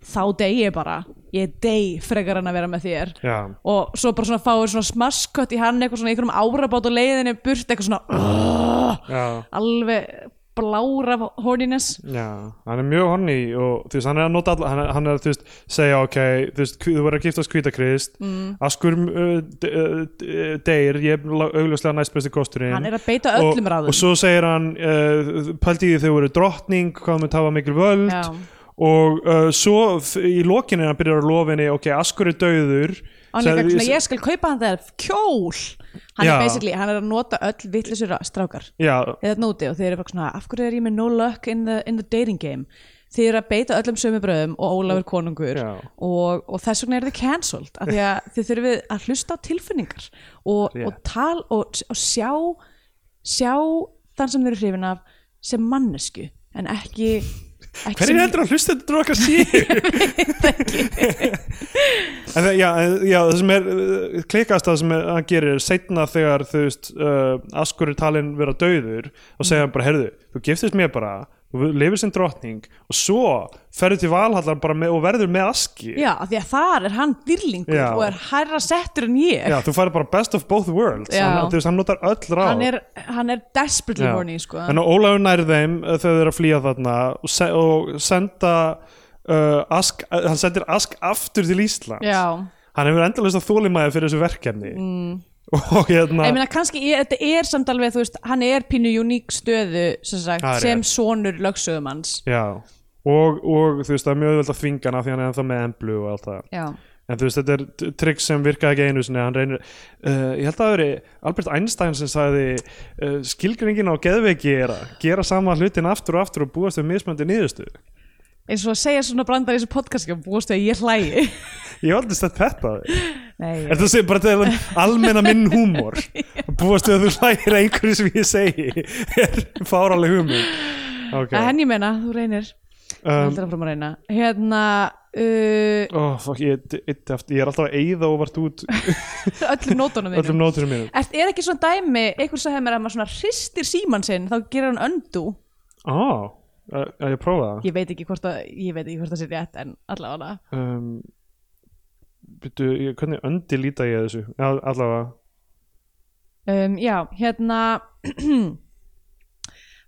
[SPEAKER 2] þá dey ég bara, ég dey frekar en að vera með þér
[SPEAKER 3] Já.
[SPEAKER 2] og svo bara svona fáið svona smaskött í hann eitthvað svona í einhverjum árabát og leiðinni burt eitthvað svona "Ugh",
[SPEAKER 3] Já.
[SPEAKER 2] alveg blára horniness
[SPEAKER 3] Já, hann er mjög honni og þú veist, hann er að nota allar, hann, er- hann er að þú veist, segja ok, þú veist, hví- þú verður að giftast kvítakrist, mm. askur uh, d- uh, d- deyr, ég er lá- augljóslega næst besti kosturinn.
[SPEAKER 2] Hann er að beita öllum
[SPEAKER 3] og,
[SPEAKER 2] ráðum.
[SPEAKER 3] Og svo segir hann, uh, pældi í því þau voru drottning, hvað með tafa mikil völd
[SPEAKER 2] Já.
[SPEAKER 3] og uh, svo f- í lokinu hann byrjar að lofinni, ok, askur er dauður.
[SPEAKER 2] og hann er
[SPEAKER 3] sagði-
[SPEAKER 2] eitthvað svona, ég skal kaupa hann þegar kjól hann
[SPEAKER 3] Já.
[SPEAKER 2] er basically, hann er að nota öll vittlisur strákar
[SPEAKER 3] Já,
[SPEAKER 2] eða nóti og þeir eru bara svona af hverju er ég með no luck in the, in the dating game þeir eru að beita öllum sömu bröðum og Ólafur konungur
[SPEAKER 3] Já.
[SPEAKER 2] og, og þess vegna eru þið cancelled af því að þið þurfið að hlusta á tilfinningar og, og tal og, og sjá sjá þann sem þau eru hrifin af sem mannesku en ekki, ekki
[SPEAKER 3] Hverjir heldur að hlusta þetta okkar síður? en það, já, en- já, það sem er uh, klikast það sem er, hann gerir setna þegar þú veist uh, Askur er talin vera dauður og
[SPEAKER 2] Mm.
[SPEAKER 3] segja hann bara, herðu, þú giftist mér bara þú lifir sem drottning og svo ferðu til Valhallar bara með, og verður með Aski
[SPEAKER 2] já, af því að þar er hann dýrlingur
[SPEAKER 3] Já.
[SPEAKER 2] og er hærra settur en ég
[SPEAKER 3] Já, þú færi bara best of both worlds
[SPEAKER 2] Já.
[SPEAKER 3] hann, þú veist, hann notar öll ráð
[SPEAKER 2] hann, er, hann er desperately
[SPEAKER 3] Já.
[SPEAKER 2] horny sko.
[SPEAKER 3] en Ólafur nærði þeim uh, þegar þau eru að flýja þarna og, se og senda uh, ask, uh, hann sendir ask aftur til Íslands
[SPEAKER 2] já
[SPEAKER 3] hann hefur endalist að þólimæði fyrir þessu verkefni mm. og hérna
[SPEAKER 2] ég meina kannski, ég, þetta er samt alveg þú veist, hann er pínu uník stöðu sem, sagt,
[SPEAKER 3] Það er
[SPEAKER 2] sem
[SPEAKER 3] rétt.
[SPEAKER 2] sonur lögsögumanns
[SPEAKER 3] já, og, og þú veist það er mjög öðvöld að þvinga hann af því hann er ennþá með emblu og allt það
[SPEAKER 2] já,
[SPEAKER 3] en þú veist þetta er t- trikk sem virkaði ekki einu sinni hann reynir, uh, ég held að það veri Albert Einstein sem sagði uh, skilgringin á geðveiki er að gera sama hlutin aftur og aftur og búast við mismöndi nýðustu
[SPEAKER 2] eins og að segja svona brandar í þessu podcasti og búast við að ég hlægi
[SPEAKER 3] ég hef aldrei stætt þetta
[SPEAKER 2] Nei,
[SPEAKER 3] er það segir bara til almenna minn húmor búast við að þú hlægir einhverju sem ég segi er fáraleg húmor ok
[SPEAKER 2] að henni meina, þú reynir um,
[SPEAKER 3] um,
[SPEAKER 2] heldur að fram að reyna hérna, uh,
[SPEAKER 3] Oh, fuck, ég, ég, ég er alltaf að eyða og vart út
[SPEAKER 2] öllum nótunum
[SPEAKER 3] öllum
[SPEAKER 2] þínum
[SPEAKER 3] nóturum mínum
[SPEAKER 2] Er, er ekki svona dæmi, einhver sagði mér að maður svona hristir síman sinn, þá gerir hann öndu
[SPEAKER 3] Á, að að ég prófa það
[SPEAKER 2] ég veit ekki hvort að, ég veit ekki hvort að sér rétt en allavega
[SPEAKER 3] um, byrju, ég, Hvernig öndi líta ég þessu? Já, allavega
[SPEAKER 2] um, já, hérna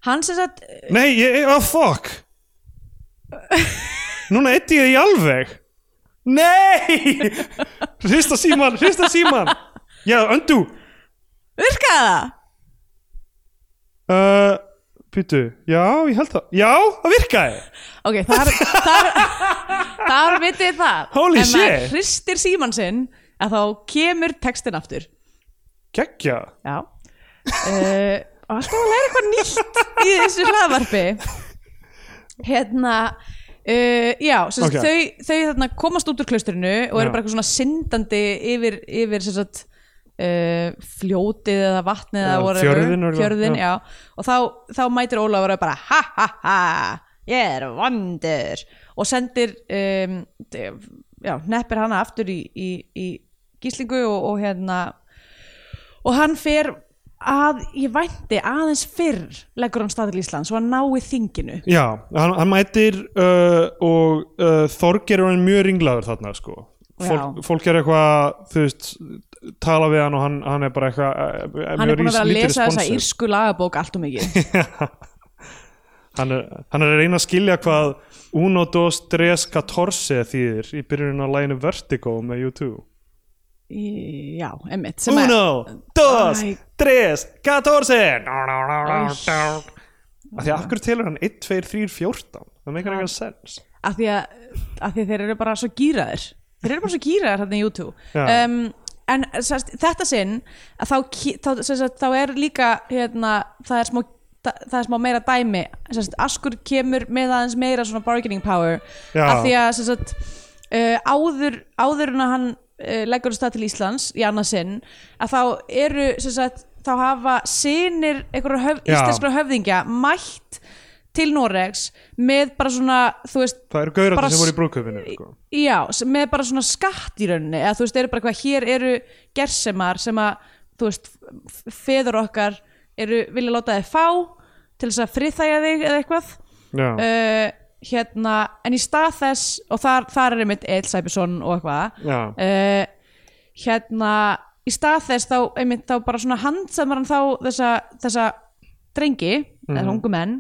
[SPEAKER 2] hann sem sagt uh,
[SPEAKER 3] Nei, ég, oh fuck Núna eitti ég því alveg Nei Hrista síman, hrista síman Já, öndu
[SPEAKER 2] virkaði það
[SPEAKER 3] uh, Býtu, já, ég held það Já, það virkaði
[SPEAKER 2] Ok, þar, þar, þar vitið þið það
[SPEAKER 3] Holy
[SPEAKER 2] Ef maður
[SPEAKER 3] shit.
[SPEAKER 2] hristir síman sinn að þá kemur textin aftur
[SPEAKER 3] Gekkja
[SPEAKER 2] Já uh, Og alltaf að læra eitthvað nýtt í þessu hlaðvarpi Hérna uh, Já, sem sagt,
[SPEAKER 3] Ok.
[SPEAKER 2] þau, þau þarna komast út úr klausturinu og
[SPEAKER 3] Já.
[SPEAKER 2] eru bara eitthvað svona syndandi yfir, yfir sem sagt Uh, fljótið eða vatnið eða
[SPEAKER 3] Já,
[SPEAKER 2] whatever,
[SPEAKER 3] fjörðinn örugglega,
[SPEAKER 2] fjörðin já. og þá, þá mætir Ólafur að bara ha ha ha ég er vandur og sendir um, d- já, neppir hana aftur í, í, í gíslingu og, og hérna og hann fer að ég vænti aðeins fyrr leggur hann staðil Íslands og hann nái þinginu
[SPEAKER 3] Já, hann, hann mætir uh, og uh, Þorger er hann mjög ringlaður þarna sko. Fólk,
[SPEAKER 2] Já.
[SPEAKER 3] fólk er eitthvað, þú veist tala við hann og hann, hann er bara eitthvað eh, eh,
[SPEAKER 2] hann
[SPEAKER 3] mjög
[SPEAKER 2] er búin að vera að
[SPEAKER 3] lítið
[SPEAKER 2] lesa þessa
[SPEAKER 3] responsive.
[SPEAKER 2] írsku lagabók allt og mikið
[SPEAKER 3] hann er, hann er að reyna að skilja hvað Uno, dos, tres, catorce þýðir í byrjunum á læginu Vertigo með U2
[SPEAKER 2] Í- já, emmitt
[SPEAKER 3] Uno, dos,
[SPEAKER 2] Æ.
[SPEAKER 3] tres, catorce Ná, ná, ná, ná, ná Af Því að akkur telur hann 1, 2, 3, 14 Það meikar eitthvað sens
[SPEAKER 2] af því að, að því að þeir eru bara svo gýraðir þeir eru bara svo gýraðir hérna í YouTube
[SPEAKER 3] Já.
[SPEAKER 2] um, en sest, þetta sinn að þá, ki- þá, sest, þá er líka hérna, það er smá það það er smá meira dæmi sest, Askur kemur með aðeins meira svona bargaining power
[SPEAKER 3] Já.
[SPEAKER 2] af því að sest, uh, áður, áður en að hann uh, leggur af stað til Íslands í annað sinn að þá eru sest, þá hafa sinir einhverja höf,
[SPEAKER 3] Já.
[SPEAKER 2] íslenskra höfðingja mætt til Noregs með bara svona, þú veist
[SPEAKER 3] Það eru gaurandi
[SPEAKER 2] Bara
[SPEAKER 3] sem voru
[SPEAKER 2] s-
[SPEAKER 3] í brúðkaupinu sko.
[SPEAKER 2] Já, sem- með bara svona skatt í rauninni eða þú veist, eru bara eitthvað, hér eru gersemar sem að, þú veist f- feður okkar eru vilja láta þig fá til þess að friðþæja þig eða eitthvað
[SPEAKER 3] Já.
[SPEAKER 2] uh, hérna, en í stað þess og þar, þar er einmitt Eil Sæbjörnsson og eitthvað
[SPEAKER 3] Já.
[SPEAKER 2] uh, hérna, í stað þess þá einmitt þá bara svona handsamar hann þá þessa, þessa drengi
[SPEAKER 3] Mhm.
[SPEAKER 2] eða ungu menn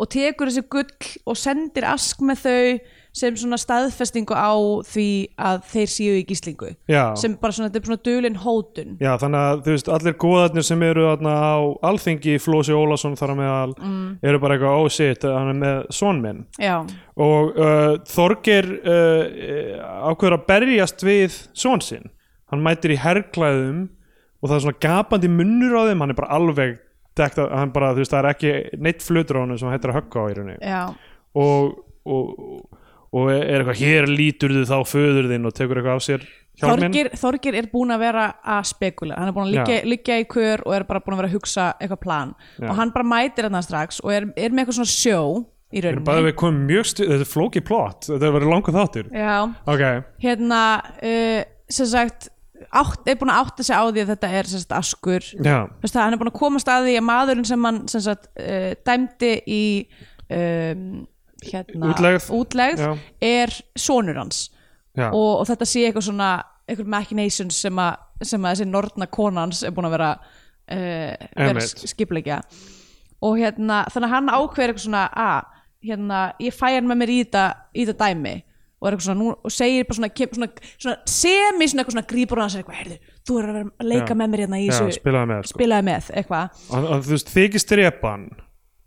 [SPEAKER 2] og tekur þessi gull og sendir ask með þau sem svona staðfestingu á því að þeir séu í gíslingu
[SPEAKER 3] Já.
[SPEAKER 2] sem bara svona, þetta er svona dulin hótun
[SPEAKER 3] Já, þannig að þú veist, allir góðarnir sem eru þarna á alþingi, Flósi Ólafsson þar á meðal,
[SPEAKER 2] Mm.
[SPEAKER 3] eru bara eitthvað, oh shit, hann er með son minn.
[SPEAKER 2] Já,
[SPEAKER 3] Og uh, Þorger uh, eh, ákveður að berjast við son sinn. Hann mætir í herrklæðum og það er svona gapandi munnur á þeim, hann er bara alveg dekt að, hann bara, þú veist, það er ekki neitt flutur á hann sem hann hættir að högga á í rauninni.
[SPEAKER 2] já,
[SPEAKER 3] Og, og, og er eitthvað, hér lítur þú þá föður þinn og tekur eitthvað af sér hjálminn.
[SPEAKER 2] Þorgir, Þorgir er búin að vera að spekula hann er búin að liggja,
[SPEAKER 3] Já.
[SPEAKER 2] liggja í kör og er bara búin að vera að hugsa eitthvað plan
[SPEAKER 3] Já.
[SPEAKER 2] og hann bara mætir þarna strax og er, er með eitthvað svona sjó í
[SPEAKER 3] Við erum bæðið
[SPEAKER 2] rauninni
[SPEAKER 3] við komum mjög stuð, þetta er flóki plott, þetta er verið langur þáttur.
[SPEAKER 2] Já,
[SPEAKER 3] Ok,
[SPEAKER 2] hérna uh, sem sagt, átt, er búin að átta sig á því að þetta er sem sagt askur
[SPEAKER 3] já,
[SPEAKER 2] Þú veist það, hann er búin að komast að því að maðurinn sem hann sem sagt, uh, dæmdi í um, hérna,
[SPEAKER 3] Útlegð.
[SPEAKER 2] útlegð
[SPEAKER 3] Já.
[SPEAKER 2] er sonur hans
[SPEAKER 3] já,
[SPEAKER 2] og, og þetta sé eitthvað svona eitthvað machinations sem, a, sem að þessi nortna konans er búin að vera, uh, vera
[SPEAKER 3] Einmitt.
[SPEAKER 2] skipleikja og hérna, þannig að hann ákveður eitthvað svona að, hérna, ég fæ hann með mér í þetta, í þetta dæmi og er eitthvað svona, nú, og segir bara svona, kem, svona, svona semi svona eitthvað svona grípur á hann og segir eitthvað, heyrðu, þú er að vera að leika
[SPEAKER 3] Já.
[SPEAKER 2] með mér hérna í
[SPEAKER 3] já,
[SPEAKER 2] þessu
[SPEAKER 3] spilaði með sko.
[SPEAKER 2] spilaði með eitthvað
[SPEAKER 3] hann, hann, Þú veist, þykist drepa hann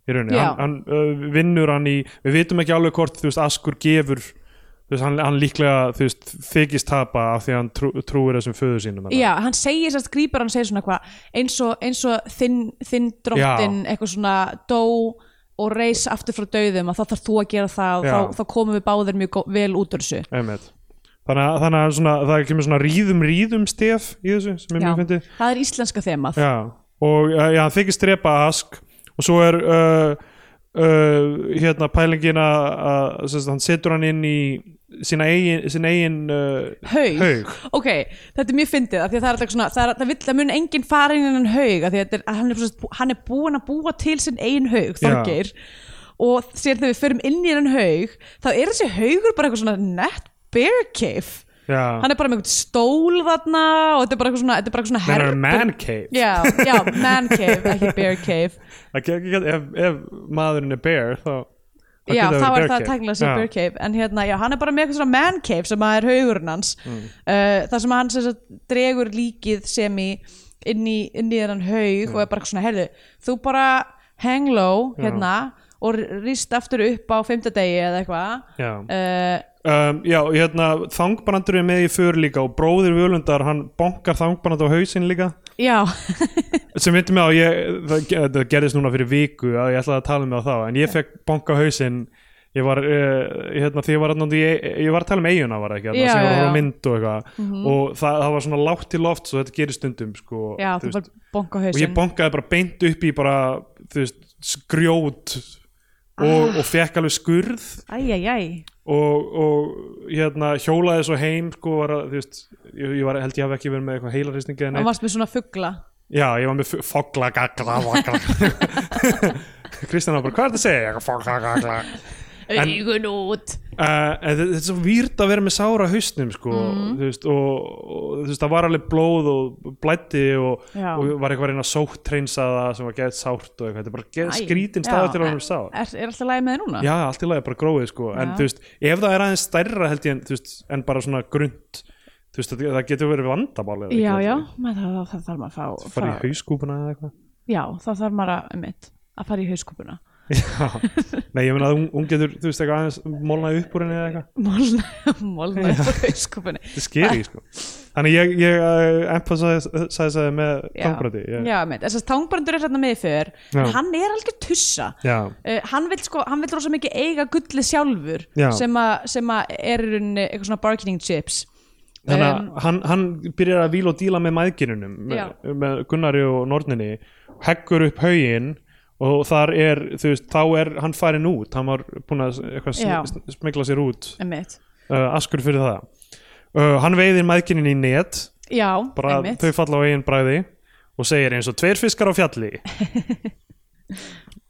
[SPEAKER 3] í rauninni,
[SPEAKER 2] Já.
[SPEAKER 3] hann, hann uh, vinnur hann í, við vitum ekki alveg hvort, þú veist, Askur gefur, þú veist, hann, hann líklega, þú veist, þykist tapa af því að hann trú, trúir þessum föður sínum.
[SPEAKER 2] já, hann segir sérst grípar hann segir svona eitthvað eins og, eins og þinn, þinn drottin eitthvað svona dó og reis aftur frá dauðum að þá þarf þú að gera það
[SPEAKER 3] Já.
[SPEAKER 2] og þá, þá komum við báðir mjög gó- vel út úr þessu
[SPEAKER 3] Einmitt. Þannig að, þannig að svona, það kemur svona ríðum ríðum stef í þessu sem er
[SPEAKER 2] já,
[SPEAKER 3] mjög fyndið.
[SPEAKER 2] það er íslenska þemað
[SPEAKER 3] Já, og uh, já, hann þykist drepa Ask og svo er uh, uh, hérna pælingin að að- sem sagt, hann setur hann inn í sína eigin, sína eigin uh,
[SPEAKER 2] haug.
[SPEAKER 3] Haug.
[SPEAKER 2] ok, þetta er mjög fyndið af því að það er alltaf svona, það, er, það, vill, það mun engin fara inn innan haug af því að þetta er, að hann, er, svona- hann er búin að búa til sinn eigin haug, Þorgeir og sér þegar við förum inn í innan haug þá er þessi haugur bara eitthvað svona net bear cave
[SPEAKER 3] já,
[SPEAKER 2] hann er bara með einhvern stól þarna og þetta er bara eitthvað svona, þetta er bara eitthvað svona
[SPEAKER 3] hann er
[SPEAKER 2] herber-
[SPEAKER 3] man cave
[SPEAKER 2] Já, já, man cave, ekki bear cave
[SPEAKER 3] Það get- get- ef, ef maðurinn er bear þá
[SPEAKER 2] Já,
[SPEAKER 3] getur
[SPEAKER 2] þá er
[SPEAKER 3] verið bear
[SPEAKER 2] það
[SPEAKER 3] cave.
[SPEAKER 2] tæknilega sem
[SPEAKER 3] Já.
[SPEAKER 2] bear cave En hérna, já, hann er bara með eitthvað svona man cave sem að er haugurinn hans mm. Það sem að hann sem sagt, dregur líkið sem í inn í, inn í þennan haug
[SPEAKER 3] Mm.
[SPEAKER 2] og er bara eitthvað svona, heyrðu, þú bara hang low, hérna og rýst aftur upp á fimmtudegi eða eitthvað
[SPEAKER 3] Já.
[SPEAKER 2] uh,
[SPEAKER 3] Um, já, hérna, þangbrandur er með í för líka og bróðir Völundar, hann bonkar þangbrandur á hausinn líka
[SPEAKER 2] Já,
[SPEAKER 3] sem myndir mig á, ég, það, það gerðist núna fyrir viku að ég ætlaði að tala um það þá en ég fekk banka á hausinn ég var, uh, hérna, því ég var þarna úti í- ég var að tala um eiguna var það ekki,
[SPEAKER 2] Já,
[SPEAKER 3] þarna, sem ég var
[SPEAKER 2] já,
[SPEAKER 3] að horfa á
[SPEAKER 2] já. Mhm.
[SPEAKER 3] mynd og eitthvað og það, það var svona lágt í loft svo þetta gerir stundum sko,
[SPEAKER 2] já,
[SPEAKER 3] þú
[SPEAKER 2] þú
[SPEAKER 3] veist,
[SPEAKER 2] bara bonka
[SPEAKER 3] og ég
[SPEAKER 2] hausinn
[SPEAKER 3] bankaði bara beint upp í bara, þú veist, skrjót og, og fekk alveg skurð
[SPEAKER 2] Æjæjæj
[SPEAKER 3] og, og hérna hjólaði svo heim sko var að, þú veist, ég, ég var, held ég hafi ekki verið með eitthvað heilaristningi eða
[SPEAKER 2] Það
[SPEAKER 3] neitt
[SPEAKER 2] varst með svona fuggla
[SPEAKER 3] já, ég var með f- fogla gagla vagla Kristján var bara, hvað er þetta að segja? Ég, fogla gagla
[SPEAKER 2] Augun út
[SPEAKER 3] Uh, en þe- þetta er svo výrt að vera með sára hausnum sko,
[SPEAKER 2] Mhm.
[SPEAKER 3] þú veist, og, og þú veist, það var alveg blóð og blætti og,
[SPEAKER 2] Já.
[SPEAKER 3] og var eitthvað að reyna sóttreynsaða sem var geðt sárt og eitthvað, þetta er bara geð
[SPEAKER 2] Æ,
[SPEAKER 3] skrítin
[SPEAKER 2] já.
[SPEAKER 3] staða til að vera með sár.
[SPEAKER 2] Er, er alltaf lægi með þér núna?
[SPEAKER 3] Já, allt í lagi bara gróið sko, en
[SPEAKER 2] Já.
[SPEAKER 3] þú veist, ef það er aðeins stærra held ég en, þú veist, en bara svona grunt, þú veist, það það getur verið vandamál eða
[SPEAKER 2] já,
[SPEAKER 3] ekki,
[SPEAKER 2] já,
[SPEAKER 3] þú veist,
[SPEAKER 2] maður það, það, það þarf maður að fá,
[SPEAKER 3] Fara í
[SPEAKER 2] fá
[SPEAKER 3] hauskúpuna eða eitthvað
[SPEAKER 2] Já, það þarf maður að, einmitt, að fara í hauskúpuna
[SPEAKER 3] Já, nei ég meina að hún, hún getur, þú veist, eitthvað aðeins molnaði upp úr henni eða eitthvað
[SPEAKER 2] Mólna, mólna upp á hauskúpunni
[SPEAKER 3] Þetta er skeri sko Þannig ég, ég uh, emphasize með
[SPEAKER 2] Já.
[SPEAKER 3] tangbræti ég-
[SPEAKER 2] Já, einmitt, þess að tangbrandur er hérna með fyrr
[SPEAKER 3] Já.
[SPEAKER 2] Hann er algjör tussa
[SPEAKER 3] Já.
[SPEAKER 2] Uh, hann vil sko, hann vil rosa mikið eiga gullið sjálfur
[SPEAKER 3] Já.
[SPEAKER 2] sem að- sem að er í rauninni eitthvað svona bargaining chips
[SPEAKER 3] Þannig að
[SPEAKER 2] Um,
[SPEAKER 3] hann, hann byrjar að víla og díla með mæðginunum
[SPEAKER 2] Já.
[SPEAKER 3] með, með Gunnari og Norninni heggur upp haugin og þar er, þú veist, þá er hann farin út, hann var búin að eitthvað
[SPEAKER 2] Já.
[SPEAKER 3] sm- sm- smygla sér út
[SPEAKER 2] einmitt.
[SPEAKER 3] uh, askur fyrir það uh, Hann veiðir mæðginin í net
[SPEAKER 2] Já,
[SPEAKER 3] bara
[SPEAKER 2] einmitt
[SPEAKER 3] þau falla á eigin bræði og segir eins og tveir fiskar á fjalli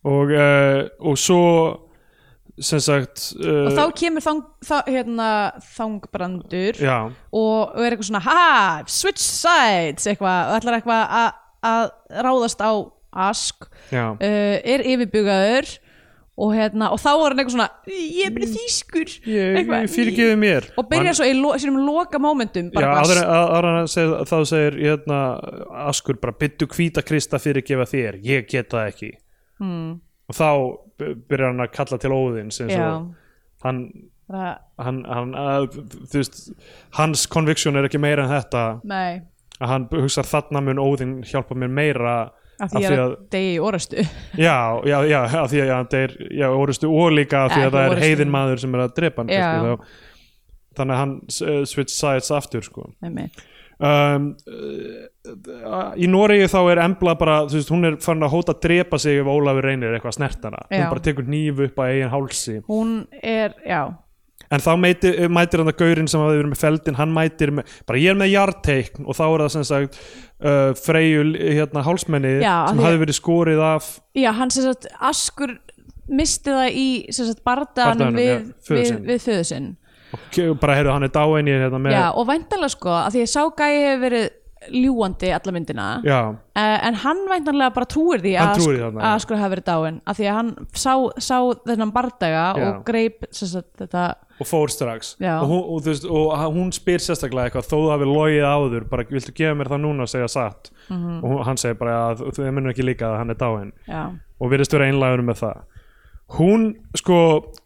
[SPEAKER 3] og uh, og svo sem sagt uh,
[SPEAKER 2] og þá kemur þang, þá, hérna, þangbrandur
[SPEAKER 3] já,
[SPEAKER 2] og, og er eitthvað svona ha, switch sides eitthvað, og ætlar eitthvað að- að ráðast á ask
[SPEAKER 3] já,
[SPEAKER 2] uh, er yfirbugaður og, hérna, og þá er hann eitthvað svona ég er bara þýskur
[SPEAKER 3] Mm. ég, ég fyrirgefið mér
[SPEAKER 2] og byrjar svo í lo, sínum loka momentum
[SPEAKER 3] Já,
[SPEAKER 2] bara eitthvað
[SPEAKER 3] aðra, aðra að segja, þá segir hérna, Askur bara byttu hvíta krista fyrir að gefa þér, ég get það ekki mm.
[SPEAKER 2] Hmm.
[SPEAKER 3] og þá by- byrjar hann að kalla til óðins eins
[SPEAKER 2] Já.
[SPEAKER 3] og hann,
[SPEAKER 2] bara-
[SPEAKER 3] hann, hann að, þú veist, hans conviction er ekki meira en þetta
[SPEAKER 2] nei,
[SPEAKER 3] að hann hugsa þarna mun óðinn hjálpa mér meira
[SPEAKER 2] af því ég er að degi í orastu
[SPEAKER 3] já, já, já, af því að það er já, orustu og líka af því
[SPEAKER 2] Já,
[SPEAKER 3] að það er
[SPEAKER 2] orustu.
[SPEAKER 3] heiðin maður sem er að drepa hann
[SPEAKER 2] Já.
[SPEAKER 3] kannski, þá, þannig að hann uh, switch sides aftur sko
[SPEAKER 2] einmitt
[SPEAKER 3] um, uh, í Noregi þá er Embla bara, þú veist, hún er farin að hóta að drepa sig ef Ólafur reynir eitthvað snertana
[SPEAKER 2] Já.
[SPEAKER 3] hún bara tekur nýf upp að eigin hálsi
[SPEAKER 2] hún er, já
[SPEAKER 3] en þá mæti, eh, mætir hann að gaurinn sem hafði verið með feldin hann mætir með, bara ég er með jarteikn og þá er það sem sagt uh, freyjul hérna hálsmenni
[SPEAKER 2] Já, af
[SPEAKER 3] sem
[SPEAKER 2] því-
[SPEAKER 3] hafði verið skorið af
[SPEAKER 2] já, hann sem sagt, Askur misti það í sem sagt, bardaðanum
[SPEAKER 3] Bardaganum,
[SPEAKER 2] við,
[SPEAKER 3] já, föður
[SPEAKER 2] við,
[SPEAKER 3] sinn.
[SPEAKER 2] við föðu sinn
[SPEAKER 3] og bara heyrðu hann er dáin ég er hérna með
[SPEAKER 2] já, og væntanlega sko, að því að sá gæi hefur verið ljúandi alla myndina
[SPEAKER 3] já,
[SPEAKER 2] Eh, en hann væntanlega bara trúir því
[SPEAKER 3] Hann
[SPEAKER 2] að, Ask-
[SPEAKER 3] trúir því þarna,
[SPEAKER 2] að
[SPEAKER 3] já.
[SPEAKER 2] Askur hafi verið dáin af því að hann sá, sá þennan bardaga
[SPEAKER 3] Já.
[SPEAKER 2] og greip sem sagt, þetta
[SPEAKER 3] og fór strax
[SPEAKER 2] Já.
[SPEAKER 3] og, hún, og, þú veist, og h- hún spyr sérstaklega eitthvað þó þú hafi logið áður, bara viltu gefa mér það núna og segja satt
[SPEAKER 2] Mhm.
[SPEAKER 3] og hún- hann segir bara að þú munir ekki líka að hann er dáin
[SPEAKER 2] já,
[SPEAKER 3] og virðist vera einlægur með það hún, sko,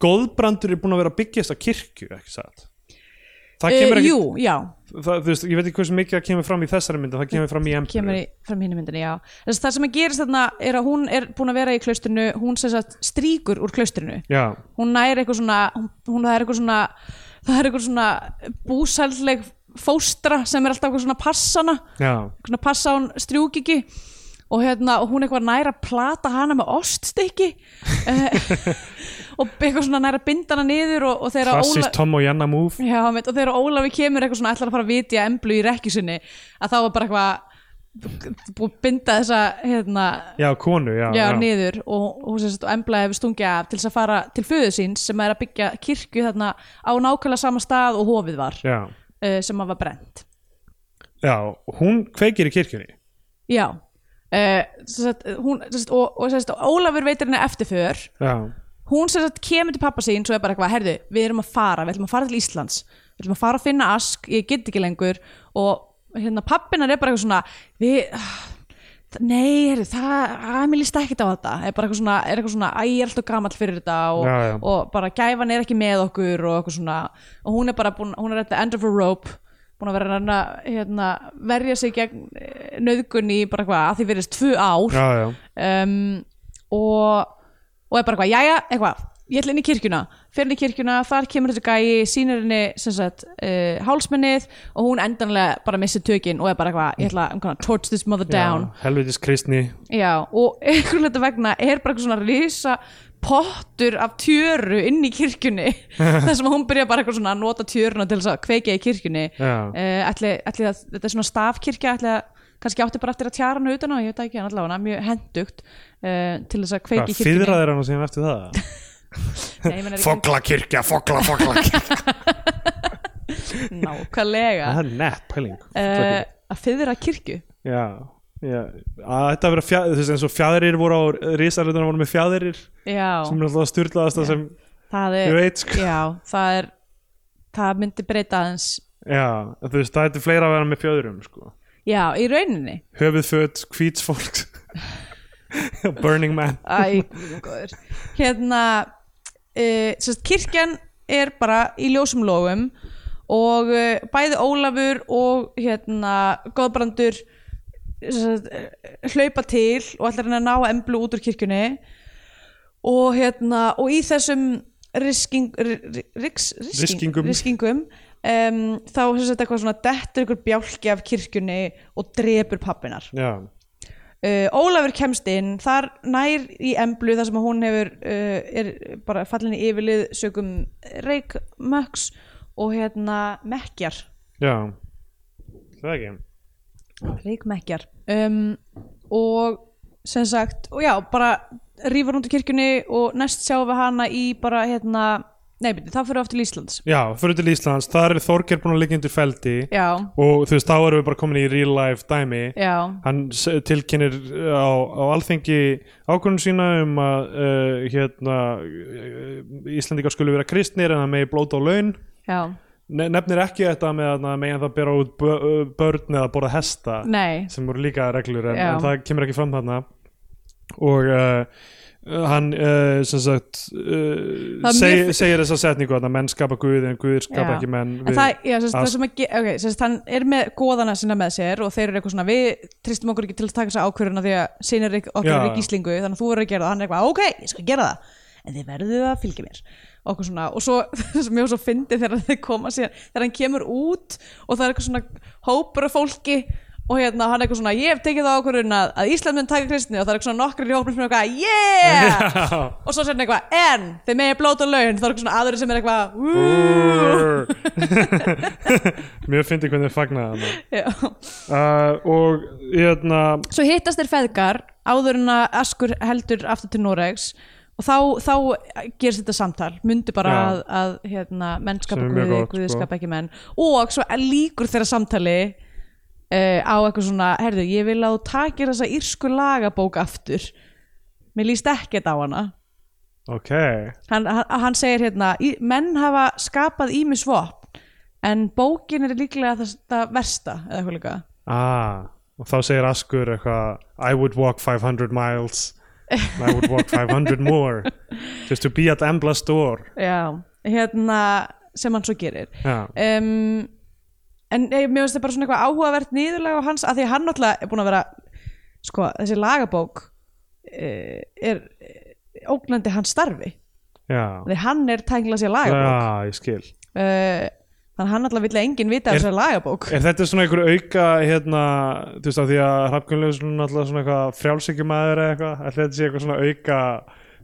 [SPEAKER 3] góðbrandur er búin að vera að byggja þessa kirkju ekki satt það
[SPEAKER 2] Eh,
[SPEAKER 3] kemur ekki
[SPEAKER 2] jú, já
[SPEAKER 3] það, þú veist, ég veit ekki hversu mikið það kemur fram í þessari mynd en það kemur fram í Emperor
[SPEAKER 2] kemur í, fram hinn í myndinni, já Þess, það sem að gerist þarna er að hún er búin að vera í klaustrinu hún sem sagt stríkur úr klaustrinu
[SPEAKER 3] já,
[SPEAKER 2] hún næri eitthvað svona hún, hún það er eitthvað svona það er eitthvað svona búsælleg fóstra sem er alltaf eitthvað svona passana
[SPEAKER 3] já,
[SPEAKER 2] eitthvað svona passa hún strjúk ekki og hérna og hún eitthvað næra að plata hana með oststykki eh, og eitthvað svona næra að binda hana niður og, og þegar
[SPEAKER 3] klassist Tom og Janna move
[SPEAKER 2] Já, mitt, og þegar Ólafi kemur eitthvað svona ætlar að fara að vitja emblu í rekjusinni að þá var bara eitthvað búið að binda þessa hérna, já,
[SPEAKER 3] já, konu, já,
[SPEAKER 2] niður og, og, sem sagt, og embla hefur stungið af til þess að fara til föðu síns sem er að byggja kirkju þarna á nákvæmlega sama stað og hofið var
[SPEAKER 3] já,
[SPEAKER 2] uh, sem að var brent
[SPEAKER 3] já, hún kveikir í kirkjunni
[SPEAKER 2] Já uh, sagt, hún, sem sagt, og, og sem sagt, Ólafur veitir henni eftirför
[SPEAKER 3] já,
[SPEAKER 2] hún sem sagt kemur til pappa sín svo er bara eitthvað, herðu, við erum að fara við ætlum að fara til Íslands, við ætlum að fara að finna ask ég get ekki lengur og hérna pappinar er bara eitthvað svona við, ah, nei, herðu það, að mér líst ekkert á þetta er bara eitthvað svona, er eitthvað svona, æ, ég er alltaf gamall fyrir þetta og,
[SPEAKER 3] Já, já.
[SPEAKER 2] og bara gæfan er ekki með okkur og eitthvað svona og hún er bara búin, hún er at the end of a rope búin að vera að reyna, hérna, verja sig gegn nöðgunni bara eitthvað, að því verðist tvö ár
[SPEAKER 3] já, já,
[SPEAKER 2] um, og, og er bara eitthvað, jæja, eitthvað ég ætla inn í kirkjuna, fer inn í kirkjuna þar kemur þessi gæi, sýnir henni sem sagt, uh, hálsmennið og hún endanlega bara missir tökin og er bara eitthvað ég ætla, I'm gonna torch this mother down
[SPEAKER 3] helvitis kristni
[SPEAKER 2] Já, og einhvern veit vegna er bara eitthvað svona risa pottur af tjöru inn í kirkjunni þar sem hún byrja bara eitthvað svona að nota tjöruna til þess að kveikja í kirkjunni
[SPEAKER 3] Já.
[SPEAKER 2] uh, ætli, ætli að, þetta er svona stafkirkja ætli að kannski átti bara eftir að tjara hana utan á ég veit það ekki hann allavega, mjög hendugt uh, til þess að kveiki
[SPEAKER 3] Hvað, fyrraðir hann síðan eftir það?
[SPEAKER 2] kirkjunni
[SPEAKER 3] Foglakirkja, fogla, fogla
[SPEAKER 2] nákvæmlega
[SPEAKER 3] Það er nett pæling
[SPEAKER 2] uh, að fyrra kirkju
[SPEAKER 3] Já, já að Þetta verið fjæðir, þess að eins og fjæðirir voru á risalutunum voru með fjæðirir sem
[SPEAKER 2] já,
[SPEAKER 3] er alltaf styrlaðast það sem
[SPEAKER 2] það er
[SPEAKER 3] ég veit sko
[SPEAKER 2] já, það er það myndi breyta aðeins
[SPEAKER 3] Já, þú veist, það er fleira að vera með fjöðurum sko
[SPEAKER 2] já, í rauninni
[SPEAKER 3] Höfuðföt, hvíts fólks Burning Man
[SPEAKER 2] Æ, guð minn góður. hérna uh, sérst, kirkjan er bara í ljósum lógum og uh, bæði Ólafur og hérna Góðbrandur sérst, eh, hlaupa til og allir hann að ná emblu út úr kirkjunni og hérna og í þessum risking, ri- ri- riks, risking,
[SPEAKER 3] Riskingum.
[SPEAKER 2] riskingum um, þá sérst, eitthvað svona dettur ykkur bjálki af kirkjunni og drepur pappinar
[SPEAKER 3] Já,
[SPEAKER 2] uh, Ólafur kemst inn þar nær í emblu þar sem að hún hefur uh, er bara fallin í yfirlið sögum reikmöks og hérna mekkjar
[SPEAKER 3] já Það er ekki
[SPEAKER 2] reikmekkjar um, og sem sagt og já bara rífur hún til kirkjunni og næst sjáum við hana í bara hérna nei byrju það fyrir aftur til Íslands
[SPEAKER 3] Já, fyrir til Íslands, þar er Þorger búin að liggja undir feldi
[SPEAKER 2] já
[SPEAKER 3] og þú veist, þá erum við bara komin í real life dæmi
[SPEAKER 2] já
[SPEAKER 3] hann s- tilkynir á, á alþingi ákvörðun sína um að uh, hérna uh, Íslandingar skulle vera kristnir en það megi blóta á laun
[SPEAKER 2] já
[SPEAKER 3] ne nefnir ekki þetta með að megin það bera út bö- ö, börn eða borða hesta
[SPEAKER 2] nei
[SPEAKER 3] sem voru líka reglur en,
[SPEAKER 2] Já.
[SPEAKER 3] en það kemur ekki fram þarna og uh, hann uh, sem sagt uh,
[SPEAKER 2] Það er
[SPEAKER 3] seg,
[SPEAKER 2] mjög-
[SPEAKER 3] segir þessa setningu þarna menn skapa guði en guðir skapa
[SPEAKER 2] Já.
[SPEAKER 3] ekki menn
[SPEAKER 2] En það, já, sérst, það
[SPEAKER 3] allt.
[SPEAKER 2] sem að, ge- ok, sérst, hann er með góðana sína með sér og þeir eru eitthvað svona við tristum okkur ekki til að taka þessa ákvörðuna því að sinir okkur
[SPEAKER 3] Já.
[SPEAKER 2] eru í gíslingu þannig að þú verður að gera það, hann er eitthvað, ok, ég skal gera það en þið verðu að fylgja mér og okkur svona, og svo, sem ég var svo fyndi þegar þeir koma síðan, þegar hann kemur út og það er eitthvað svona hópur af fólki og hérna hann er eitthvað svona, ég hef tekið það ákvörðun að, að Ísland mun taka kristni og það er eitthvað svona nokkur í hópur sem er eitthvað, yeah og svo sér hann eitthvað, en þið megi blóta laun, það er eitthvað svona aðri sem er eitthvað, "Woo."
[SPEAKER 3] mjög fyndi hvernig þið fagnaði þarna
[SPEAKER 2] Já.
[SPEAKER 3] uh, og hérna
[SPEAKER 2] svo hittast þeir feðgar áður en að Askur heldur aftur til Noregs og þá, þá gerst þetta samtal myndi bara
[SPEAKER 3] Já.
[SPEAKER 2] að, að hérna, menn skapa
[SPEAKER 3] Sem er mjög
[SPEAKER 2] guði,
[SPEAKER 3] gott,
[SPEAKER 2] guði
[SPEAKER 3] sko.
[SPEAKER 2] skapa ekki menn og svo líkur þeirra samtali uh, á eitthvað svona herðu, ég vil að þú takir þessa írsku lagabók aftur mér líst ekkert á hana
[SPEAKER 3] ok,
[SPEAKER 2] hann, hann, hann segir hérna "Í- menn hafa skapað ímis vopn en bókin er líklega það, það versta eða eitthvað líka
[SPEAKER 3] ah og þá segir Askur eitthvað I would walk 500 miles and I would walk 500 more just to be at Embla's door
[SPEAKER 2] Já, hérna sem hann svo gerir
[SPEAKER 3] Já.
[SPEAKER 2] um, En nei, mér finnst það bara svona eitthvað áhugavert nýðurlega á hans að því að hann náttúrulega er búin að vera sko, þessi lagabók uh, er eh, ógnandi hans starfi
[SPEAKER 3] já,
[SPEAKER 2] því hann er tæklað sér lagabók
[SPEAKER 3] já, ég skil
[SPEAKER 2] uh, þannig að hann náttúrulega vill að enginn vita af
[SPEAKER 3] Ah. Er-
[SPEAKER 2] sér lagabók
[SPEAKER 3] Er þetta svona einhver auka hérna, þú veist að því að Hrafnkunnlausun alltaf svona eitthvað frjálsíkjumæður eða eitthvað, ætli þetta sé eitthvað svona auka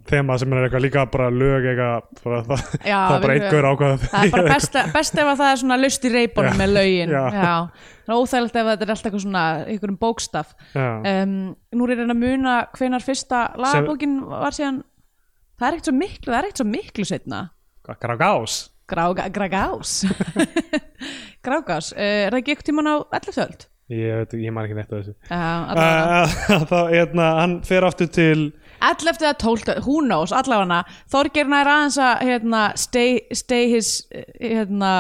[SPEAKER 3] þema sem er eitthvað líka bara lög eitthvað, bara, það,
[SPEAKER 2] Já,
[SPEAKER 3] það er bara
[SPEAKER 2] við-
[SPEAKER 3] einhver ákvað
[SPEAKER 2] Það er bara best, best ef að það er svona löst í reipunum
[SPEAKER 3] Já,
[SPEAKER 2] með lögin
[SPEAKER 3] já.
[SPEAKER 2] Það er óþægilegt ef þetta er alltaf eitthvað svona einhverjum bókstaf
[SPEAKER 3] Já,
[SPEAKER 2] um, Nú er ég að reyna að muna hvenar fyrsta lagabókin var síðan Það er ekkert svo miklu, það er ekkert svo miklu setna
[SPEAKER 3] hvað Grágás
[SPEAKER 2] Grágás Grágás, uh, er það ekki eitthvað tíman á 11. öld?
[SPEAKER 3] Ég veit, ég man ekki neitt af þessu
[SPEAKER 2] Já, allavega
[SPEAKER 3] Uh, Þá, hérna, hann fer aftur til
[SPEAKER 2] 11. eða 12. who knows, allavega Þorgerna er aðeins að hérna, stay, stay his eh, hérna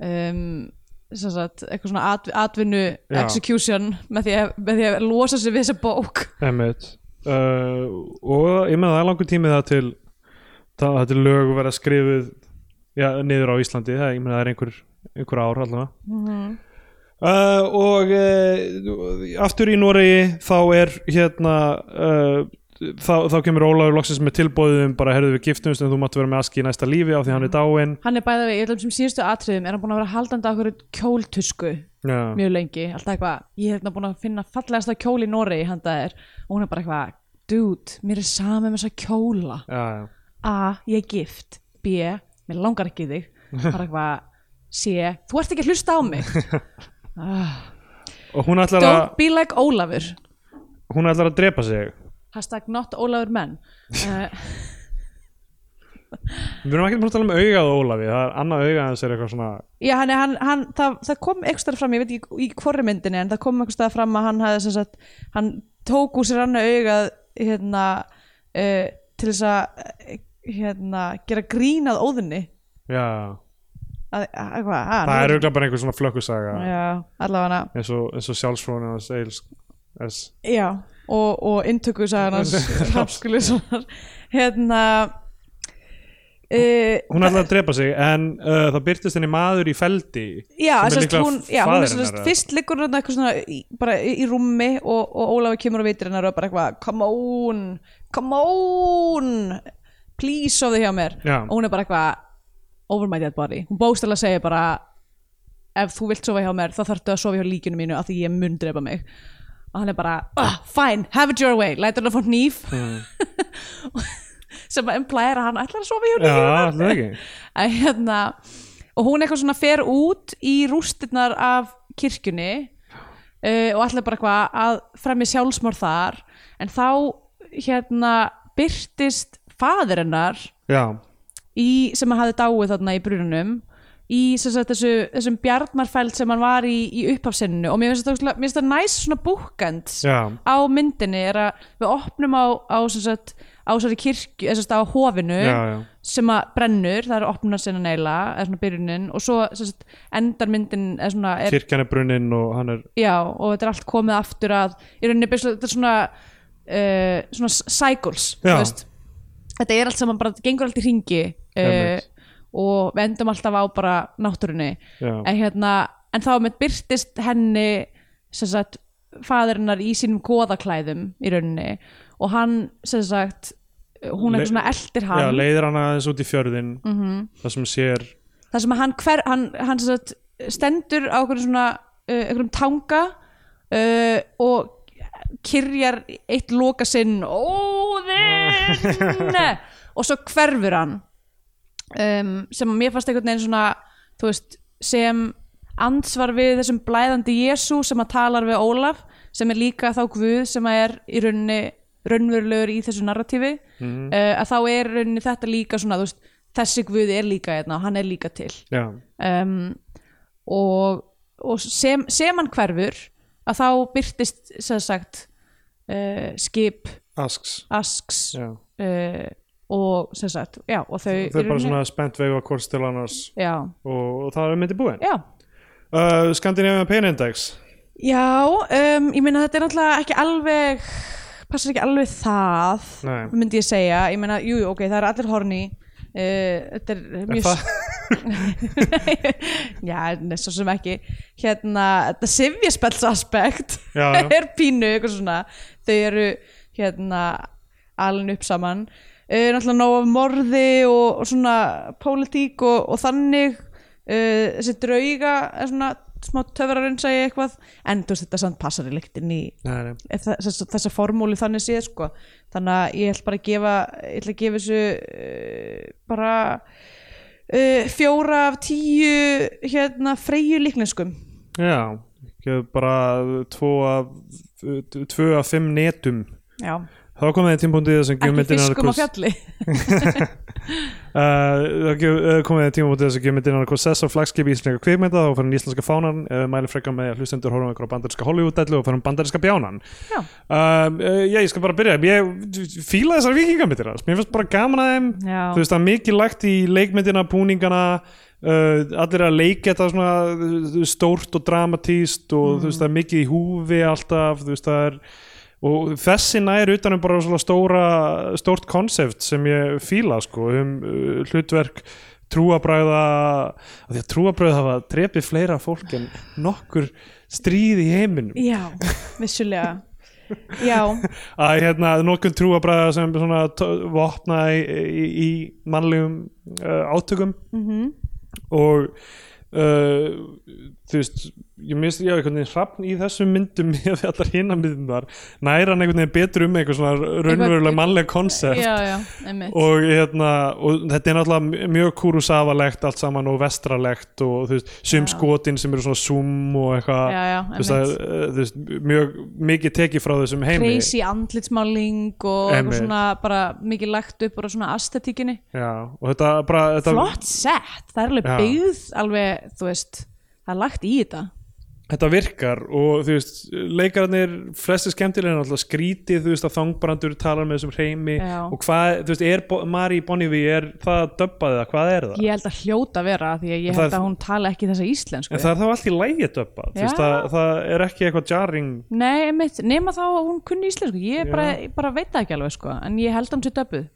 [SPEAKER 2] um, sem sagt, eitthvað svona atv atvinnu
[SPEAKER 3] Já.
[SPEAKER 2] execution með því, að, með því að losa sig við þessa bók
[SPEAKER 3] Emmett uh, og ég meina það er langur tími það til það það til lög verða skrifuð já, niður á Íslandi það, ég meina það er einhver, einhver ár allavega uh, og uh, aftur í Noregi þá er hérna uh, þá, þá kemur Ólafur loksins með tilbóðum bara herðu við giftumst en þú mátt vera með Aski í næsta lífi á því hann er dáinn
[SPEAKER 2] Hann er bæðið við, ég ætlum sem síðustu atriðum er hann búin að vera haldandi á okkur kjóltusku
[SPEAKER 3] Já.
[SPEAKER 2] mjög lengi, alltaf eitthvað ég er hérna búin að finna fallegasta kjól í Noregi handa þér og hún er bara eitthvað dude, mér er sama með þessa kjóla
[SPEAKER 3] já, já.
[SPEAKER 2] A, ég er gift B, mér langar ekki í þig bara eitthvað C, þú ert ekki að hlusta á mig Ah,
[SPEAKER 3] og hún ætlar,
[SPEAKER 2] Don't
[SPEAKER 3] að,
[SPEAKER 2] be like Ólafur
[SPEAKER 3] hún ætlar að drepa sig
[SPEAKER 2] Hashtag not Ólafur menn uh,
[SPEAKER 3] við erum ekki að tala um augað á Ólafi það er annað augað hans er eitthvað svona
[SPEAKER 2] Já, hann, hann, hann, það, það kom eitthvað stær fram, ég veit ekki í hvorri myndinni en það kom eitthvað stær fram að hann hafði sem sagt, hann tók úr sér annað augað hérna uh, til þess að eh, hérna, gera grínað óðinni
[SPEAKER 3] já, já.
[SPEAKER 2] að, að, hvað, að,
[SPEAKER 3] það er auðvitað bara einhver svona flökkusaga
[SPEAKER 2] Já, allavega
[SPEAKER 3] eins og, eins og sjálfsfrónu hans eils S.
[SPEAKER 2] Já, og, og inntöku sagði hann Rapskulissonar hérna uh,
[SPEAKER 3] hún ætlar að drepa sig en uh, það byrtist henni maður í feldi
[SPEAKER 2] Já, sérst,
[SPEAKER 3] sem er líklega
[SPEAKER 2] hún, já, hún
[SPEAKER 3] faðir
[SPEAKER 2] er sérst,
[SPEAKER 3] hennar,
[SPEAKER 2] fyrst liggur hún eitthvað svona í, bara í í rúmi og, og Ólafur kemur og veitir hennar og bara eitthvað come on, come on please sofðu hjá mér
[SPEAKER 3] Já.
[SPEAKER 2] og hún er bara eitthvað over my dead body, hún bóstala segir bara ef þú vilt sofa hjá mér þá þarftu að sofa hjá líkinu mínu af því ég mun drepa mig og hann er bara, oh, fine, have it your way lætur hann að fá nýf
[SPEAKER 3] Mm.
[SPEAKER 2] sem að implæra hann ætlar að sofa hjá
[SPEAKER 3] já,
[SPEAKER 2] líkinu
[SPEAKER 3] það er ekki
[SPEAKER 2] að hérna og hún eitthvað svona fer út í rústirnar af kirkjunni uh, og allir bara eitthvað að fremja sjálfsmór þar en þá hérna byrtist faðirinnar
[SPEAKER 3] já,
[SPEAKER 2] í, sem hann hafði dáið þarna í brununum í sem sagt, þessu, þessum bjarnarfæld sem hann var í, í upphafsinninu og mér finnst þetta ógeðslega- mér finnst þetta næs svona búkend
[SPEAKER 3] já,
[SPEAKER 2] á myndinni er að við opnum á, á sem sagt á þessari kirkju, eða sem sagt á hofinu
[SPEAKER 3] já, já.
[SPEAKER 2] sem að brennur, það er opnað sinna neila eða svona byrjunin og svo sem sagt, endar myndin eða svona er,
[SPEAKER 3] kirkjan er brunnin og hann er
[SPEAKER 2] já, og þetta er allt komið aftur að í rauninni byrjuð, þetta er svona uh, svona s- cycles þú
[SPEAKER 3] Já.
[SPEAKER 2] veist. þetta er allt saman bara, þetta gengur allt í ringi uh,
[SPEAKER 3] Einmitt.
[SPEAKER 2] og við endum alltaf á bara náttúrunni
[SPEAKER 3] Já.
[SPEAKER 2] en hérna, en þá með byrtist henni sem sagt fadirinnar í sínum goðaklæðum í rauninni og hann sem sagt, hún
[SPEAKER 3] Le-
[SPEAKER 2] eitthvað svona eldir hann Mhm.
[SPEAKER 3] já, leiðir hann aðeins út í fjörðin -hmm. það sem sér
[SPEAKER 2] þar sem að hann, hver, hann, hann sem sagt, stendur á einhverjum svona uh, einhverjum tanga uh, og kyrjar eitt loka sinn óðinn og svo hverfur hann um, sem að mér fannst einhvern veginn svona þú veist, sem ansvar við þessum blæðandi Jésu sem að talar við Ólaf sem er líka þá Guð sem að er í rauninni raunverulegur í þessu narratífi uh, að þá er í rauninni þetta líka svona þú veist, þessi Guð er líka hérna og hann er líka til
[SPEAKER 3] já,
[SPEAKER 2] um, og, og sem, sem hann hverfur að þá byrtist sem sagt uh, skip
[SPEAKER 3] asks
[SPEAKER 2] asks
[SPEAKER 3] já.
[SPEAKER 2] uh, og sem sagt já, og þau, hérna.
[SPEAKER 3] þau er bara svona spennt veifa hvort til annars
[SPEAKER 2] já,
[SPEAKER 3] og, og það er myndi búin
[SPEAKER 2] já
[SPEAKER 3] uh, Scandinavian Pain Index
[SPEAKER 2] Já, um, ég meina þetta er náttúrulega ekki alveg passar ekki alveg það
[SPEAKER 3] Nei.
[SPEAKER 2] myndi ég segja, ég meina, jú, jú, ok, það er allir horni uh, þetta er mjög
[SPEAKER 3] það?
[SPEAKER 2] Já, nei, svo sem ekki hérna, þetta sifjaspellsaspekt
[SPEAKER 3] Já, já.
[SPEAKER 2] er pínu, eitthvað svona þau eru, hérna alin upp saman uh, náttúrulega nóg af morði og, og svona pólitík og, og þannig uh, þessi drauga er svona smá töfrarinn segi ég eitthvað en þú veist þetta samt passar í lyktin í
[SPEAKER 3] nei, nei.
[SPEAKER 2] þessa, þessa, þessa formúli þannig séð sko. þannig að ég ætla bara að gefa ég ætla að gefa þessu uh, bara uh, fjóra af tíu hérna freyju líknenskum
[SPEAKER 3] já, ekki bara tvo af tvö af fimm netum
[SPEAKER 2] já,
[SPEAKER 3] þá komið þið tímpúndið þessum
[SPEAKER 2] ekki
[SPEAKER 3] gjömyndin
[SPEAKER 2] fiskum á fjalli
[SPEAKER 3] Uh, það komið að tíma út þessu gjömyndin hann hvað sess á flagskip íslenska kvikmynda þá fyrir íslenska fánan, uh, mæli frekka með að hlustendur horfum ykkur á bandarinska Hollywood-dællu og fyrir bandarinska bjánan
[SPEAKER 2] Já.
[SPEAKER 3] uh, uh, já, ég skal bara byrja ég fíla þessar vikingamyndir hans. mér finnst bara gaman að þeim
[SPEAKER 2] Já.
[SPEAKER 3] þú veist það er mikið lagt í leikmyndina, búningana uh, allir að leika þetta svona uh, stórt og dramatíst og þú veist það er mikið í húfi alltaf þú veist það er og þessi nær utanum bara svona stóra stórt konsept sem ég fíla sko um uh, hlutverk trúabræða af því að trúabræða hafa drepið fleira fólk en nokkur stríð í heiminum
[SPEAKER 2] já, vissulega já,
[SPEAKER 3] að hérna nokkur trúabræða sem svona t- vopna í, í, í mannlegum uh, átökum
[SPEAKER 2] mhm
[SPEAKER 3] og uh, þú veist ég minnst ég á einhvern veginn hrafn í þessum myndum með við allar hinna myndum næra hann einhvern veginn betur um eitthvað svona raunverulega mannlega konsept
[SPEAKER 2] já, já, einmitt
[SPEAKER 3] og, hérna, og þetta er náttúrulega mjög kúrusafalegt allt saman og vestralegt og þú veist, sum skotin sem eru svona zoom og eitthvað
[SPEAKER 2] Já, já,
[SPEAKER 3] þú veist, að,
[SPEAKER 2] einmitt.
[SPEAKER 3] eh, þú veist, mjög mikið tekið frá þessum heimi
[SPEAKER 2] crazy andlitsmáling og eitthvað
[SPEAKER 3] Einmitt.
[SPEAKER 2] svona bara mikið lagt upp bara svona astetíkinni
[SPEAKER 3] já, og þetta bara þetta,
[SPEAKER 2] flott sett, það er alveg
[SPEAKER 3] Já.
[SPEAKER 2] byggð alveg, þú veist, það er lagt í þetta
[SPEAKER 3] þetta virkar og þú veist, leikararnir flesti skemmtilega er náttúrulega skrítið, þú veist, að þangbrandur talar með þessum heimi
[SPEAKER 2] Já.
[SPEAKER 3] og hvað, þú veist, er Bo- Mari Bonnivi er það að döbba það, hvað er það?
[SPEAKER 2] ég held að hljóta vera því að
[SPEAKER 3] En
[SPEAKER 2] ég
[SPEAKER 3] það
[SPEAKER 2] held
[SPEAKER 3] er-
[SPEAKER 2] að hún tala ekki þessa íslensku
[SPEAKER 3] En það er þá allt í lægi döbbað, þú veist,
[SPEAKER 2] Já.
[SPEAKER 3] það, það er ekki eitthvað jarring
[SPEAKER 2] nei, einmitt, nema þá að hún kunni íslensku ég bara, ég bara veit það ekki alveg sko en ég held að hún sér döpuð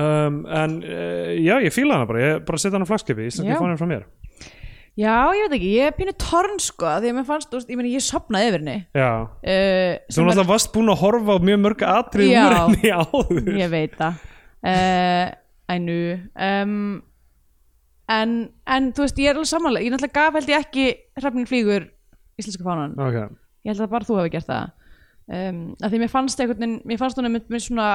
[SPEAKER 3] um, en uh, já, ég fíla hana bara ég bara setja hana á flagskipi, íslenski
[SPEAKER 2] Já.
[SPEAKER 3] fáninn frá mér
[SPEAKER 2] já, ég veit ekki, ég er pínu torn sko af því að mér fannst, þú veist, ég meina ég sopnaði yfir henni
[SPEAKER 3] já,
[SPEAKER 2] uh,
[SPEAKER 3] þú
[SPEAKER 2] sem er-
[SPEAKER 3] náttúrulega varst búin að horfa á mjög mörg atrið
[SPEAKER 2] Já.
[SPEAKER 3] úr henni áður
[SPEAKER 2] ég veit það uh, I knew um, en, en þú veist, ég er alveg samanlega ég náttúrulega gaf held ég ekki hrafnin flýgur íslenska fánan,
[SPEAKER 3] ok,
[SPEAKER 2] ég held að bara þú hafi gert það um, að því mér fannst einhvern veginn, mér fannst hún einmitt, mér svona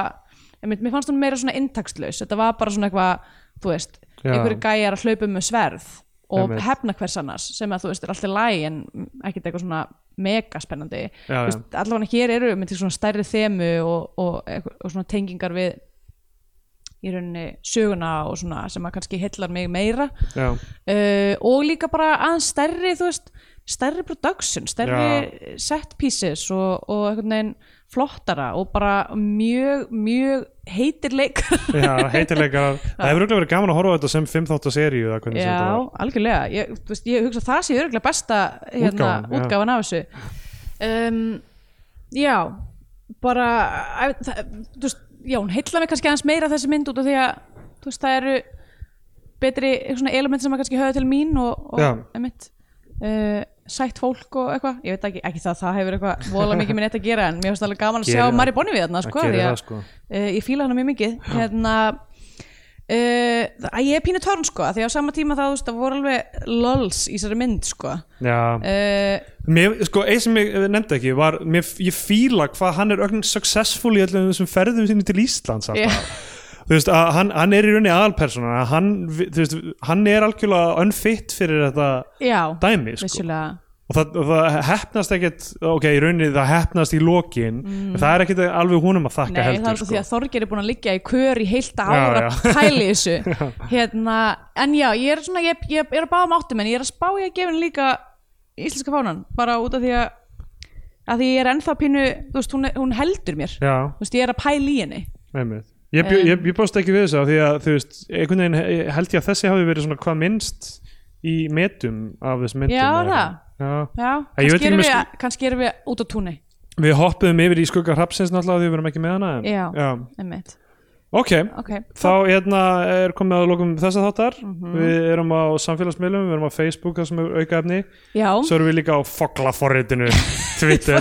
[SPEAKER 2] einmitt, mér fannst hún meira svona intakslaus þetta var bara svona eitthvað, þú veist
[SPEAKER 3] Já.
[SPEAKER 2] einhverju gæjar að hlaupa um með sverð og
[SPEAKER 3] Einmitt.
[SPEAKER 2] hefna hvers annars sem að þú veist er alltaf læg en ekkert eitthvað svona mega spennandi
[SPEAKER 3] Já,
[SPEAKER 2] Þú veist, allavega hér eru myndi svona stærri þemu og, og, eitthvað- og svona tengingar við í rauninni söguna og svona sem að kannski hillar mig meira
[SPEAKER 3] já,
[SPEAKER 2] uh, og líka bara aðeins stærri þú veist, stærri production stærri set pieces og, og einhvern veginn flottara og bara mjög, mjög heitir leikar
[SPEAKER 3] já heitilegar það hefur örugglega verið gaman að horfa á þetta sem 15. seríu eða hvernig sem þetta
[SPEAKER 2] Já,
[SPEAKER 3] var.
[SPEAKER 2] algjörlega ég, þú veist, ég hugsa að það sé örgulega besta hérna,
[SPEAKER 3] Útgáfan, já.
[SPEAKER 2] útgáfan af þessu um, Já bara að, það, þú veist, já, hún heilla mig kannski aðeins meira þessi mynd út af því að þú veist, það eru betri svona element sem að kannski höfða til mín og,
[SPEAKER 3] Já.
[SPEAKER 2] og emitt Uh, sætt fólk og eitthvað ég veit ekki, ekki það, það hefur eitthvað vola mikið minn eitt að gera en mér finnst alveg gaman að
[SPEAKER 3] Gerir
[SPEAKER 2] sjá
[SPEAKER 3] það.
[SPEAKER 2] Mari Bonnevie þarna sko,
[SPEAKER 3] gerir
[SPEAKER 2] því
[SPEAKER 3] það,
[SPEAKER 2] að,
[SPEAKER 3] sko.
[SPEAKER 2] uh, ég fíla hana mjög mikið hérna Uh, ég er pínu torn sko því á sama tíma þá þú veist það voru alveg lols í þessari mynd sko
[SPEAKER 3] já,
[SPEAKER 2] uh,
[SPEAKER 3] mér, sko, eins sem ég nefndi ekki var, mér, ég fíla hvað hann er ögn successful í öllum þessum ferðum sinni til Íslands alltaf þú veist, að hann, hann er í rauninni aðalpersona hann, vi- þú veist, hann er algjörlega unfit fyrir þetta
[SPEAKER 2] já,
[SPEAKER 3] dæmi sko.
[SPEAKER 2] vissulega
[SPEAKER 3] og það, og það hefnast ekkert ok, í rauninni það hefnast í lokin en það er ekkert alveg húnum
[SPEAKER 2] Mm.
[SPEAKER 3] að
[SPEAKER 2] nei
[SPEAKER 3] þakka
[SPEAKER 2] það
[SPEAKER 3] heldur
[SPEAKER 2] er sko. því að Þorger er búin að liggja í kör í heilt ára
[SPEAKER 3] já.
[SPEAKER 2] pæli í þessu hérna, en já, ég er svona ég, ég er að báða máttum en ég er að spá ég að gefa henni líka íslenska fánan bara út af því að að því ég er ennþá pínu, þú veist, hún, er- hún heldur mér
[SPEAKER 3] já,
[SPEAKER 2] þú veist, ég er að pæli í henni
[SPEAKER 3] einmitt ég, bjó, ég, ég bjóst ekki við þessu af því að þú veist, einhvern veginn he- held ég að þessi hafi verið svona hvað minnst í metum af þessum myndum
[SPEAKER 2] Já,
[SPEAKER 3] eða
[SPEAKER 2] það.
[SPEAKER 3] eitthvað. Já.
[SPEAKER 2] já,
[SPEAKER 3] Ég veit
[SPEAKER 2] kannski
[SPEAKER 3] ekki
[SPEAKER 2] erum við,
[SPEAKER 3] með sko-
[SPEAKER 2] kannski erum við út á túnni
[SPEAKER 3] við hoppuðum yfir í skugga hrapsins náttúrulega af því við verum ekki með hana en-
[SPEAKER 2] Já. einmitt,
[SPEAKER 3] ok,
[SPEAKER 2] ok
[SPEAKER 3] þá hérna er komið að lokum þessa þáttar
[SPEAKER 2] Mhm.
[SPEAKER 3] við erum á samfélagsmiðlum, við erum á Facebook þar sem er aukaefni,
[SPEAKER 2] já,
[SPEAKER 3] svo erum við líka á foglaforritinu, Twitter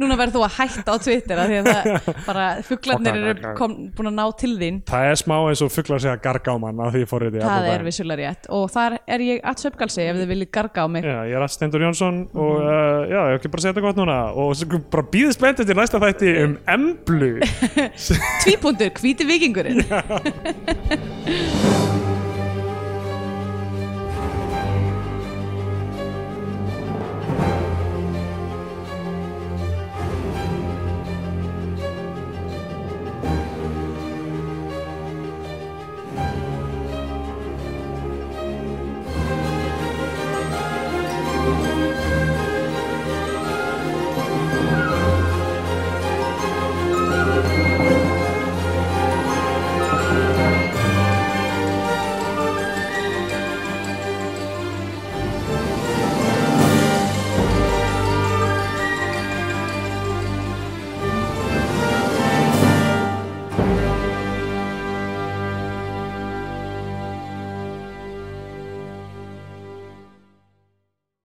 [SPEAKER 2] Núna verður þú að hætta á Twitter af því að það bara fuglarnir eru
[SPEAKER 3] Fuglarnir.
[SPEAKER 2] kom, búin að ná til þín
[SPEAKER 3] Það er smá eins og fugglar segja gargáman að því ég fór þetta
[SPEAKER 2] það er vissulega rétt og þar er ég að söpgalsi ef þið viljið garga á mig
[SPEAKER 3] Já, ég er að Stendur Jónsson og uh, já, ég hef ekki bara að segja þetta gott núna og svo bara býðið spenntið til næsta þætti um emblu
[SPEAKER 2] Tvípundur, hvíti vikingurinn